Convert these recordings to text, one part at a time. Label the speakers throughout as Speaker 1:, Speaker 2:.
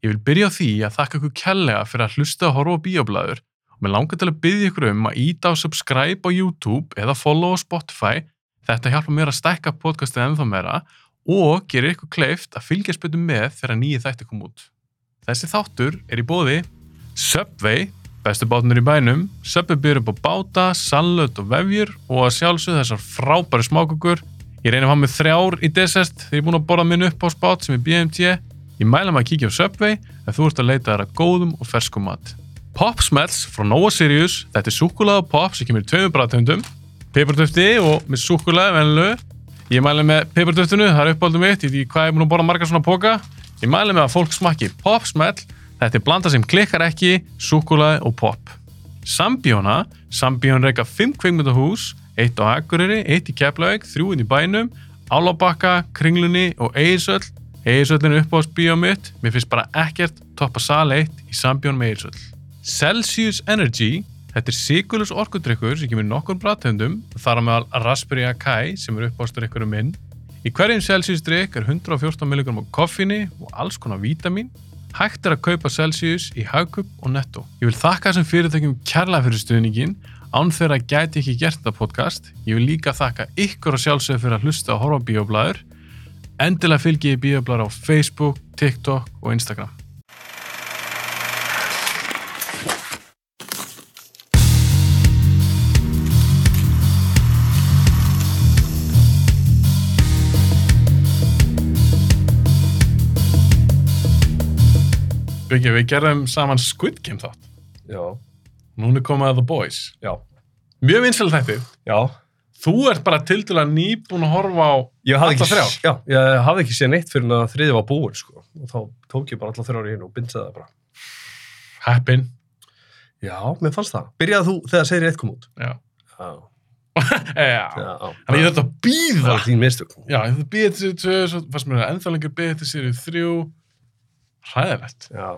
Speaker 1: Ég vil byrja á því að þakka ykkur kærlega fyrir að hlusta að horfa á bíoblæður og mér langar til að byrja ykkur um að íta á subscribe á YouTube eða follow á Spotify. Þetta hjálpa mér að stækka podcastið ennþá meira og gerir ykkur kleift að fylgjast betur með þegar nýju þætti kom út. Þessi þáttur er í bóði Subway, bestu bátnur í bænum, Subway byrjur upp á báta, salöt og vefjur og að sjálfsögðu þessar frábæri smákukur. Ég reynir að hafa með þrjár í desert þegar ég er búin að borða minn upp á spát sem er BMT. Ég mæla maður að kíkja á Subway ef þú ert að leita þær að góðum og ferskum mat. Pop Smells frá Nova Sirius, þetta er súkkulaði og pop sem kemur í tveimur bræðtöndum, pipartöfti og með súkkulaði venlu. Ég mæla með pipartöftinu, það er uppáldum mitt, ég veit ekki hvað ég er búin að borða margar svona póka. Ég mæla með að fólk smakki Pop Smell, þetta er blanda sem klikkar ekki, súkkulaði og pop. Sambjóna, Sambjón reyka 5 kveikmyndahús, eitt á Akureyri, eitt í Keflavík, þrjúinn í bænum, Álabakka, Kringlunni og Egilsöll. Egilsöllin er uppáðsbíó mitt, mér finnst bara ekkert toppa sal eitt í Sambjón með Egilsöll. Celsius Energy, þetta er sigurljus orkudrykkur sem kemur í nokkur brættöndum, þar á meðal Raspberry Akai sem er uppáðsdrykkurum minn. Í hverjum Celsius drykk er 114 mg koffíni og alls konar vítamin Hægt er að kaupa Celsius í Hagkup og Netto. Ég vil þakka þessum fyrirtækjum kærlega fyrir stuðningin, án þeirra gæti ekki gert þetta podcast. Ég vil líka þakka ykkur og sjálfsögur fyrir að hlusta og horfa á bíoblæður. Endilega fylgi ég bíoblæður á Facebook, TikTok og Instagram. Byggja, við gerðum saman Squid Game þátt.
Speaker 2: Já,
Speaker 1: Núna komið að The Boys.
Speaker 2: já,
Speaker 1: Mjög vinsæl þetta.
Speaker 2: já.
Speaker 1: Þú ert bara til dæla nýbúin að horfa á...
Speaker 2: Ég hafði
Speaker 1: Allar
Speaker 2: ekki,
Speaker 1: þrjár?
Speaker 2: já, ég hafði ekki séð neitt fyrir en að þriði var búin, sko. Og þá tók ég bara alla þrjár í einu og bindsaði það bara.
Speaker 1: Happin.
Speaker 2: Já, mér fannst það. Byrjaði þú þegar segir eitt kom út.
Speaker 1: Já.
Speaker 2: Já, já,
Speaker 1: Já.
Speaker 2: já.
Speaker 1: Þannig ég þetta að
Speaker 2: það
Speaker 1: býða.
Speaker 2: var þín mistök.
Speaker 1: Já, þetta býðið til sér 2, svo fannst mér það ennþá lengur býðið til sér 3. Hræðilegt.
Speaker 2: Já.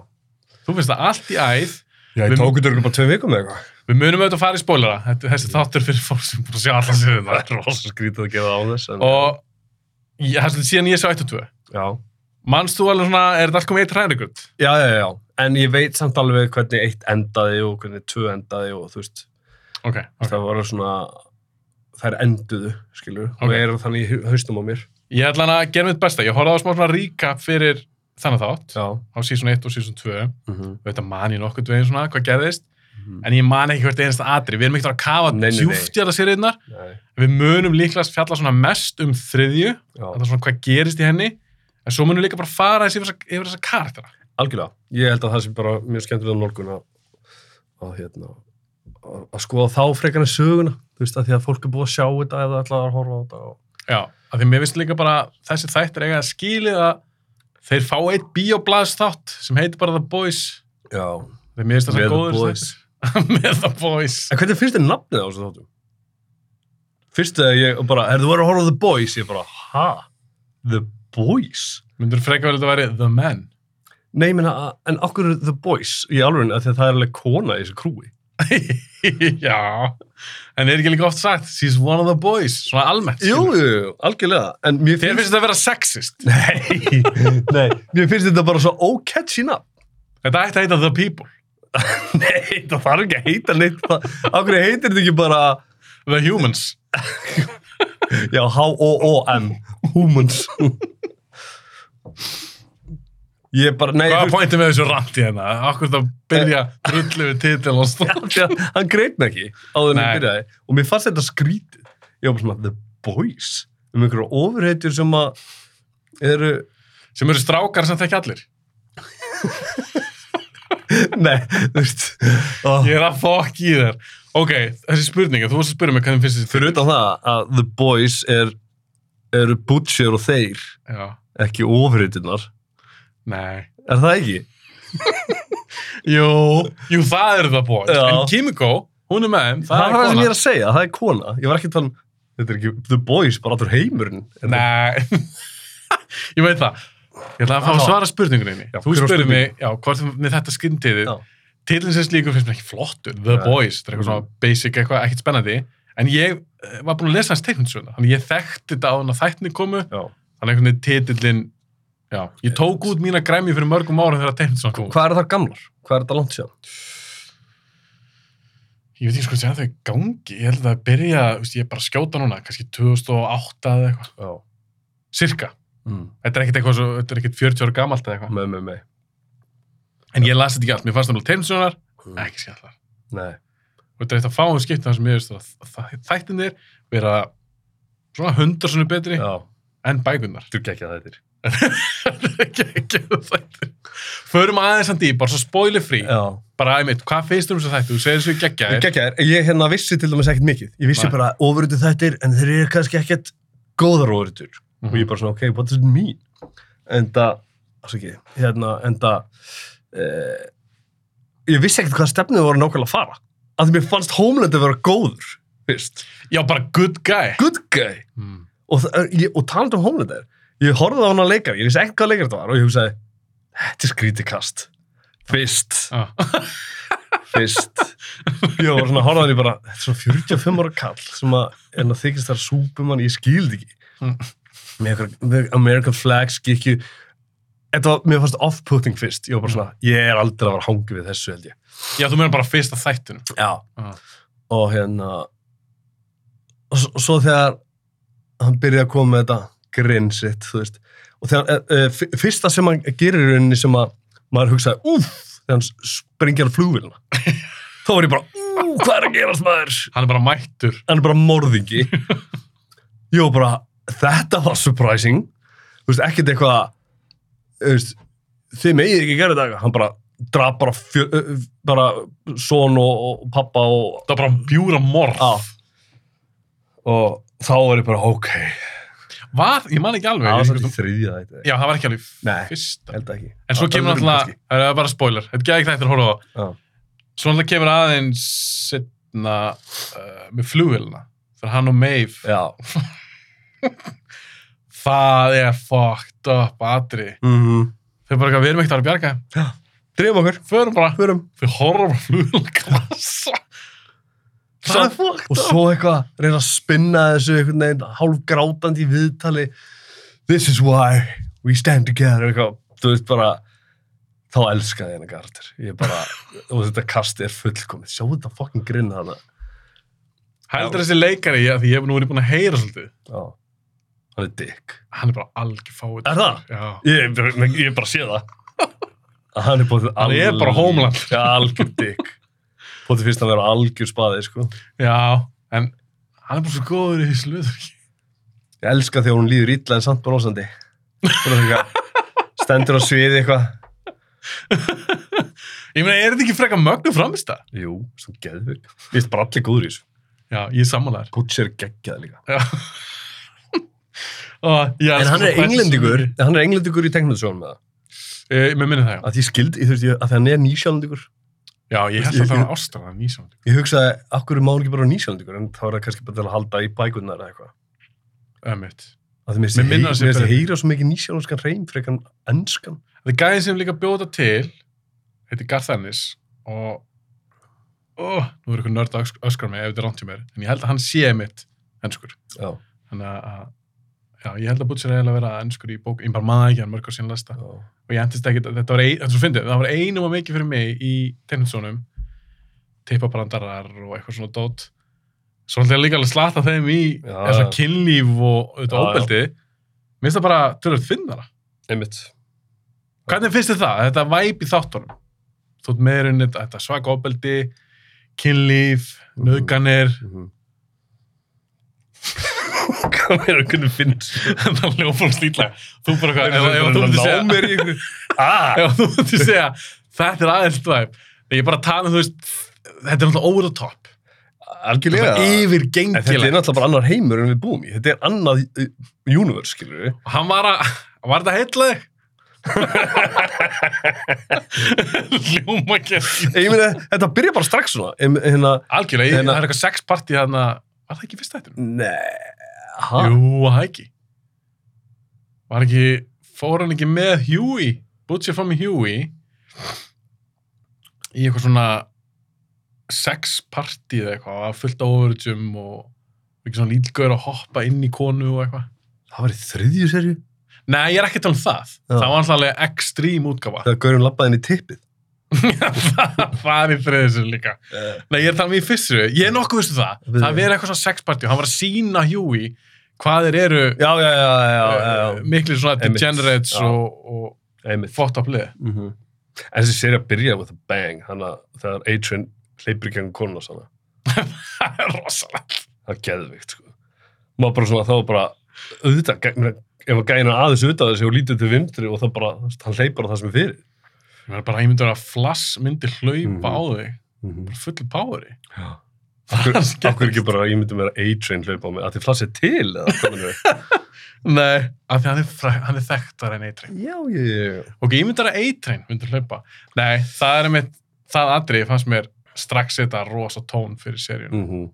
Speaker 1: Þú finnst það allt í æð.
Speaker 2: Já,
Speaker 1: Við-
Speaker 2: ég tók þetta bara tveim vikum eða eitthvað.
Speaker 1: Við munum auðvitað að fara í spólera. Þetta, þessi þáttur fyrir fólk sem búin að sjá alla sér Mm. það.
Speaker 2: er rosa skrítið að gefa á þess. En...
Speaker 1: Og ég, það er svolítið síðan ég sá 1 og 2.
Speaker 2: Já.
Speaker 1: Manst þú alveg svona, er þetta allt komið eitt hræðingut?
Speaker 2: já, já, já, já. En ég veit samt alveg hvernig eitt endaði og hvernig tvö endaði og þú veist,
Speaker 1: Ok, ok.
Speaker 2: það voru svona, þær enduðu, skilur.
Speaker 1: Ok.
Speaker 2: Og eru þannig í hu- hausnum á mér.
Speaker 1: Ég ætla hann að gera mitt besta. Ég horfði á smá svona recap fyrir þannig þátt.
Speaker 2: Já.
Speaker 1: Á season 1 og season 2.
Speaker 2: Mm -hmm.
Speaker 1: Þetta man ég nokkuð veginn svona, hvað gerðist. En ég man ekki hvert einasta atri. Við erum ekkert að kafa
Speaker 2: Nei, nei, nei.
Speaker 1: djúft í alla sériðnar.
Speaker 2: Nei,
Speaker 1: Við munum líklast fjalla svona mest um þriðju.
Speaker 2: já.
Speaker 1: Þetta er svona hvað gerist í henni. En svo munum við líka bara fara þessi yfir, þessa- yfir þessa karaktera.
Speaker 2: Algjörlega. Ég held að það sé bara mjög skemmtilega nálgun að, að, hérna, að, að skoða þá frekarna söguna, þú veist, að því að fólk er búið að sjá þetta eða ætlaði að horfa á þetta. Og...
Speaker 1: Já, af því mér finnst líka bara þessi þættir eiga að skilið að þeir fá eitt bíoblaðs þátt sem heitir bara The Boys
Speaker 2: Já.
Speaker 1: þegar mér finnst það
Speaker 2: Með
Speaker 1: svo
Speaker 2: The
Speaker 1: góður
Speaker 2: Boys.
Speaker 1: þættir. með The Boys
Speaker 2: En hvernig finnst þér nafnið á þessu þáttum? Fyrst að ég bara, er þú verið að horfa á The Boys? Ég bara, ha? The Boys?
Speaker 1: myndur frekar vel að þetta væri The Men
Speaker 2: Nei, ég meina, að- en okkur The Boys í alveg, því að það er alveg kona í þessu krúi.
Speaker 1: Já en er ekki líka oft sagt She's one of the boys, svona almennt
Speaker 2: Jú,
Speaker 1: skilur.
Speaker 2: jú, jú, algjörlega. En mér
Speaker 1: Þér
Speaker 2: finnst,
Speaker 1: finnst þetta að vera sexist
Speaker 2: nei, nei, mér finnst þetta bara svo ócatchy nafn.
Speaker 1: Þetta ætti að heita The People
Speaker 2: Nei, það þarf ekki að heita neitt það. Akkur heitir þetta ekki bara,
Speaker 1: The Humans
Speaker 2: já, H-O-O-M, humans. Ég bara, nei,
Speaker 1: Hvað er
Speaker 2: þú
Speaker 1: pointið með þessu randi hérna? Akkur það byrja drullu við titil og stóð
Speaker 2: veist, hann- hann greit mig ekki áður en
Speaker 1: Nei.
Speaker 2: ég byrjaði. Og mér fannst þetta skrítið. Ég var bara svona, the boys, um einhverju ofurheitjur sem að eru,
Speaker 1: sem eru strákar sem þekki allir
Speaker 2: nei, þú veist, oh.
Speaker 1: Ég er að fokk í þér. Ok, þessi spurninga, þú varst að spyrja mig hvernig finnst þessi
Speaker 2: fyrir utan það að the boys er, eru butcher og þeir,
Speaker 1: Já,
Speaker 2: ekki ofurheitjurnar.
Speaker 1: nei.
Speaker 2: Er það ekki?
Speaker 1: Jú, jú það eru það bótt.
Speaker 2: Já.
Speaker 1: En Kimiko, hún er með þeim,
Speaker 2: það,
Speaker 1: það,
Speaker 2: er það sem ég
Speaker 1: er
Speaker 2: er að segja, það er kona. Ég var ekki að tala um, þetta er ekki The Boys, bara allur heimurinn. Er
Speaker 1: kona. Nei, ég veit það. Ég ætla að fá að
Speaker 2: Aha.
Speaker 1: svara spurningunni.
Speaker 2: Já,
Speaker 1: þú
Speaker 2: hver var
Speaker 1: spurði
Speaker 2: spurningin?
Speaker 1: mig, já, hvort með þetta skindiðið.
Speaker 2: Já.
Speaker 1: Tilin sem slíkur finnst mér ekki flottur. The
Speaker 2: Nei.
Speaker 1: Boys, það er eitthvað svona basic, eitthvað ekkert spennandi. En ég eh, var búin að lesa hans teiknundsöguna. Þannig ég þekkti þetta á hann að þættinni komu.
Speaker 2: Já.
Speaker 1: Þannig einhvern veginn titillin Já, ég tók út mína græmi fyrir mörgum árum þegar Teinsson kom.
Speaker 2: Hvað eru þar gamlar? Hvað er þetta langt sér?
Speaker 1: Ég veit ekki sko að það er gangi. Ég held að það byrja, þú veist, ég er bara að skjóta núna, kannski 2008 eða eitthvað.
Speaker 2: Já.
Speaker 1: Cirka.
Speaker 2: Mm.
Speaker 1: Þetta er ekkit eitthvað svo, þetta er ekkit 40 ára gamalt eða eitthvað.
Speaker 2: Með, með, með.
Speaker 1: En ég las þetta ekki allt. Mér fannst það alveg Teinssonar,
Speaker 2: Mm.
Speaker 1: ekki skallar.
Speaker 2: Nei.
Speaker 1: Og þetta er eitt að fáum skipta þar sem ég veist að þættinir vera svona hundarsunni betri
Speaker 2: Já.
Speaker 1: en bækunnar.
Speaker 2: Þú gekkja það eittir.
Speaker 1: ekki ekki þættir. Förum aðeins hann í, bara svo spoiler free.
Speaker 2: Já.
Speaker 1: Bara, einmitt, hvað finnst þér um þessu þætti? Þú segir þessu geggjaðir.
Speaker 2: Gekkja þær. Ég hérna vissi til dæmis ekkert mikið. Ég vissi
Speaker 1: Nei.
Speaker 2: bara ofurötu þættir en þeir eru kannski ekkert góðar ofurötur. og
Speaker 1: Mhm.
Speaker 2: ég bara svona, ok, what does it mean? Enda, ásaki, hérna, enda, uh, ég vissi ekkert hvað stefnið voru nákvæmlega að fara. Af því mér fannst Homeland að vera góður, fyrst.
Speaker 1: Já, bara good guy.
Speaker 2: Good guy.
Speaker 1: Mm.
Speaker 2: Og, það- ég- og talandi um Homeland er, ég horfði á hana leikar, ég vissi ekkert hvað leikar þetta var og ég hugsaði, þetta er skrítið kast. Fyrst,
Speaker 1: Ah.
Speaker 2: fyrst. Ég var svona, horfði á hann ég bara, þetta er svona 45 ára kall sem að, en að þykist þar súpumann, ég skildi ekki.
Speaker 1: Mm.
Speaker 2: með einhver- með American flag skikju þetta var, mér fannst off-putting fyrst ég var bara svona, ég er aldrei að vera hangi við þessu held ég
Speaker 1: Já, þú meina bara fyrsta þættunum.
Speaker 2: já,
Speaker 1: Ah.
Speaker 2: og hérna og s- og svo þegar hann byrjaði að koma með þetta grinn sitt, þú veist og þegar, e, e, fyrsta sem hann gerir í rauninni sem að maður hugsaði, úff þegar hann springjar flugvilna þá var ég bara, úff, hvað er að gerast maður
Speaker 1: Hann er bara mættur.
Speaker 2: hann er bara morðingi ég var bara, þetta var surprising þú veist, ekkert eitthvað þú veist, þið megið ekki gera þetta hann bara draf bara, fjö, ö, ö, bara son og, og pappa og,
Speaker 1: Það er bara bjúra morð.
Speaker 2: á, og þá var ég bara, ok
Speaker 1: Var, ég man ekki alveg.
Speaker 2: það var
Speaker 1: ég
Speaker 2: svolítið
Speaker 1: veist,
Speaker 2: í þriðja þetta
Speaker 1: já, það var ekki alveg
Speaker 2: Nei.
Speaker 1: fyrsta.
Speaker 2: held ekki
Speaker 1: En svo
Speaker 2: Á
Speaker 1: kemur
Speaker 2: öðrum
Speaker 1: alltaf, það er bara spoiler, þetta geði ekki þættir að horfa á.
Speaker 2: Já.
Speaker 1: Svo alltaf kemur aðeins setna uh, með flugvélina. Þegar hann og Maeve,
Speaker 2: já
Speaker 1: það er fucked up atri.
Speaker 2: mm -hmm.
Speaker 1: Þau bara eitthvað, við erum ekkert að vera að bjarga.
Speaker 2: drifum okkur,
Speaker 1: Förum bara,
Speaker 2: förum
Speaker 1: við horfum á flugvélina klassa.
Speaker 2: Það er
Speaker 1: fucked
Speaker 2: og svo eitthvað reyna að spinna þessu einhvern veginn hálfgrátandi í viðtali This is why we stand together eitthvað, þú veist bara þá elskaði ég hennar gardur ég bara, og þetta kast er fullkomið sjáu þetta fucking grinn hana
Speaker 1: Heldur þessi leikari, já, því ég hef nú verið búin að heyra svolítið.
Speaker 2: Já. hann er dick
Speaker 1: Hann er bara algjör fáið.
Speaker 2: Er það?
Speaker 1: Já.
Speaker 2: ég, ég, ég bara sé það Að hann er bótið
Speaker 1: Hann er bara Homeland.
Speaker 2: algjör dick bótið fyrst að vera algjör spaði sko.
Speaker 1: Já, en hann er bara svo góður í þessu hlutverki.
Speaker 2: Ég elska þegar hún líður illa en samt brosandi. Svona þegar stendur á sviði eitthvað.
Speaker 1: Ég meina, er þetta ekki frekar mögnu framist það?
Speaker 2: Jú, svona geðvig. Ég veist bara allir góður í þessu.
Speaker 1: Já, ég er sammálaður.
Speaker 2: Butcher geggjað líka.
Speaker 1: Já. Ó, ég
Speaker 2: En
Speaker 1: elska svo
Speaker 2: hann er
Speaker 1: Pattinson.
Speaker 2: englendingur, en hann er englendingur í teknóðsjónum með það.
Speaker 1: Eh, Mér minnir það, já.
Speaker 2: Að því skild, ég þurfti að því hann er nýsjálendingur.
Speaker 1: Já, ég held
Speaker 2: Ég-
Speaker 1: að það var
Speaker 2: ég-
Speaker 1: ástæðan nýsjónd.
Speaker 2: Ég hugsaði, akkur er maður ekki bara nýsjálendingur, en þá er það kannski bara til að halda í bækunnar eða eitthvað.
Speaker 1: Ömmit.
Speaker 2: Að því mér
Speaker 1: Mér minnir það
Speaker 2: finnst
Speaker 1: sem
Speaker 2: ég heyra,
Speaker 1: betur.
Speaker 2: heyra svo mikið nýsjálenskan reym frekar en enskan.
Speaker 1: Það er gæðin sem líka bjóða til, heitir Garth Ennis, og ó, nú er eitthvað nörd að ösk- öskra mig ef þetta er rámt hjá mér, en ég held að hann sé mitt ennskur.
Speaker 2: Já,
Speaker 1: Þannig að, að- já, ég held að Butcher er eiginlega að vera ennskur í bók, ég bara maður ekki hann mörg á sín lesta.
Speaker 2: já.
Speaker 1: og ég endist ekki, þetta var, ein, þetta var, fyndið, það var einum að mikið fyrir mig í tenninsónum tippabrandarar og eitthvað svona dót svo ætla ég líka alveg að slata þeim í
Speaker 2: Já,
Speaker 1: eða svona
Speaker 2: já.
Speaker 1: kynlíf og auðvitað
Speaker 2: Já, já.
Speaker 1: ofbeldi mér finnst það bara tölvöld finnara
Speaker 2: Einmitt.
Speaker 1: hvernig finnst þið það, þetta væp í þáttunum þú ert meðurinn þetta, þetta svaka ofbeldi kynlíf,
Speaker 2: Mhm.
Speaker 1: nauðganir
Speaker 2: Mhm.
Speaker 1: hvað er það, hvernig finnst það ljófum slítlega þú bara
Speaker 2: Þeir
Speaker 1: hvað,
Speaker 2: eru
Speaker 1: ef- ef þú
Speaker 2: bara að
Speaker 1: myndir
Speaker 2: ná
Speaker 1: segja
Speaker 2: mér í einhverju- Ah!
Speaker 1: ef þú myndi segja þetta er aðeins dvæm ég er bara að tala um þú veist þetta er náttúrulega over the top
Speaker 2: Algjörlega. En þetta er
Speaker 1: yfirgengilegt
Speaker 2: náttúrulega bara annar heimur en við búum í. Þetta er annað uh, universe, skilur við.
Speaker 1: hann var að var þetta heitlaði hljóma ekki
Speaker 2: Ég meina, þetta byrja bara strax svona. Em- Hérna,
Speaker 1: algjörlega ég,
Speaker 2: Hérna-
Speaker 1: það er eitthvað sexparti hann var það ekki fyrst þetta
Speaker 2: nei, ha?
Speaker 1: jú var það ekki var ekki fór hann ekki með Huey Butcher fór með Huey í eitthvað svona sexparti eða eitthvað að fullt á overjum og eitthvað svona lítilgöður að hoppa inn í konu og eitthvað
Speaker 2: Það var í þriðju serju?
Speaker 1: Nei, ég er ekki að tala um það.
Speaker 2: Já.
Speaker 1: Það var alltaf alveg ekstrím útgáfa.
Speaker 2: þegar Gaurin labbaði inn í tippið.
Speaker 1: það er í þriðisur líka.
Speaker 2: Eh.
Speaker 1: Nei, ég er að tala um í fyrstu. Ég er nokkuð vissu það.
Speaker 2: Við-
Speaker 1: Það verið eitthvað svona sexpartí og hann var að sína Huey hvað þeir eru
Speaker 2: Já, já, já, já, já,
Speaker 1: eh,
Speaker 2: já.
Speaker 1: miklir svona
Speaker 2: Einmitt.
Speaker 1: degenerates
Speaker 2: Já.
Speaker 1: og, og
Speaker 2: einmitt.
Speaker 1: fótt á plið.
Speaker 2: Mm En þessi séri að byrja with a bang, hann að þegar Adrian hleypur í gegn konuna svona.
Speaker 1: Það er rosalegt.
Speaker 2: Það er geðvikt, sko. Maður bara svona, þá er bara, auðvitað, gæ- meina, ef að gæna aðeins auðvitað þessi og lítið til vindri og það bara, þú veist, hann hleypur á það sem er fyrir.
Speaker 1: Ég verður bara, ég myndi vera að flass myndi hlaupa
Speaker 2: Mhm.
Speaker 1: á þig.
Speaker 2: Mm -hmm.
Speaker 1: Bara fullu poweri.
Speaker 2: Já.
Speaker 1: Það er skemmt.
Speaker 2: Akkur ekki bara, ég myndi mér að A-Train hlaupa á mig, að þið flassið til, eða hvað minnum við?
Speaker 1: Nei. Af því hann er, fræ- hann er þekktar en eitri.
Speaker 2: Já, já, já, já.
Speaker 1: Ok, ég myndi vera eitrein, myndi hlaupa. Nei, það er mitt, það atriði fannst mér strax setja rosa tón fyrir seríun.
Speaker 2: Mm -hmm.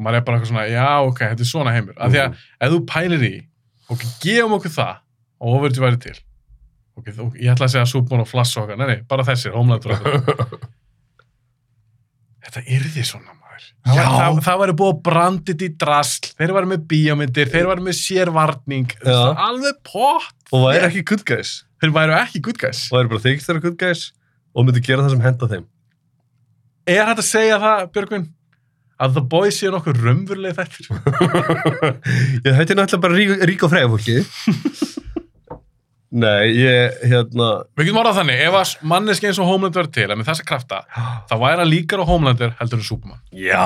Speaker 1: Maður er bara eitthvað svona, já, ok, þetta er svona heimur. Af því
Speaker 2: Mhm.
Speaker 1: að ef þú pælir í, ok, gefum okkur það og ofur þetta væri til. Ok, þú, ég ætla að segja súbún og flass okkar, nei, nei, bara þessir, homelandur okkar. Þetta yrði svona, maður. Það
Speaker 2: Já.
Speaker 1: væri- Það, það væri búið að brandið í drasl, þeir væri með bíómyndir, þeir væri með sérvarning,
Speaker 2: Já.
Speaker 1: alveg pott.
Speaker 2: Og væri ekki good guys,
Speaker 1: Þeir væri ekki good guys.
Speaker 2: væri bara þykist þeirra good guys og myndi gera það sem henda þeim.
Speaker 1: Er hægt að segja það, Björgvin? Að The Boys séu nokkuð raunverulega þættir?
Speaker 2: ég hætti náttúrulega bara rík, rík og fræða fólki. Nei, ég, hérna,
Speaker 1: Við getum orðað þannig, ef að manneski eins og Homeland verður til, að með þessa krafta, þá væri hann líkar á Homelander heldur en Superman.
Speaker 2: já,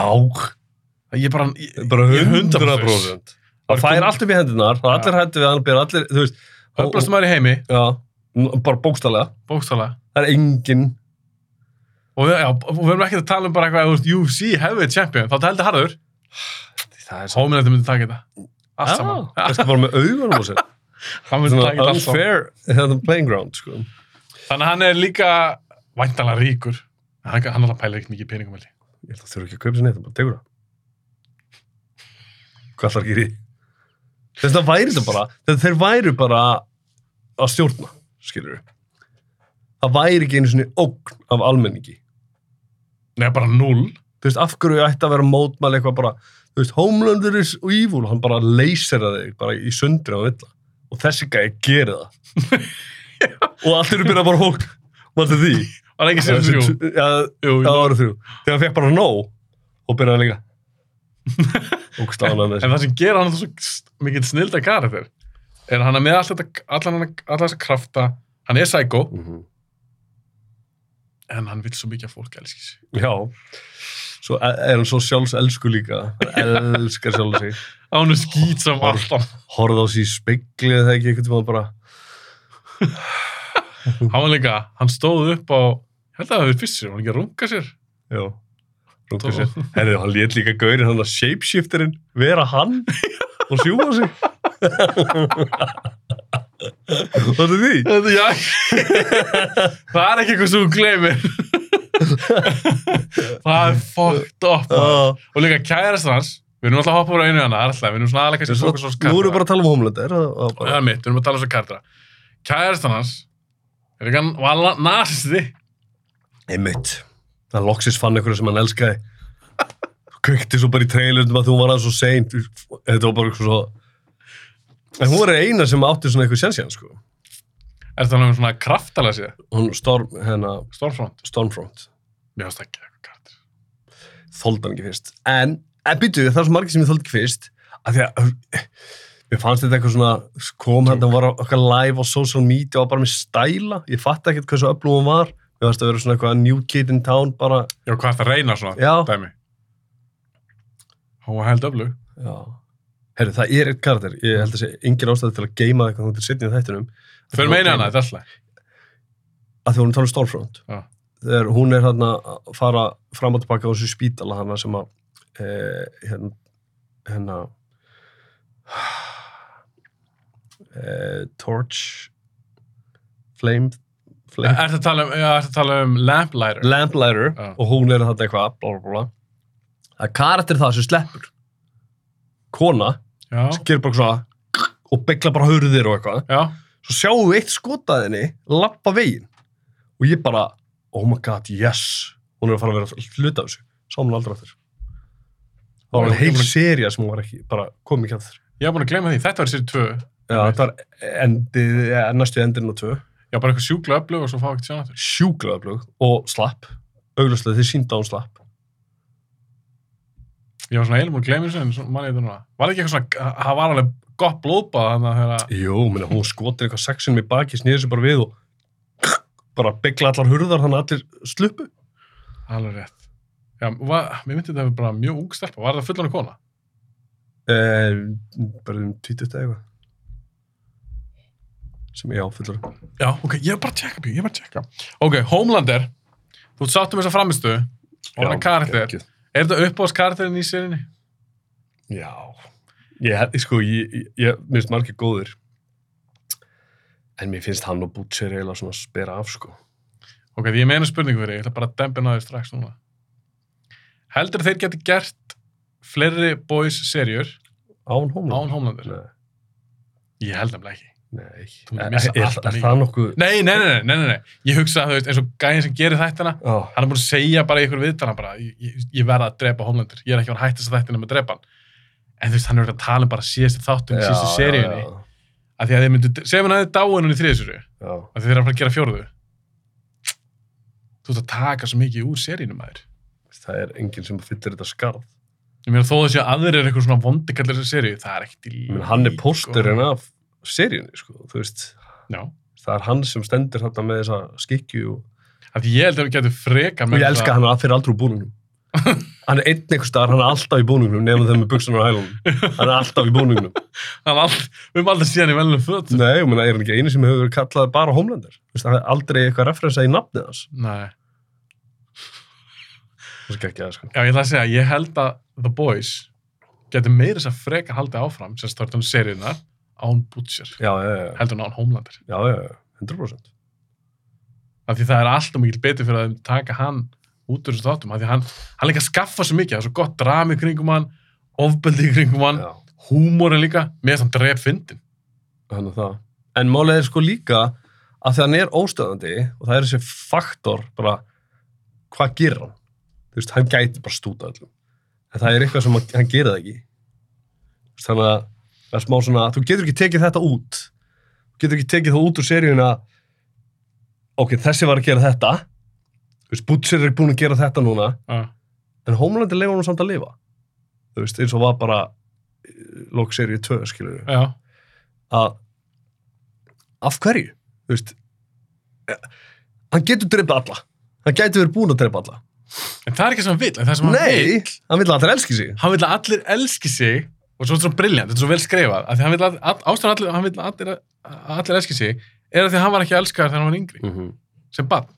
Speaker 1: Ég bara, ég,
Speaker 2: bara
Speaker 1: ég er 100%.
Speaker 2: 100%. Það fær allt upp í hendunar, það er allir
Speaker 1: Já.
Speaker 2: hættu við hann, byrja allir, þú veist, og-
Speaker 1: Öflastum maður í heimi,
Speaker 2: já, n- bara bókstallega,
Speaker 1: bókstálega.
Speaker 2: það er engin,
Speaker 1: Og við, já, og við erum ekki að tala um bara eitthvað, þú veist, UFC hefðið champion, þá heldur harður.
Speaker 2: það er
Speaker 1: Homelander myndi taka þetta. Allt saman.
Speaker 2: Það er bara með augunum á sér.
Speaker 1: Hann myndi taka
Speaker 2: Svona
Speaker 1: þetta allt saman.
Speaker 2: unfair hérna, playing ground, sko.
Speaker 1: Þannig að hann er líka væntanlega ríkur. En Hann, hann alveg pælir ekkert mikið í peningum, held ég.
Speaker 2: Ég held að þurfa ekki að kaupa sér neitt, það bara tegur það. Hvað ætlar að gera í? því? Þess að það væri þetta bara, þegar þeir væru bara að stjórna, skilur við. Það væri ekki einu svona ógn af almenningi.
Speaker 1: Nei, bara null.
Speaker 2: Þú veist, af hverju ætti að vera mótmæli eitthvað bara, þú veist, Homelander is evil, hann bara leysera þig bara í sundri á villa. Og þessi gæði gerir það. og allir eru byrjað bara hók, vartu því?
Speaker 1: Var ekki sér þrjú.
Speaker 2: Já,
Speaker 1: Jú,
Speaker 2: Já, það voru þrjú. Þegar hann fekk bara nóg og byrjaði líka. Ógst ánað
Speaker 1: En
Speaker 2: með þessu.
Speaker 1: það sem gera hann svo mikill snilda karakter er að hann er með allt þetta, allan hann, allan þessa krafta, hann er sækó,
Speaker 2: Mhm.
Speaker 1: en hann vil svo mikið að fólk elski sig.
Speaker 2: Já. Svo er er hann svo sjálfselsku líka. Hann elskar sjálf sig.
Speaker 1: Að hún er skýt sem
Speaker 2: Hor-
Speaker 1: alltaf.
Speaker 2: Horða á sig í spegli eða ekki eitthvað tíma bara.
Speaker 1: Hann var líka, hann stóð upp á, ég held að það hefur fyrst sér, hann var ekki að runga sér.
Speaker 2: Já. Rúnka sér. Herðu, hann lét líka gaurinn hann að shapeshifterinn vera hann og sjúfa sig. Hvað er því?
Speaker 1: Þetta, já, það er ekki eitthvað sem hún gleymir. það er fucked up. maður.
Speaker 2: Uh,
Speaker 1: Og líka kærast hans, við erum alltaf að hoppa úr einu hana, það er alltaf, við erum svona aðlega kannski að fókusa á
Speaker 2: nú erum við bara að tala um homelander. og- og
Speaker 1: Og það
Speaker 2: bara-
Speaker 1: er mitt, við erum að tala um svo kardra. Kærastan hans, er ekki hann, var hann nazisti?
Speaker 2: Einmitt. Það loksist fann einhverja sem hann elskaði. Kveikti svo bara í trailernum að þú var hann svo seint. Þetta var bara eitthvað svo... En hún var eina sem átti svona eitthvað sjensi hann, sko.
Speaker 1: Er það náttúrulega svona kraftalega síðan?
Speaker 2: Hún Storm, hérna,
Speaker 1: Stormfront?
Speaker 2: Stormfront.
Speaker 1: Mér finnst það ekki eitthvað kardir.
Speaker 2: Þóldi hann ekki fyrst. En, en býtu, það er svo margir sem ég þóldi ekki fyrst. Af því að... Mér fannst þetta eitthvað svona, kom hérna, hún var á- okkar live á social media og var bara með stæla. Ég fatt ekkert hversu öflum hún var. Mér fannst að vera svona eitthvað new kid in town bara.
Speaker 1: Já, hvað er það að reyna svona?
Speaker 2: Já.
Speaker 1: Dæmi. Hún var held öflug.
Speaker 2: Já. Herru, það er eitt karakter. Ég held að sé engin ástæði til að geima eitthvað þá til sittin í þættunum.
Speaker 1: Fyrir meina hana, hérna, þetta er alltaf.
Speaker 2: Að því hún er talað um Stormfront.
Speaker 1: Já.
Speaker 2: Þegar hún er hérna að fara fram og tilbaka á þessu spítala hana sem að, e, hérna, hérna, e, Torch, Flame,
Speaker 1: Er
Speaker 2: Flame,
Speaker 1: þetta að tala um, já, ertu að tala um Lamplighter?
Speaker 2: Lamplighter
Speaker 1: Já.
Speaker 2: og hún er þarna eitthvað, blá, blá, blá. Það er karakter það sem sleppur. Kona,
Speaker 1: Já.
Speaker 2: sem gerir bara svona og begla bara hurðir og eitthvað.
Speaker 1: Já.
Speaker 2: svo sjáum við eitt skotaðinni lappa veginn og ég bara, oh my god, yes hún er að fara að vera hluta af þessu sá hún aldrei aftur það var
Speaker 1: Ég-
Speaker 2: heil
Speaker 1: ég-
Speaker 2: seria sem hún var ekki, bara kom ekki aftur
Speaker 1: Ég var búin að gleyma því, þetta var sér tvö.
Speaker 2: Já, þetta var endið, ja, næstu endin og tvö.
Speaker 1: Já, bara eitthvað sjúkla öflug og svo fá ekkert sjá aftur.
Speaker 2: Sjúklaða blög og slapp. Auglustlega þið sínda hún slapp.
Speaker 1: Ég var svona heilum og glemur þessu, en svo man ég þetta núna. Var ekki eitthvað svona, það var alveg gott blóðbað þannig að þeirra,
Speaker 2: Jú, minna, hún skotir eitthvað sexinum í baki, snýður sér bara við og bara byggla allar hurðar þannig að allir sluppu.
Speaker 1: alveg rétt. Já, var, mér myndi þetta að vera bara mjög ung stelpa. Var þetta fullan kona?
Speaker 2: Eh, bara um tvítið eða eitthvað. Sem ég áfyllur.
Speaker 1: Já, ok, ég er bara að tjekka bíu, ég er bara að tjekka. Ok, Homelander, þú ert sáttum þess að framistu og hann er karakter. Er þetta uppáðs karakterin í sérinni?
Speaker 2: Já, ég hef, sko, ég, ég, ég mér finnst margir góðir. En mér finnst hann og Butcher eiginlega svona að spera af, sko.
Speaker 1: Ok, því ég meina spurningu fyrir, þig, ég ætla bara að dempina þér strax núna. Heldur þeir geti gert fleiri boys serjur
Speaker 2: Án Homeland?
Speaker 1: án Homelander? Ég held nefnilega ekki.
Speaker 2: Nei.
Speaker 1: Þú myndir
Speaker 2: Er,
Speaker 1: missa
Speaker 2: er,
Speaker 1: allt
Speaker 2: er,
Speaker 1: af
Speaker 2: er
Speaker 1: mikið.
Speaker 2: það nokkuð...
Speaker 1: Nei, nei, nei, nei, nei, nei, nei. Ég hugsa að þú veist, eins og gæðin sem gerir þættina,
Speaker 2: Já,
Speaker 1: hann er búin að segja bara í ykkur viðtala bara, ég, ég- ég verða að drepa Homelander, ég er ekki að hætta þess að þættina með að drepa hann. En þú veist, hann er örugglega að tala um bara síðast þáttum í
Speaker 2: Já,
Speaker 1: síðustu
Speaker 2: já,
Speaker 1: seríunni.
Speaker 2: já,
Speaker 1: Af því að þeir myndu, segjum hann að þið dáin hún í þriðisöru,
Speaker 2: já.
Speaker 1: af því þeir eru að fara að gera fjórðu. Þú ert að taka svo mikið úr seríunum, maður.
Speaker 2: Það er enginn sem fyllir þetta skarð.
Speaker 1: Ég meina þó að sé að aðrir er eitthvað svona vondikallir þessu seríu, það er ekkert í sko.
Speaker 2: Ég meina, hann er pósturinn af seríunni, sko. Þú veist,
Speaker 1: Já,
Speaker 2: það er hann sem stendur þarna með þessa skikju og...
Speaker 1: af því ég held að við getum frekar
Speaker 2: Og ég elska hann að fyrir aldrei úr búningum. Hann er einn einhver staðar, hann er alltaf í búningnum, nefnum þeim með buksunar og hælunum. Hann er alltaf í búningnum.
Speaker 1: hann all, Við höfum aldrei síðan í velnum föt
Speaker 2: Nei, ég meina, er hann ekki einu sem hefur verið kallað bara Homelander? Þú veist, það er aldrei eitthvað referensa í nafnið hans.
Speaker 1: Nei,
Speaker 2: Það er ekki að, sko.
Speaker 1: já ég ætla að segja, ég held að The Boys getur meira þess að frekar haldið áfram sem startum seríuna án Butcher
Speaker 2: Já, já, já, já,
Speaker 1: heldur en án Homelander
Speaker 2: já, já, já, 100%.
Speaker 1: af því það er alltaf mikil betur fyrir að þeim taka hann út úr þessu þáttum af því hann, hann líka skaffa svo mikið, það er svo gott drami í kringum hann ofbeldi í kringum hann,
Speaker 2: Já,
Speaker 1: húmórin líka með þann drep fyndin
Speaker 2: hann er það. En málið er sko líka að þegar hann er óstöðandi og það er þessi faktor, bara, hvað gerir hann? Þú veist, hann gæti bara stúta öllum. En það er eitthvað sem hann- hann gerir það ekki. Þú veist, þannig að það er smá svona, þú getur ekki tekið þetta út. Þú getur ekki tekið það út úr seríuna, ok, þessi var að gera þetta. Þú veist, Butcher er búin að gera þetta núna.
Speaker 1: uh.
Speaker 2: en Homelandi leifa hún samt að lifa þú veist, eins og var bara eh, lokserið 2, skilur við
Speaker 1: Já,
Speaker 2: að af hverju, þú veist eh, hann getur dreipið alla hann getur verið búin að dreipa alla
Speaker 1: en það er ekki sem hann vill en það sem hann vill
Speaker 2: nei, hann vil að allir elski sig
Speaker 1: hann vil að allir elski sig og svo er þetta svo briljant, þetta er svo vel skrifað að því hann vil að, að, ástæðan allir, hann vil að allir, að allir elski sig er að því að hann var ekki elskaður þegar hann var yngri,
Speaker 2: -hmm.
Speaker 1: sem bann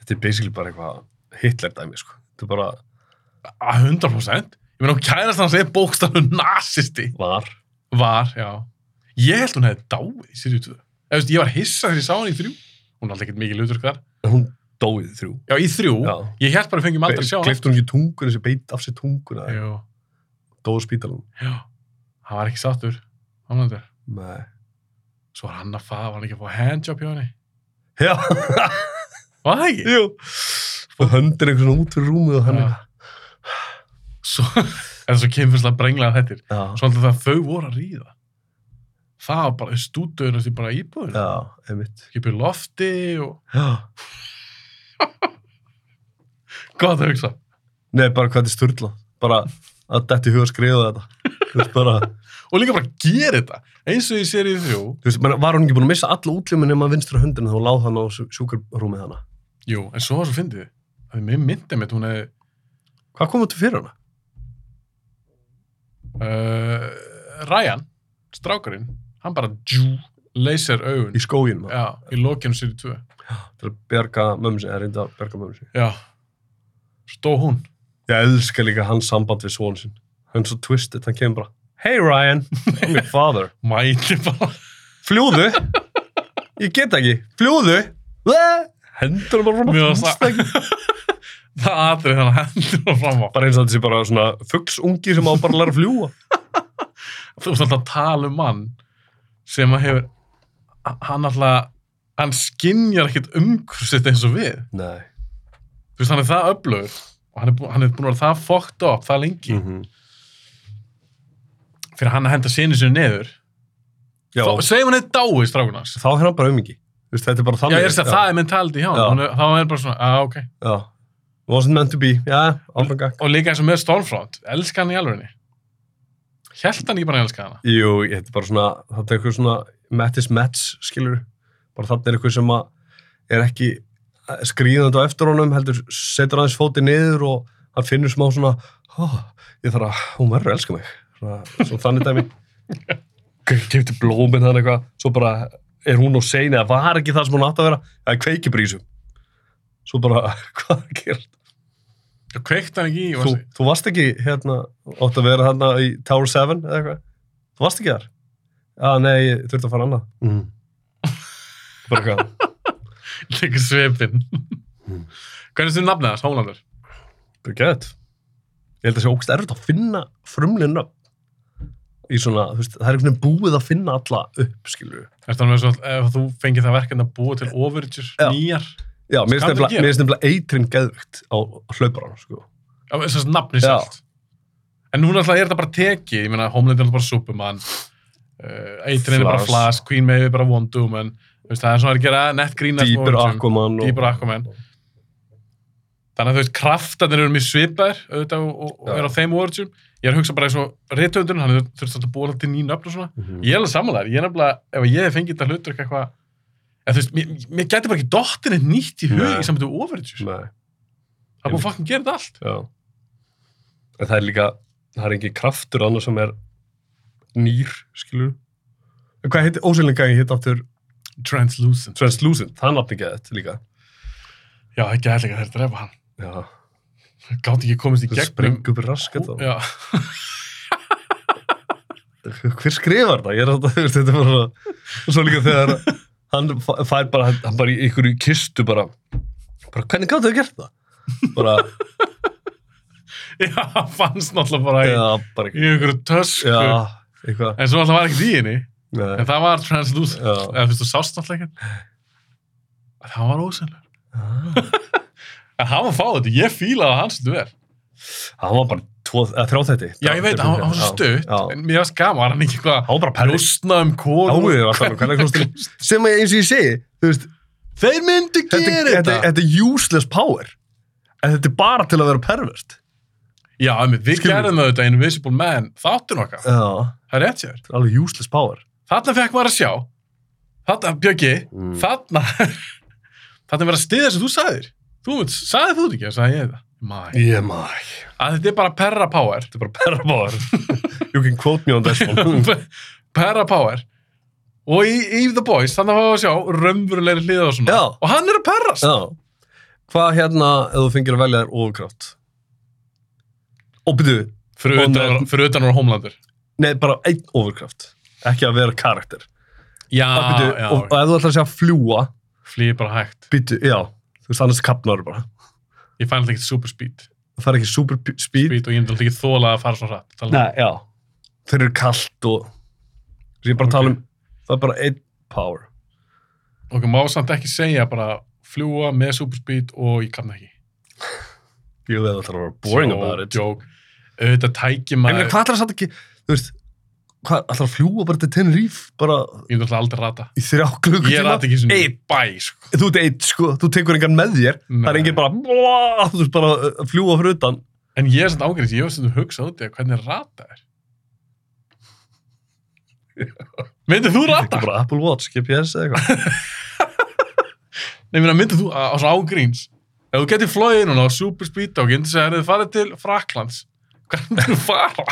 Speaker 2: þetta er basically bara eitthvað Hitler dæmi, sko þetta er bara
Speaker 1: að 100% ég meina hún kærast hann segir bókstafnum nazisti
Speaker 2: var
Speaker 1: var, já ég held hún hefði dáið í sirjutu ég, veist, ég var hissa þegar ég sá hann í þrjú hún er alltaf ekkert mikið lutur hver
Speaker 2: en hún dóið þrjú
Speaker 1: já, í þrjú, ég held bara að fengjum aldrei að sjá hann
Speaker 2: glifti hún ekki tunguna sem beit af sér tunguna
Speaker 1: Jú,
Speaker 2: dóið spítalum
Speaker 1: já, hann var ekki sattur Homelander.
Speaker 2: nei
Speaker 1: svo var hann að fá, var hann ekki að fá handjob hjá henni
Speaker 2: já,
Speaker 1: var það ekki?
Speaker 2: jú og höndir einhvern svona út fyrir rúmið og hann
Speaker 1: Já. svo, en svo kemur svona brenglega þetta
Speaker 2: já.
Speaker 1: svo alltaf það þau voru að ríða það var bara stúdöðun og bara íbúðun
Speaker 2: Já, einmitt.
Speaker 1: ekki byrja lofti og
Speaker 2: Já.
Speaker 1: gott að hugsa
Speaker 2: Nei, bara hvað þetta er sturla. Bara að detti huga að skrifa þetta. Þú veist, bara,
Speaker 1: og líka bara gera þetta eins og í serið þrjú
Speaker 2: þú veist, menn, var hún ekki búin að missa alla útljumin nema vinstra höndina þá láð hann á sjú- sjúkrarúmið hana.
Speaker 1: jú, en svo var svo fyndið að mér myndi mitt hún hefði
Speaker 2: Hvað kom þetta fyrir hana?
Speaker 1: uh, Ryan, strákurinn hann bara djú, leysir augun
Speaker 2: Í skóginum. Ja.
Speaker 1: já, í lokinu serið tvö
Speaker 2: Til að berga mömmu sig, eða reynda að berga mömmu sig.
Speaker 1: já, stó hún
Speaker 2: Ég elska líka hans samband við svon sinn. Hann er svo twisted, hann kemur bara, Hey Ryan, I'm your father.
Speaker 1: mæti bara
Speaker 2: Fljúðu! Ég get ekki. Fljúðu! Blæ! Hendur hann bara fram á
Speaker 1: Mér varst
Speaker 2: fjóðstæk.
Speaker 1: það atrið þannig að hendur hann fram á
Speaker 2: Bara eins og þetta sé bara svona fuggsungi sem á bara að læra að fljúa.
Speaker 1: þú ert alltaf að tala um mann sem að hefur hann alltaf, hann skinjar ekkert umkursið eins og við
Speaker 2: Nei.
Speaker 1: þú veist, hann er það öflugur og hann er, bú- hann er búin að vera það fokkt upp
Speaker 2: Mm.
Speaker 1: það lengi
Speaker 2: -hmm.
Speaker 1: fyrir hann að henda sinni sinni neður
Speaker 2: Já,
Speaker 1: Fá- segjum hann er dáið strákunars
Speaker 2: þá er hann bara aumingi. Þú veist, þetta er bara
Speaker 1: já,
Speaker 2: þannig.
Speaker 1: ég er að segja, það er mentality hjá
Speaker 2: Já.
Speaker 1: hann Hann er- þá er bara svona, að ok
Speaker 2: Já, wasn't meant to be. Já, áfram gakk.
Speaker 1: og líka eins og með Stormfront, elska hann í alvegni held hann ég bara elska hana
Speaker 2: Jú, ég- þetta er bara svona, þetta er eitthvað svona mattis match, skilur. Bara þannig er eitthvað sem að er ekki skrýðandi á eftir honum, heldur setur aðeins fótið niður og hann finnur smá svona, ó, ég þarf að, hún verður að elska mig. Svona, svona þannig dæmi. Kefti blómin þannig eitthvað, svo bara er hún á sein eða var ekki það sem hún átt að vera, eða kveiki brísum. Svo bara, hvað er að gera?
Speaker 1: og kveikt hann ekki í
Speaker 2: þú, þú varst ekki hérna, átt að vera hérna í Tower 7 eða eitthvað? Þú varst ekki þar? Já, nei, ég þurfti að fara annað. Mm. Bara hvað?
Speaker 1: líka svipin
Speaker 2: Mm.
Speaker 1: hvernig stu nafnið hans, Hólandur?
Speaker 2: Bara gett. Ég held að sé ógst erfitt að finna frumlega nöfn. Í svona, þú veist, það er einhvern veginn búið að finna alla upp, skilur við.
Speaker 1: Ertu hann með svo, ef þú fengið það verkefni að búa til overages,
Speaker 2: Já.
Speaker 1: nýjar
Speaker 2: Já,
Speaker 1: Skal
Speaker 2: mér
Speaker 1: þú
Speaker 2: finnst
Speaker 1: gera?
Speaker 2: nefnilega- mér finnst nefnilega eitrin geðvikt á hlauparann, sko.
Speaker 1: Já, þess að nafni
Speaker 2: Já.
Speaker 1: selt en núna alltaf er þetta bara teki ég meina, Homeland er alltaf bara Superman uh, Eitrin er bara
Speaker 2: Flash.
Speaker 1: Flash, Queen Maeve er bara Wonder Woman þú veist, það er svona að gera nettgrínast með
Speaker 2: Dýpur
Speaker 1: origin.
Speaker 2: Aquaman og...
Speaker 1: Deeper Aquaman. þannig að þú veist, kraftarnir eru mjög svipaðir auðvitað og, og
Speaker 2: Já.
Speaker 1: er á þeim origin ég er að hugsa bara eins og rithöndurinn hann þurfti alltaf að búa alltaf til nýjum nöfn og svona
Speaker 2: Mhm.
Speaker 1: ég er alveg samanlega, ég er nefnilega, ef ég hef fengið þetta hlutur eitthvað, eða þú veist, mér, mér gæti bara ekki dottinni nýtt í hug
Speaker 2: Nei.
Speaker 1: í samvættu overages,
Speaker 2: Nei,
Speaker 1: það er búið að fucking gera þetta allt
Speaker 2: já. En það er líka, það er ekki kraftur annars sem er nýr, skilur En Hvað heitir ósynlega gangi hitt aftur
Speaker 1: Translucent,
Speaker 2: Translucent, það er nafn ekki þetta líka.
Speaker 1: já ekki aðeins ekki að þeir drefa hann
Speaker 2: Já,
Speaker 1: gátt ekki komist í
Speaker 2: það
Speaker 1: gegnum
Speaker 2: springur upp raskat á.
Speaker 1: Já,
Speaker 2: Hver skrifar það? Ég er alltaf, þú veist, þetta er bara svona- og svo líka þegar hann fa- fær bara, hann- hann bara í ykkur í kistu bara, bara hvernig gáttu þau gert það? Bara,
Speaker 1: já, fannst náttúrulega bara í,
Speaker 2: já, bara,
Speaker 1: í einhverju tösku
Speaker 2: já, eitthvað.
Speaker 1: en svo alltaf var ekkert í henni
Speaker 2: Nei,
Speaker 1: en það var translucent
Speaker 2: Já.
Speaker 1: eða þú veist, þú sást náttúrulega ekkert það var ósynlega
Speaker 2: Ah.
Speaker 1: en hann var fáið þetta, ég fílaði hans þetta vel
Speaker 2: Hann var bara tvo, eða þrjá þetta.
Speaker 1: já, ég veit, hann, hann var svo stutt
Speaker 2: Já,
Speaker 1: en mér varst gaman, var hann ekki eitthvað
Speaker 2: hann var bara perri.
Speaker 1: brjóstna um kóru
Speaker 2: Áður alltaf, hvernig kostum Sem að eins og ég segi, þú veist,
Speaker 1: þeir myndu
Speaker 2: þetta,
Speaker 1: gera
Speaker 2: þetta,
Speaker 1: þetta
Speaker 2: þetta er useless power. En þetta er bara til að vera perverst.
Speaker 1: já, emi, við
Speaker 2: Skilur.
Speaker 1: gerðum þetta Invisible Man þáttur nokkað,
Speaker 2: Já.
Speaker 1: það er rétt sér
Speaker 2: Þetta er alveg useless power.
Speaker 1: þarna fekk maður að sjá þarna, Björgi,
Speaker 2: Mm.
Speaker 1: þarna þarna verið að stiða sem þú sagðir þú veit, sagði þú þetta ekki, sagði ég það Mæ.
Speaker 2: Ég mæ.
Speaker 1: að þetta er bara perra power
Speaker 2: Þetta er bara perra power. you can quote me on this one.
Speaker 1: Perra Power og í, í The Boys, þannig að fá að sjá raunverulegri hliða og svona,
Speaker 2: Já.
Speaker 1: og hann er að perrast
Speaker 2: Já. Hvað hérna ef þú fengir að velja þér ofurkrátt? Og byrju,
Speaker 1: fyrir
Speaker 2: Og
Speaker 1: utan,
Speaker 2: með-
Speaker 1: fyrir utan úr Homelander
Speaker 2: nei, bara einn ofurkrátt. Ekki að vera karakter.
Speaker 1: já,
Speaker 2: Ah, byrju,
Speaker 1: já,
Speaker 2: og, og ef þú ætlar að segja að fljúa,
Speaker 1: flýði bara hægt
Speaker 2: byrju, já, þú veist, annars kapnar bara.
Speaker 1: ég fæn alltaf ekki super speed,
Speaker 2: Það fær ekki super p- speed.
Speaker 1: speed og ég myndi alltaf ekki þóla að fara svona hratt Þannig-
Speaker 2: Nei, já. Þeir eru kalt og... Þess ég bara
Speaker 1: Ok.
Speaker 2: tala um, það er bara einn power.
Speaker 1: ok, má samt ekki segja bara fljúa með super speed og ég kann það ekki
Speaker 2: Jú, ef þú ætlar að vera boring
Speaker 1: Joke,
Speaker 2: about it.
Speaker 1: joke. auðvitað tæki
Speaker 2: En
Speaker 1: maður
Speaker 2: hvað ætlar að satt ekki, þú veist, hvað ætlar að fljúa bara til Tenerife, bara
Speaker 1: ég myndi alltaf aldrei rata
Speaker 2: í þrjá klukkutíma?
Speaker 1: ég rata ekki svona
Speaker 2: Einn.
Speaker 1: bæ sko.
Speaker 2: Þú ert eitt, sko, þú tekur engan með þér, það er
Speaker 1: Nei.
Speaker 2: enginn bara, blá, þú veist, bara uh, að fljúa fyrir utan.
Speaker 1: en ég er svona ágæðis, ég var svona að hugsa út í að hvernig rata er myndið þú
Speaker 2: Ekki
Speaker 1: rata?
Speaker 2: bara Apple Watch, GPS eða eitthvað.
Speaker 1: Nei, minna, myndið þú á á svona ágríns ef þú getur flóið núna á super speed og getur segja að þið farið til Fraklands hvernig myndir þú fara?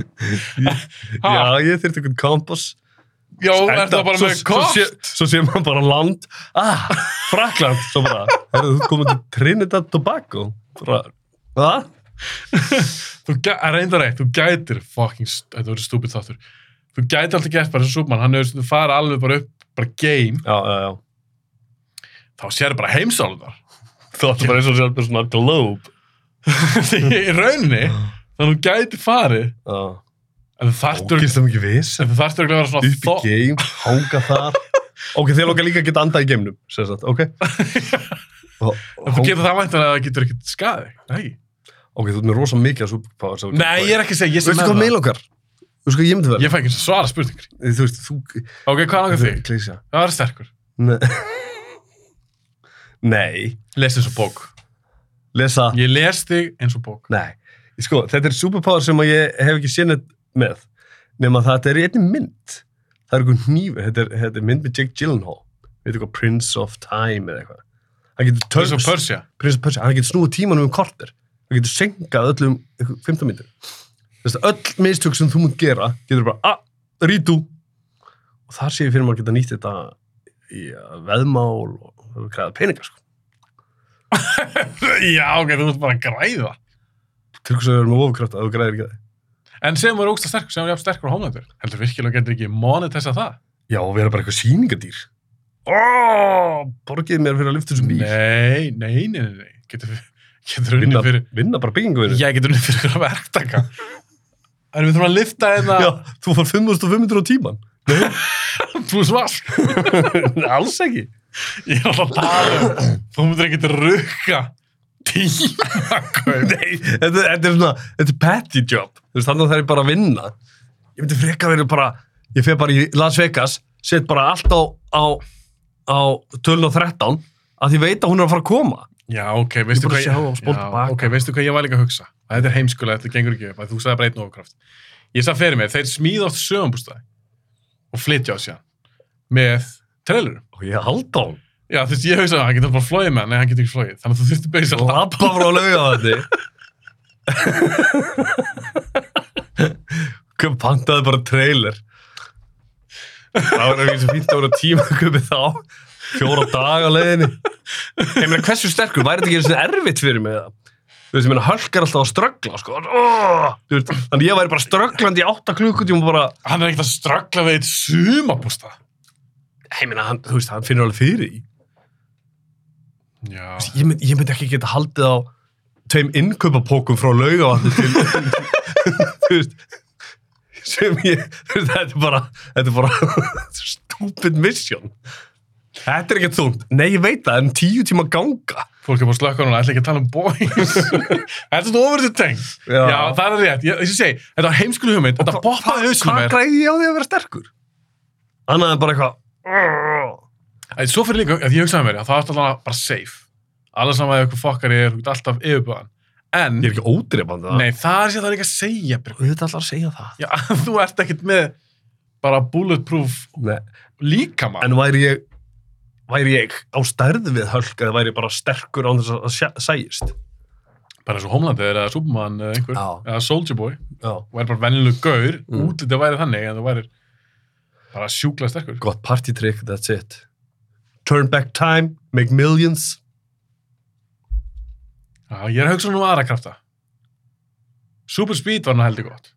Speaker 1: Ha?
Speaker 2: Já, ég þyrfti einhvern kompass.
Speaker 1: já, er
Speaker 2: Enda-
Speaker 1: það bara
Speaker 2: svo-
Speaker 1: með
Speaker 2: Svo sé,
Speaker 1: kost?
Speaker 2: svo sé maður bara land, ah, Frakland, svo bara, herru, þú komið til Trinidad Tobago. Bara, hvað?
Speaker 1: þú gæ- að reynda reitt, þú gætir fucking, st- þetta verður stúpid þáttur þú gætir alltaf gert bara sem Superman hann hefur svona fara alveg bara upp, bara game
Speaker 2: Já, já, já.
Speaker 1: þá sérðu bara heimsálunar
Speaker 2: Þú ætti bara eins og sjálf með svona globe.
Speaker 1: í rauninni, þannig að þú gætir farið
Speaker 2: Já.
Speaker 1: en þú þarftur
Speaker 2: Ógist það mikið viss.
Speaker 1: en þú þarftur ekki að vera svona
Speaker 2: upp í
Speaker 1: þó-
Speaker 2: geim, hanga þar ok, þeir lóka líka að geta andað í geimnum sem sagt, ok og,
Speaker 1: en þú getur það væntanlega að það getur ekkert skaði nei,
Speaker 2: ok, þú ert með rosa mikið að superpower
Speaker 1: nei ég er ekki að segja ég
Speaker 2: veistu
Speaker 1: sem
Speaker 2: hvað
Speaker 1: er
Speaker 2: meil okkar? Þú veist hvað ég myndi vera?
Speaker 1: Ég fæ ekki svara spurningur.
Speaker 2: Þú veist, þú...
Speaker 1: Ok, hvað langar þig?
Speaker 2: Klísja.
Speaker 1: Það var sterkur.
Speaker 2: Nei. Nei.
Speaker 1: Lest eins og bók.
Speaker 2: Lesa.
Speaker 1: Ég les þig eins og bók.
Speaker 2: Nei. Sko, þetta er superpower sem að ég hef ekki sénið með. Nefn að þetta er í einni mynd. Það er einhver hnífi. Þetta er, þetta er mynd með Jake Gyllenhaal. Við eitthvað Prince of Time eða eitthvað. Hann getur
Speaker 1: Eins og Persia.
Speaker 2: Prince of Persia, hann getur snúið tímanum um korter hann getur senkað öllum 15 myndir þess að öll mistök sem þú munt gera getur bara, ah, rítu og þar sé ég fyrir maður geta nýtt þetta í að veðmál og græða peninga sko
Speaker 1: Já, ok, þú ert bara að græða.
Speaker 2: til hvers að við erum með ofurkraft að þú græðir ekki það
Speaker 1: En sem var ógsta sterkur, sem var jafn sterkur á Homelandur. Heldur virkilega getur ekki monetisa það?
Speaker 2: já, og vera bara eitthvað sýningadýr oh, borgið mér fyrir að lyfta þessum bíl
Speaker 1: Nei, nei, nei, nei, nei. Getur, getur unni
Speaker 2: vinna,
Speaker 1: fyrir...
Speaker 2: vinna bara byggingu verið
Speaker 1: Ég getur unni fyrir hverja verktaka. En við þurfum að lifta
Speaker 2: já,
Speaker 1: hérna
Speaker 2: þú far 5500 á tíman
Speaker 1: pluss vask.
Speaker 2: alls ekki
Speaker 1: Ég er alltaf að tala um, þú myndir ekki rukka tímakaup.
Speaker 2: Nei, þetta, þetta er svona, þetta er petty job Þú veist, þannig að það er bara að vinna Ég myndi freka verið bara, ég fer bara í Las Vegas Set bara allt á, á, á tölun og 13 Að ég veit að hún er að fara að koma
Speaker 1: Já, ok, veistu
Speaker 2: bara
Speaker 1: hvað
Speaker 2: sjá og spóla
Speaker 1: Já,
Speaker 2: tilbaka.
Speaker 1: ok, veistu hvað ég var líka að hugsa? Að þetta er heimskulega, þetta gengur ekki upp, að þú sagði bara einn ofurkraft. Ég sagði fyrir mig, þeir smíða oft sögumbústaði og flytja á síðan með trailerum.
Speaker 2: Og ég haldi á hún
Speaker 1: Já, þú veist, ég hugsaði, hann getur bara flóið með hann, nei, hann getur ekki flóið. Þannig að þú þurfti beisa
Speaker 2: Og lappa frá lauga þetta Hvað pantaði bara trailer Það var ekki svo fínt að voru tíma að köpi þá Fjóra daga á leiðinni Ég meina hversu sterkur, væri þetta ekki einu sinni erfitt fyrir mig það? Þú veist, ég meina hölk er alltaf að ströggla sko. oh, þú veist, Þannig ég væri bara strögglandi í átta klukkutíma og bara,
Speaker 1: Hann er ekkert að ströggla við eitt sumabústað.
Speaker 2: ég meina, hann, þú veist, hann finnur alveg fyrir því
Speaker 1: Já,
Speaker 2: Ég myndi, ég myndi ekki geta haldið á tveim innkaupapókum frá laugavatni til þú veist sem ég, þú veist, þetta er bara þetta er bara stúpid mission Þetta er ekki þungt Nei, ég veit það, en tíu tíma ganga
Speaker 1: fólk er bara að slökka núna, ætla ekki að tala um boys. þetta er svona ofur þetta teng.
Speaker 2: Já.
Speaker 1: Já, það er rétt. Ég, ég segi, þetta var heimskulega hugmynd, þetta poppaði hausnum
Speaker 2: Hvað
Speaker 1: mér.
Speaker 2: græði ég á því að vera sterkur? Annað en bara eitthvað
Speaker 1: Æ, Svo fyrir líka, að ég hugsaði með mér, að það er alltaf bara safe. Alla saman að eitthvað fokkar er, þú getur alltaf yfirbúðan. En,
Speaker 2: Ég er ekki ódrefandi það
Speaker 1: nei, það er sér það líka að segja, Birgir.
Speaker 2: Þú veit allar að segja það
Speaker 1: Já, þú ert ekkert með bara bulletproof
Speaker 2: Nei.
Speaker 1: líkama.
Speaker 2: En væri ég væri ég á stærð við hölk eða væri ég bara sterkur án þess að- að sjá- sæjist
Speaker 1: bara eins og Homelandið eða Superman eða einhver,
Speaker 2: Já.
Speaker 1: eða Soldier Boy,
Speaker 2: Já
Speaker 1: væri bara vennileg gaur,
Speaker 2: Mm.
Speaker 1: útlitið væri þannig, en þú væri bara sjúkla sterkur.
Speaker 2: gott partytrick, that's it turn back time, make millions
Speaker 1: Já, ég er að hugsa nú um aðra krafta. Super Speed var nú heldur gott.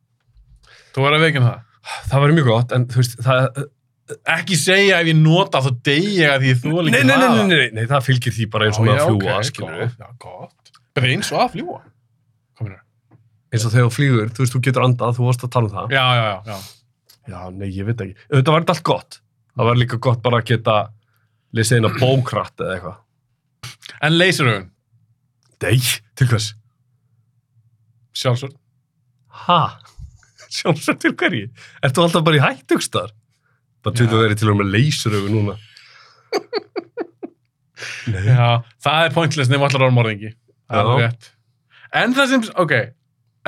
Speaker 1: Þú verður að veikina það.
Speaker 2: það var mjög gott, en þú veist það,
Speaker 1: Ekki segja ef ég nota þá degi ég að því þú er
Speaker 2: nei,
Speaker 1: líka
Speaker 2: nei, nei, nei, nei, nei, það fylgir því bara eins og með að fljúa okay,
Speaker 1: Já, gott. Bara eins og að fljúa. Kominur.
Speaker 2: eins og þegar þú flýgur, þú veist, þú getur andað þú varst að tala um það,
Speaker 1: Já, já, já, já.
Speaker 2: já, nei, ég veit ekki þetta var þetta allt gott, það var líka gott bara að geta lesið eina bókratt eða eitthvað,
Speaker 1: En laseraugun,
Speaker 2: nei, til hvers
Speaker 1: sjálfsvörn.
Speaker 2: ha, sjálfsög til hverju ertu alltaf bara í hættugstar bara
Speaker 1: Já.
Speaker 2: til þú verið til og með leysirögu núna nei,
Speaker 1: Já, það er pointless nema allar orðum orðingi. Það er
Speaker 2: Já.
Speaker 1: alveg rétt. En það sem, ok,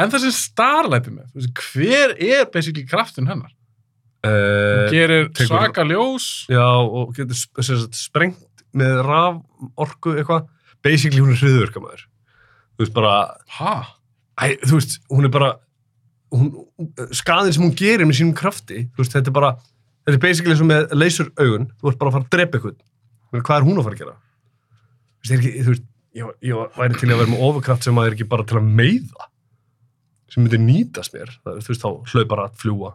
Speaker 1: en það sem Starlight er með, þú veist, hver er basically kraftin hennar?
Speaker 2: uh,
Speaker 1: Hún gerir
Speaker 2: tekur-
Speaker 1: svaka ljós.
Speaker 2: Já, og getur sp- sem sagt, sprengt með raforku eitthvað. Basically, hún er hriðurkamæður. Þú veist, bara,
Speaker 1: Ha?
Speaker 2: æ, þú veist, hún er bara, hún, skaðin sem hún gerir með sínum krafti, þú veist, þetta er bara, þetta er basically eins og með laseraugun, þú ert bara að fara að drepa eitthvað. Hvað er hún að fara að gera? Þú veist, er ekki, þú veist, ég, ég væri til að vera með ofurkraft sem að er ekki bara til að meiða, sem myndi nýtast mér. Það, þú veist, þá hlaupar að fljúa,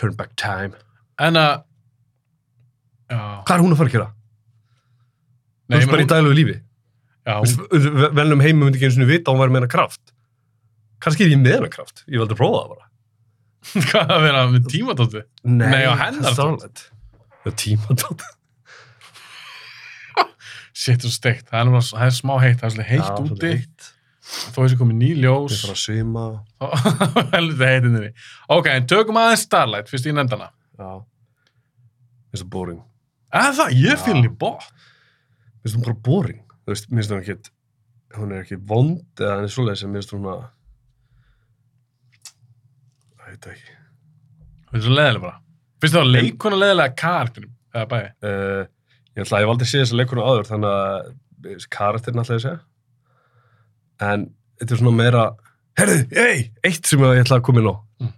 Speaker 2: turn back time.
Speaker 1: En að, já.
Speaker 2: Hvað er hún að fara að gera?
Speaker 1: Nei, ég
Speaker 2: þú veist, bara
Speaker 1: meina,
Speaker 2: í daglegu lífi.
Speaker 1: já,
Speaker 2: Þú
Speaker 1: hún-
Speaker 2: veist, ve- velnum heimum myndi ekki eins og vita að hún væri með hennar kraft kannski er ég með hennar kraft ég valdi að prófa það bara
Speaker 1: hvað að vera með tímatóttu? Nei, á hennar
Speaker 2: stálet það er tímatótt
Speaker 1: Sitt og steikt, það er, nefnilega- það er smá heitt, það er svolítið heitt úti. þó þessi komið ný
Speaker 2: Ég
Speaker 1: ljós
Speaker 2: fara að svima.
Speaker 1: þá- helviti heitin þinni ok, en tökum aðeins Starlight fyrst ég nefndi hana
Speaker 2: Já. Mér finnst það boring.
Speaker 1: eða það, ég
Speaker 2: Já.
Speaker 1: fíl henni bótt
Speaker 2: Mér finnst hún bara boring. Þú veist, mér finnst hún ekki, hún er ekki vond eða henni svoleiðis en mér finnst hún að, ég veit það ekki.
Speaker 1: það er svo leðileg bara finnst það leikuna leðilega karakterum eða bæði
Speaker 2: Uh, ég ætla að ég valdi að sé þessa leikuna áður þannig að karakterin alltaf ég að segja en þetta er svona meira herðu, ei, eitt sem ég ætla að koma inn á
Speaker 1: Mm.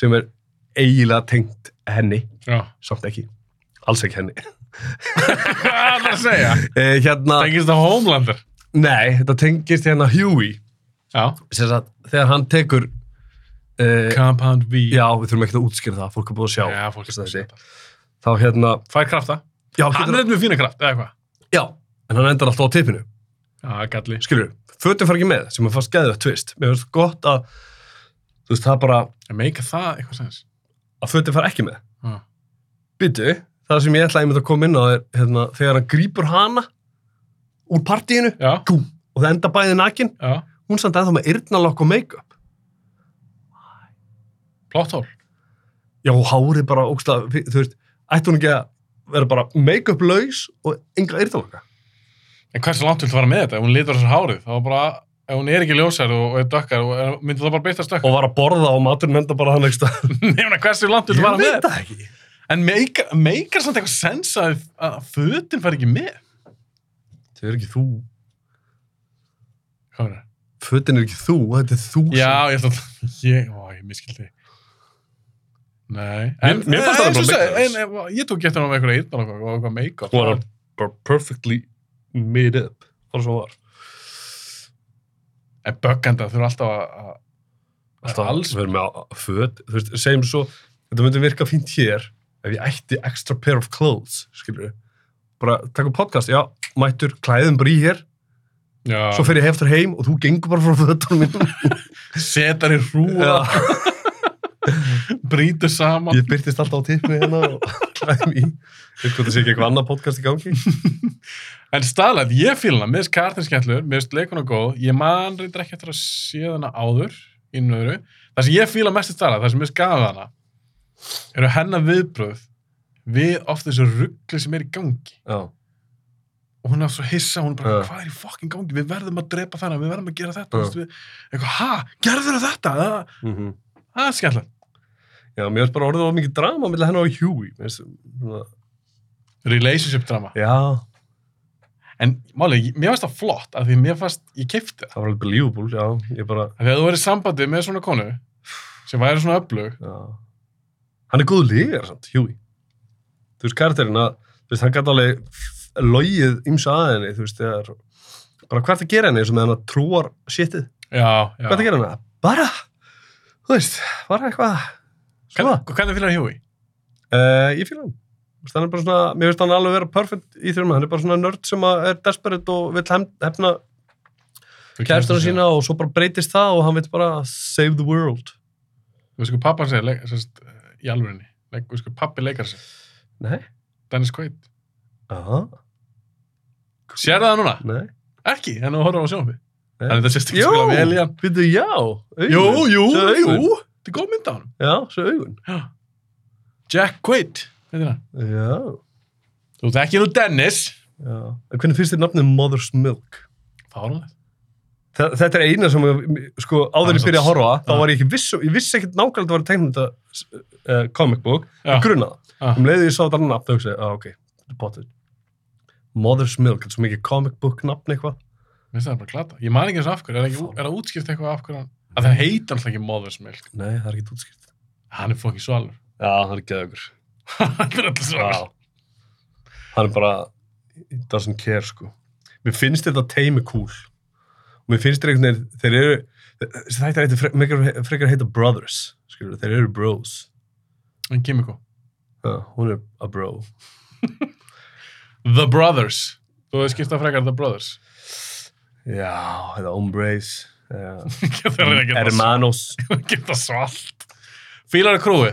Speaker 2: sem er eiginlega tengt henni,
Speaker 1: já,
Speaker 2: samt ekki alls ekki henni
Speaker 1: hvað er það að segja
Speaker 2: uh, hérna,
Speaker 1: tengist það Homelander
Speaker 2: nei, þetta tengist hérna Huey
Speaker 1: já,
Speaker 2: sem sagt, þegar hann tekur uh,
Speaker 1: Compound V
Speaker 2: já, við þurfum ekki að útskýra það fólk er búið að sjá,
Speaker 1: já fólk
Speaker 2: Þessi.
Speaker 1: þessi
Speaker 2: þá hérna
Speaker 1: fær krafta,
Speaker 2: já,
Speaker 1: hann
Speaker 2: getur,
Speaker 1: er eitthvað með fína kraft eða hvað,
Speaker 2: já, en hann endar alltaf á tippinu
Speaker 1: já, galli
Speaker 2: skilur, fötum fara ekki með sem er fast geðið að tvist, mér finnst gott að þú veist, það er bara
Speaker 1: að meika það eitthvað sens
Speaker 2: að fötum fara ekki með
Speaker 1: Já.
Speaker 2: byttu, það sem ég ætla að ég myndi að koma inn á er hérna, þegar hann grípur hana úr partíinu
Speaker 1: já,
Speaker 2: gúm, og það enda bæði nakin
Speaker 1: já,
Speaker 2: hún samt ennþá með yrnalokk og make-up
Speaker 1: plotthól
Speaker 2: já, og hárið bara, ógsta, þú veist ætti hún ekki að vera bara make-up laus og enga yrnalokka
Speaker 1: En hversu langt viltu fara með þetta? Ef hún litur á sér hárið, þá bara, ef hún er ekki ljósar og, og er dökkar, og, er- myndi það bara byrtast dökkar?
Speaker 2: og var að borða og maturinn enda bara hann ekki stað
Speaker 1: Nefna, hversu langt viltu fara með þetta?
Speaker 2: það ekki
Speaker 1: En meikar, meikar samt eitthvað sens að, að fötin fari ekki með?
Speaker 2: þau er ekki þú,
Speaker 1: Hvað er það?
Speaker 2: fötin er ekki þú, þetta er þú sem-
Speaker 1: Já, ég ætla að, ég, ó, ég miskildi. Nei.
Speaker 2: Mér- mér fannst það
Speaker 1: en,
Speaker 2: bara
Speaker 1: svo
Speaker 2: meikar
Speaker 1: segi- en,
Speaker 2: sens.
Speaker 1: en, Ég tók getur hann með eitthvað eitthvað og eitthvað meikar.
Speaker 2: Hún var bara perfectly made up bara svo var
Speaker 1: En bögganda þurfa alltaf að, að-
Speaker 2: alltaf
Speaker 1: alls
Speaker 2: alls verið með á- á föt þú veist, segjum svo, þetta myndi virka fínt hér ef ég ætti extra pair of clothes skilur við, bara takkum podcast já, mættur, klæðum bara í hér
Speaker 1: já,
Speaker 2: svo fer ég heftur heim og þú gengur bara frá fötunum minn
Speaker 1: setar í hrúa,
Speaker 2: Já,
Speaker 1: brýtur saman.
Speaker 2: ég byrtist alltaf á tippu hérna og klæðum í við skoðum sé ekki eitthvað annað podcast í gangi
Speaker 1: En staðlega, ég fíla hana, mér finnst kartin skemmtlur, mér finnst leikuna góð, ég man reyndar ekki eftir að sé hana áður í nöðru. Það sem ég fíla mest í staðlega, það sem ég skafa hana, eru hennar viðbröð við oft þessu ruggli sem er í gangi.
Speaker 2: já,
Speaker 1: Og hún er svo hissa, hún er bara,
Speaker 2: Já.
Speaker 1: hvað er í fokkin gangi, við verðum að drepa þarna, við verðum að gera þetta,
Speaker 2: Já.
Speaker 1: þú veist við, eitthvað, ha, gerður þetta, það,
Speaker 2: mm -hmm.
Speaker 1: það er skemmtilegt.
Speaker 2: já mér finnst bara orðið of mikið drama millir hennar og Huey mér finnst svona-
Speaker 1: Relationship drama.
Speaker 2: já,
Speaker 1: En máli, mér finnst það flott, af því mér fannst, ég kefti það.
Speaker 2: það var alveg believable já, ég bara
Speaker 1: Af því að þú verið sambandið með svona konu, sem væri svona öflug,
Speaker 2: Já. Hann er góð lígar samt, Huey. Þú veist, karakterinn að, þú veist, hann gæti alveg f- logið ymsa að henni, þú veist, þegar, bara hvað er það að gera henni eins og með hann að trúar sétið?
Speaker 1: já, já.
Speaker 2: Hvað er það að gera henni? Bara, þú veist, bara eitthvað, svona.
Speaker 1: Hvern- Hvernig fylgir Huey?
Speaker 2: Uh, ég fíla hann. Þú veist, hann er bara svona, mér finnst hann alveg vera perfect í þrjum, hann er bara svona nörd sem að er desperate og vill hem- hefna kærstuna sína og svo bara breytist það og hann vill bara save the world.
Speaker 1: Þú veist hvað pappan segir leik, sérst, í alvörinni. Leik, þú veist hvað pappi leikar sig.
Speaker 2: Nei.
Speaker 1: Dennis Quaid.
Speaker 2: Aha.
Speaker 1: Sérðu það núna?
Speaker 2: Nei.
Speaker 1: Ekki, en þú horfður á sjónfi.
Speaker 2: Nei.
Speaker 1: Þannig það sést ekki
Speaker 2: Jú,
Speaker 1: skilja vel í hann.
Speaker 2: býttu, já, augun.
Speaker 1: Jú, jú,
Speaker 2: Svo augun.
Speaker 1: jú. Þetta er góð mynd á hann.
Speaker 2: Já, svo augun.
Speaker 1: Jack Quaid. Þetta er hann.
Speaker 2: Já,
Speaker 1: Þú þekkir nú Dennis.
Speaker 2: já. En hvernig finnst þér nafnið Mother's Milk?
Speaker 1: Fáránlegt.
Speaker 2: Þa, þetta er eina sem, ég- sko, áður en ég byrja að horfa, þá
Speaker 1: Já.
Speaker 2: var ég ekki viss, um- ég vissi ekkert nákvæmlega að það var um teiknumynda uh, comic book,
Speaker 1: Já.
Speaker 2: grunnaða.
Speaker 1: Já.
Speaker 2: Um leiðið ég sá þetta annað nafn, þá hugsaði, ég, ah, ok, þetta er potið. Mother's Milk, þetta er svo mikið comic book nafn eitthvað.
Speaker 1: Mér finnst það bara glata. Ég man ekki eins og af hverju. Er, ekki, er það útskýrt eitthvað af hverju hann? Að það heita alltaf ekki Mother's Milk.
Speaker 2: Nei, það er ekki útskipt.
Speaker 1: Hann er fokkin svalur.
Speaker 2: Já, það er geðugur.
Speaker 1: hann er alltaf svalur.
Speaker 2: Já. Hann er bara, it doesn't care, sko. Mér finnst þetta teimi cool. Og mér finnst þetta einhvern veginn, þeir eru, þessi þættir eitthvað fre, mikil- frekar að heita brothers, skilur, þeir eru bros.
Speaker 1: En Kimiko.
Speaker 2: Já, hún er a bro.
Speaker 1: The Brothers. Þú hefði skiptað frekar The Brothers.
Speaker 2: Já, eða hombres, já.
Speaker 1: Það er ekki það
Speaker 2: hermanos.
Speaker 1: geta svalt Fílar að krúi,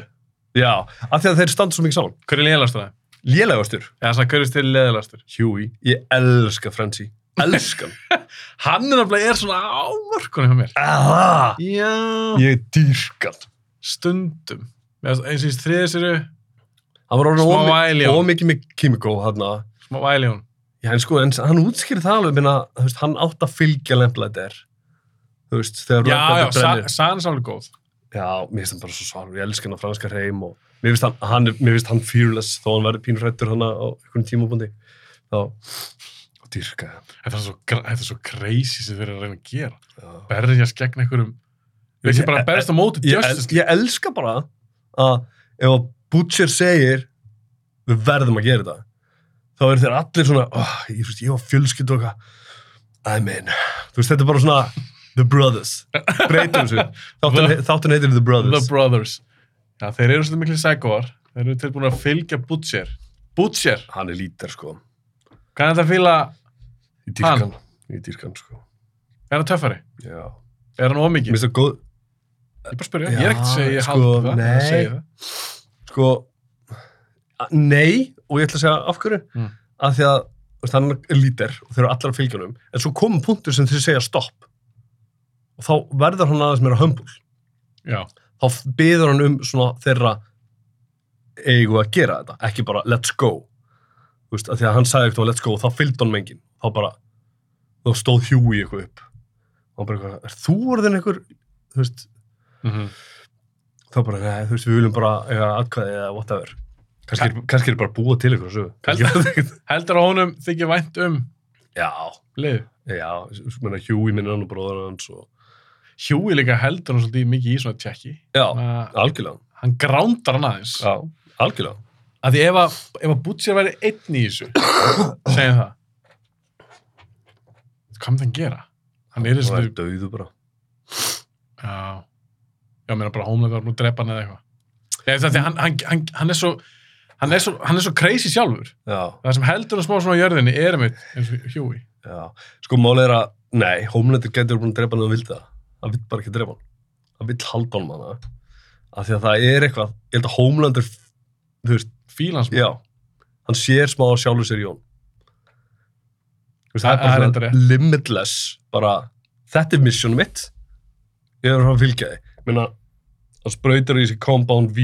Speaker 2: Já, af því að þeir standa svo mikið saman.
Speaker 1: hver er lélastur það?
Speaker 2: Lélægastur,
Speaker 1: Eða svona, hver er stil lélastur?
Speaker 2: Huey, ég elska Frenzy. elskan.
Speaker 1: Hann er nefnilega er svona ámörkunni hjá mér.
Speaker 2: Aha!
Speaker 1: Já.
Speaker 2: Ég dýrkan.
Speaker 1: Stundum. Mér fannst Eins og í þriðið séru,
Speaker 2: Hann var
Speaker 1: Smá
Speaker 2: orðin
Speaker 1: væli á.
Speaker 2: ómikið með Kimiko hérna.
Speaker 1: smá væli hún.
Speaker 2: Já, en sko, en hann útskýrði það alveg, minna, þú veist, hann átt að fylgja Lamplighter. Þú veist, þegar
Speaker 1: Já, já,
Speaker 2: Lamplighter
Speaker 1: sa-
Speaker 2: brennir.
Speaker 1: sagan er sálega góð.
Speaker 2: Já, mér finnst hann bara svo svalur, ég elska hann á franska hreim og mér finnst hann, hann, er- mér finnst hann fearless þó hann verði pínur hrættur hann á einhvern tímabundi. Já, og dyrka.
Speaker 1: Þetta er svo, gr- þetta er svo crazy sem þeir eru að reyna að gera.
Speaker 2: Já.
Speaker 1: Berjast gegn einhverjum, við ekki bara að berjast á móti
Speaker 2: Ég, el,
Speaker 1: Justice League.
Speaker 2: ég elska bara að ef að Butcher segir við verðum að gera þetta, þá eru þeir allir svona, oh, ég, þú veist, ég var fjölskyld og eitthvað, I'm in. Þú veist, þetta er bara svona The Brothers, breytum þessu. Þáttan, þáttan heitir The
Speaker 1: The
Speaker 2: Brothers.
Speaker 1: Brothers. Já, þeir eru svolítið miklu sækóar. Þeir eru tilbúin að fylgja Butcher. Butcher!
Speaker 2: hann er lítar, sko.
Speaker 1: Hvað er þetta að fýla?
Speaker 2: Í dýrkan. Í dýrkan, sko.
Speaker 1: Er hann töffari?
Speaker 2: Já.
Speaker 1: Er hann ómikið?
Speaker 2: Mér finnst það góð,
Speaker 1: Ég bara spyrja,
Speaker 2: Já,
Speaker 1: ég er ekkert að segja ég
Speaker 2: sko,
Speaker 1: haldi það,
Speaker 2: nei.
Speaker 1: ég segi það.
Speaker 2: sko a- nei, og ég ætla að segja af hverju
Speaker 1: Mm.
Speaker 2: af því að þú veist, hann er lítir og þeir eru allar að fylgja honum en svo komum punktur sem þeir segja stopp og þá verður hann aðeins meira hömbul
Speaker 1: Já,
Speaker 2: þá byður hann um svona þeirra eigu að gera þetta, ekki bara let's go þú veist, að því að hann sagði eitthvað let's go og þá fylgdi hann mengin, þá bara þá stóð Huey eitthvað upp og hann bara eitthvað, er þú orðin eitthvað þú veist,
Speaker 1: mm
Speaker 2: þá bara, nei, þú veist, við viljum bara eiga atkvæði eða whatever. Kannski, er- kannski er bara búa til ykkur og svo. Kannski er þetta ekkert.
Speaker 1: heldur að honum þykir vænt um
Speaker 2: Já,
Speaker 1: lið.
Speaker 2: já, ég meina Huey minn hann og bróður hans og...
Speaker 1: Hjúi líka heldur hann svolítið mikið í svona tjekki.
Speaker 2: Já,
Speaker 1: Ma-
Speaker 2: algjörlega.
Speaker 1: Hann grándar hann aðeins.
Speaker 2: Já, algjörlega.
Speaker 1: Af því ef að, ef að Butcher væri einn í þessu, segjum það. Hvað með það að gera? Hann er
Speaker 2: Það
Speaker 1: þessu,
Speaker 2: er döðu bara.
Speaker 1: já, já, mér er bara homeland var nú að drepa hann eða eitthvað. Ég veist það því að hann, hann, hann, hann er svo, hann er svo, hann er svo crazy sjálfur.
Speaker 2: Já,
Speaker 1: Það sem heldur hann smá svona á jörðinni er mitt eins og Hjúi.
Speaker 2: já. Sko, mál er að, nei, Homelander getur búin að drepa hann ef hann vildi það. Hann vill bara ekki drepa hann. Hann vill halda hann manna. Af því að það er eitthvað, ég held að Homelander, þú veist,
Speaker 1: Fíla hans.
Speaker 2: já, hann sér smá á sjálfur sér í honum. Þú veist,
Speaker 1: Það- það
Speaker 2: það
Speaker 1: er
Speaker 2: er
Speaker 1: reyndar
Speaker 2: bara
Speaker 1: rétt.
Speaker 2: svona limitless bara, þetta er missionum mitt ég er að fara að fylgja þið Ég meina, hann sprautar í þessi compound V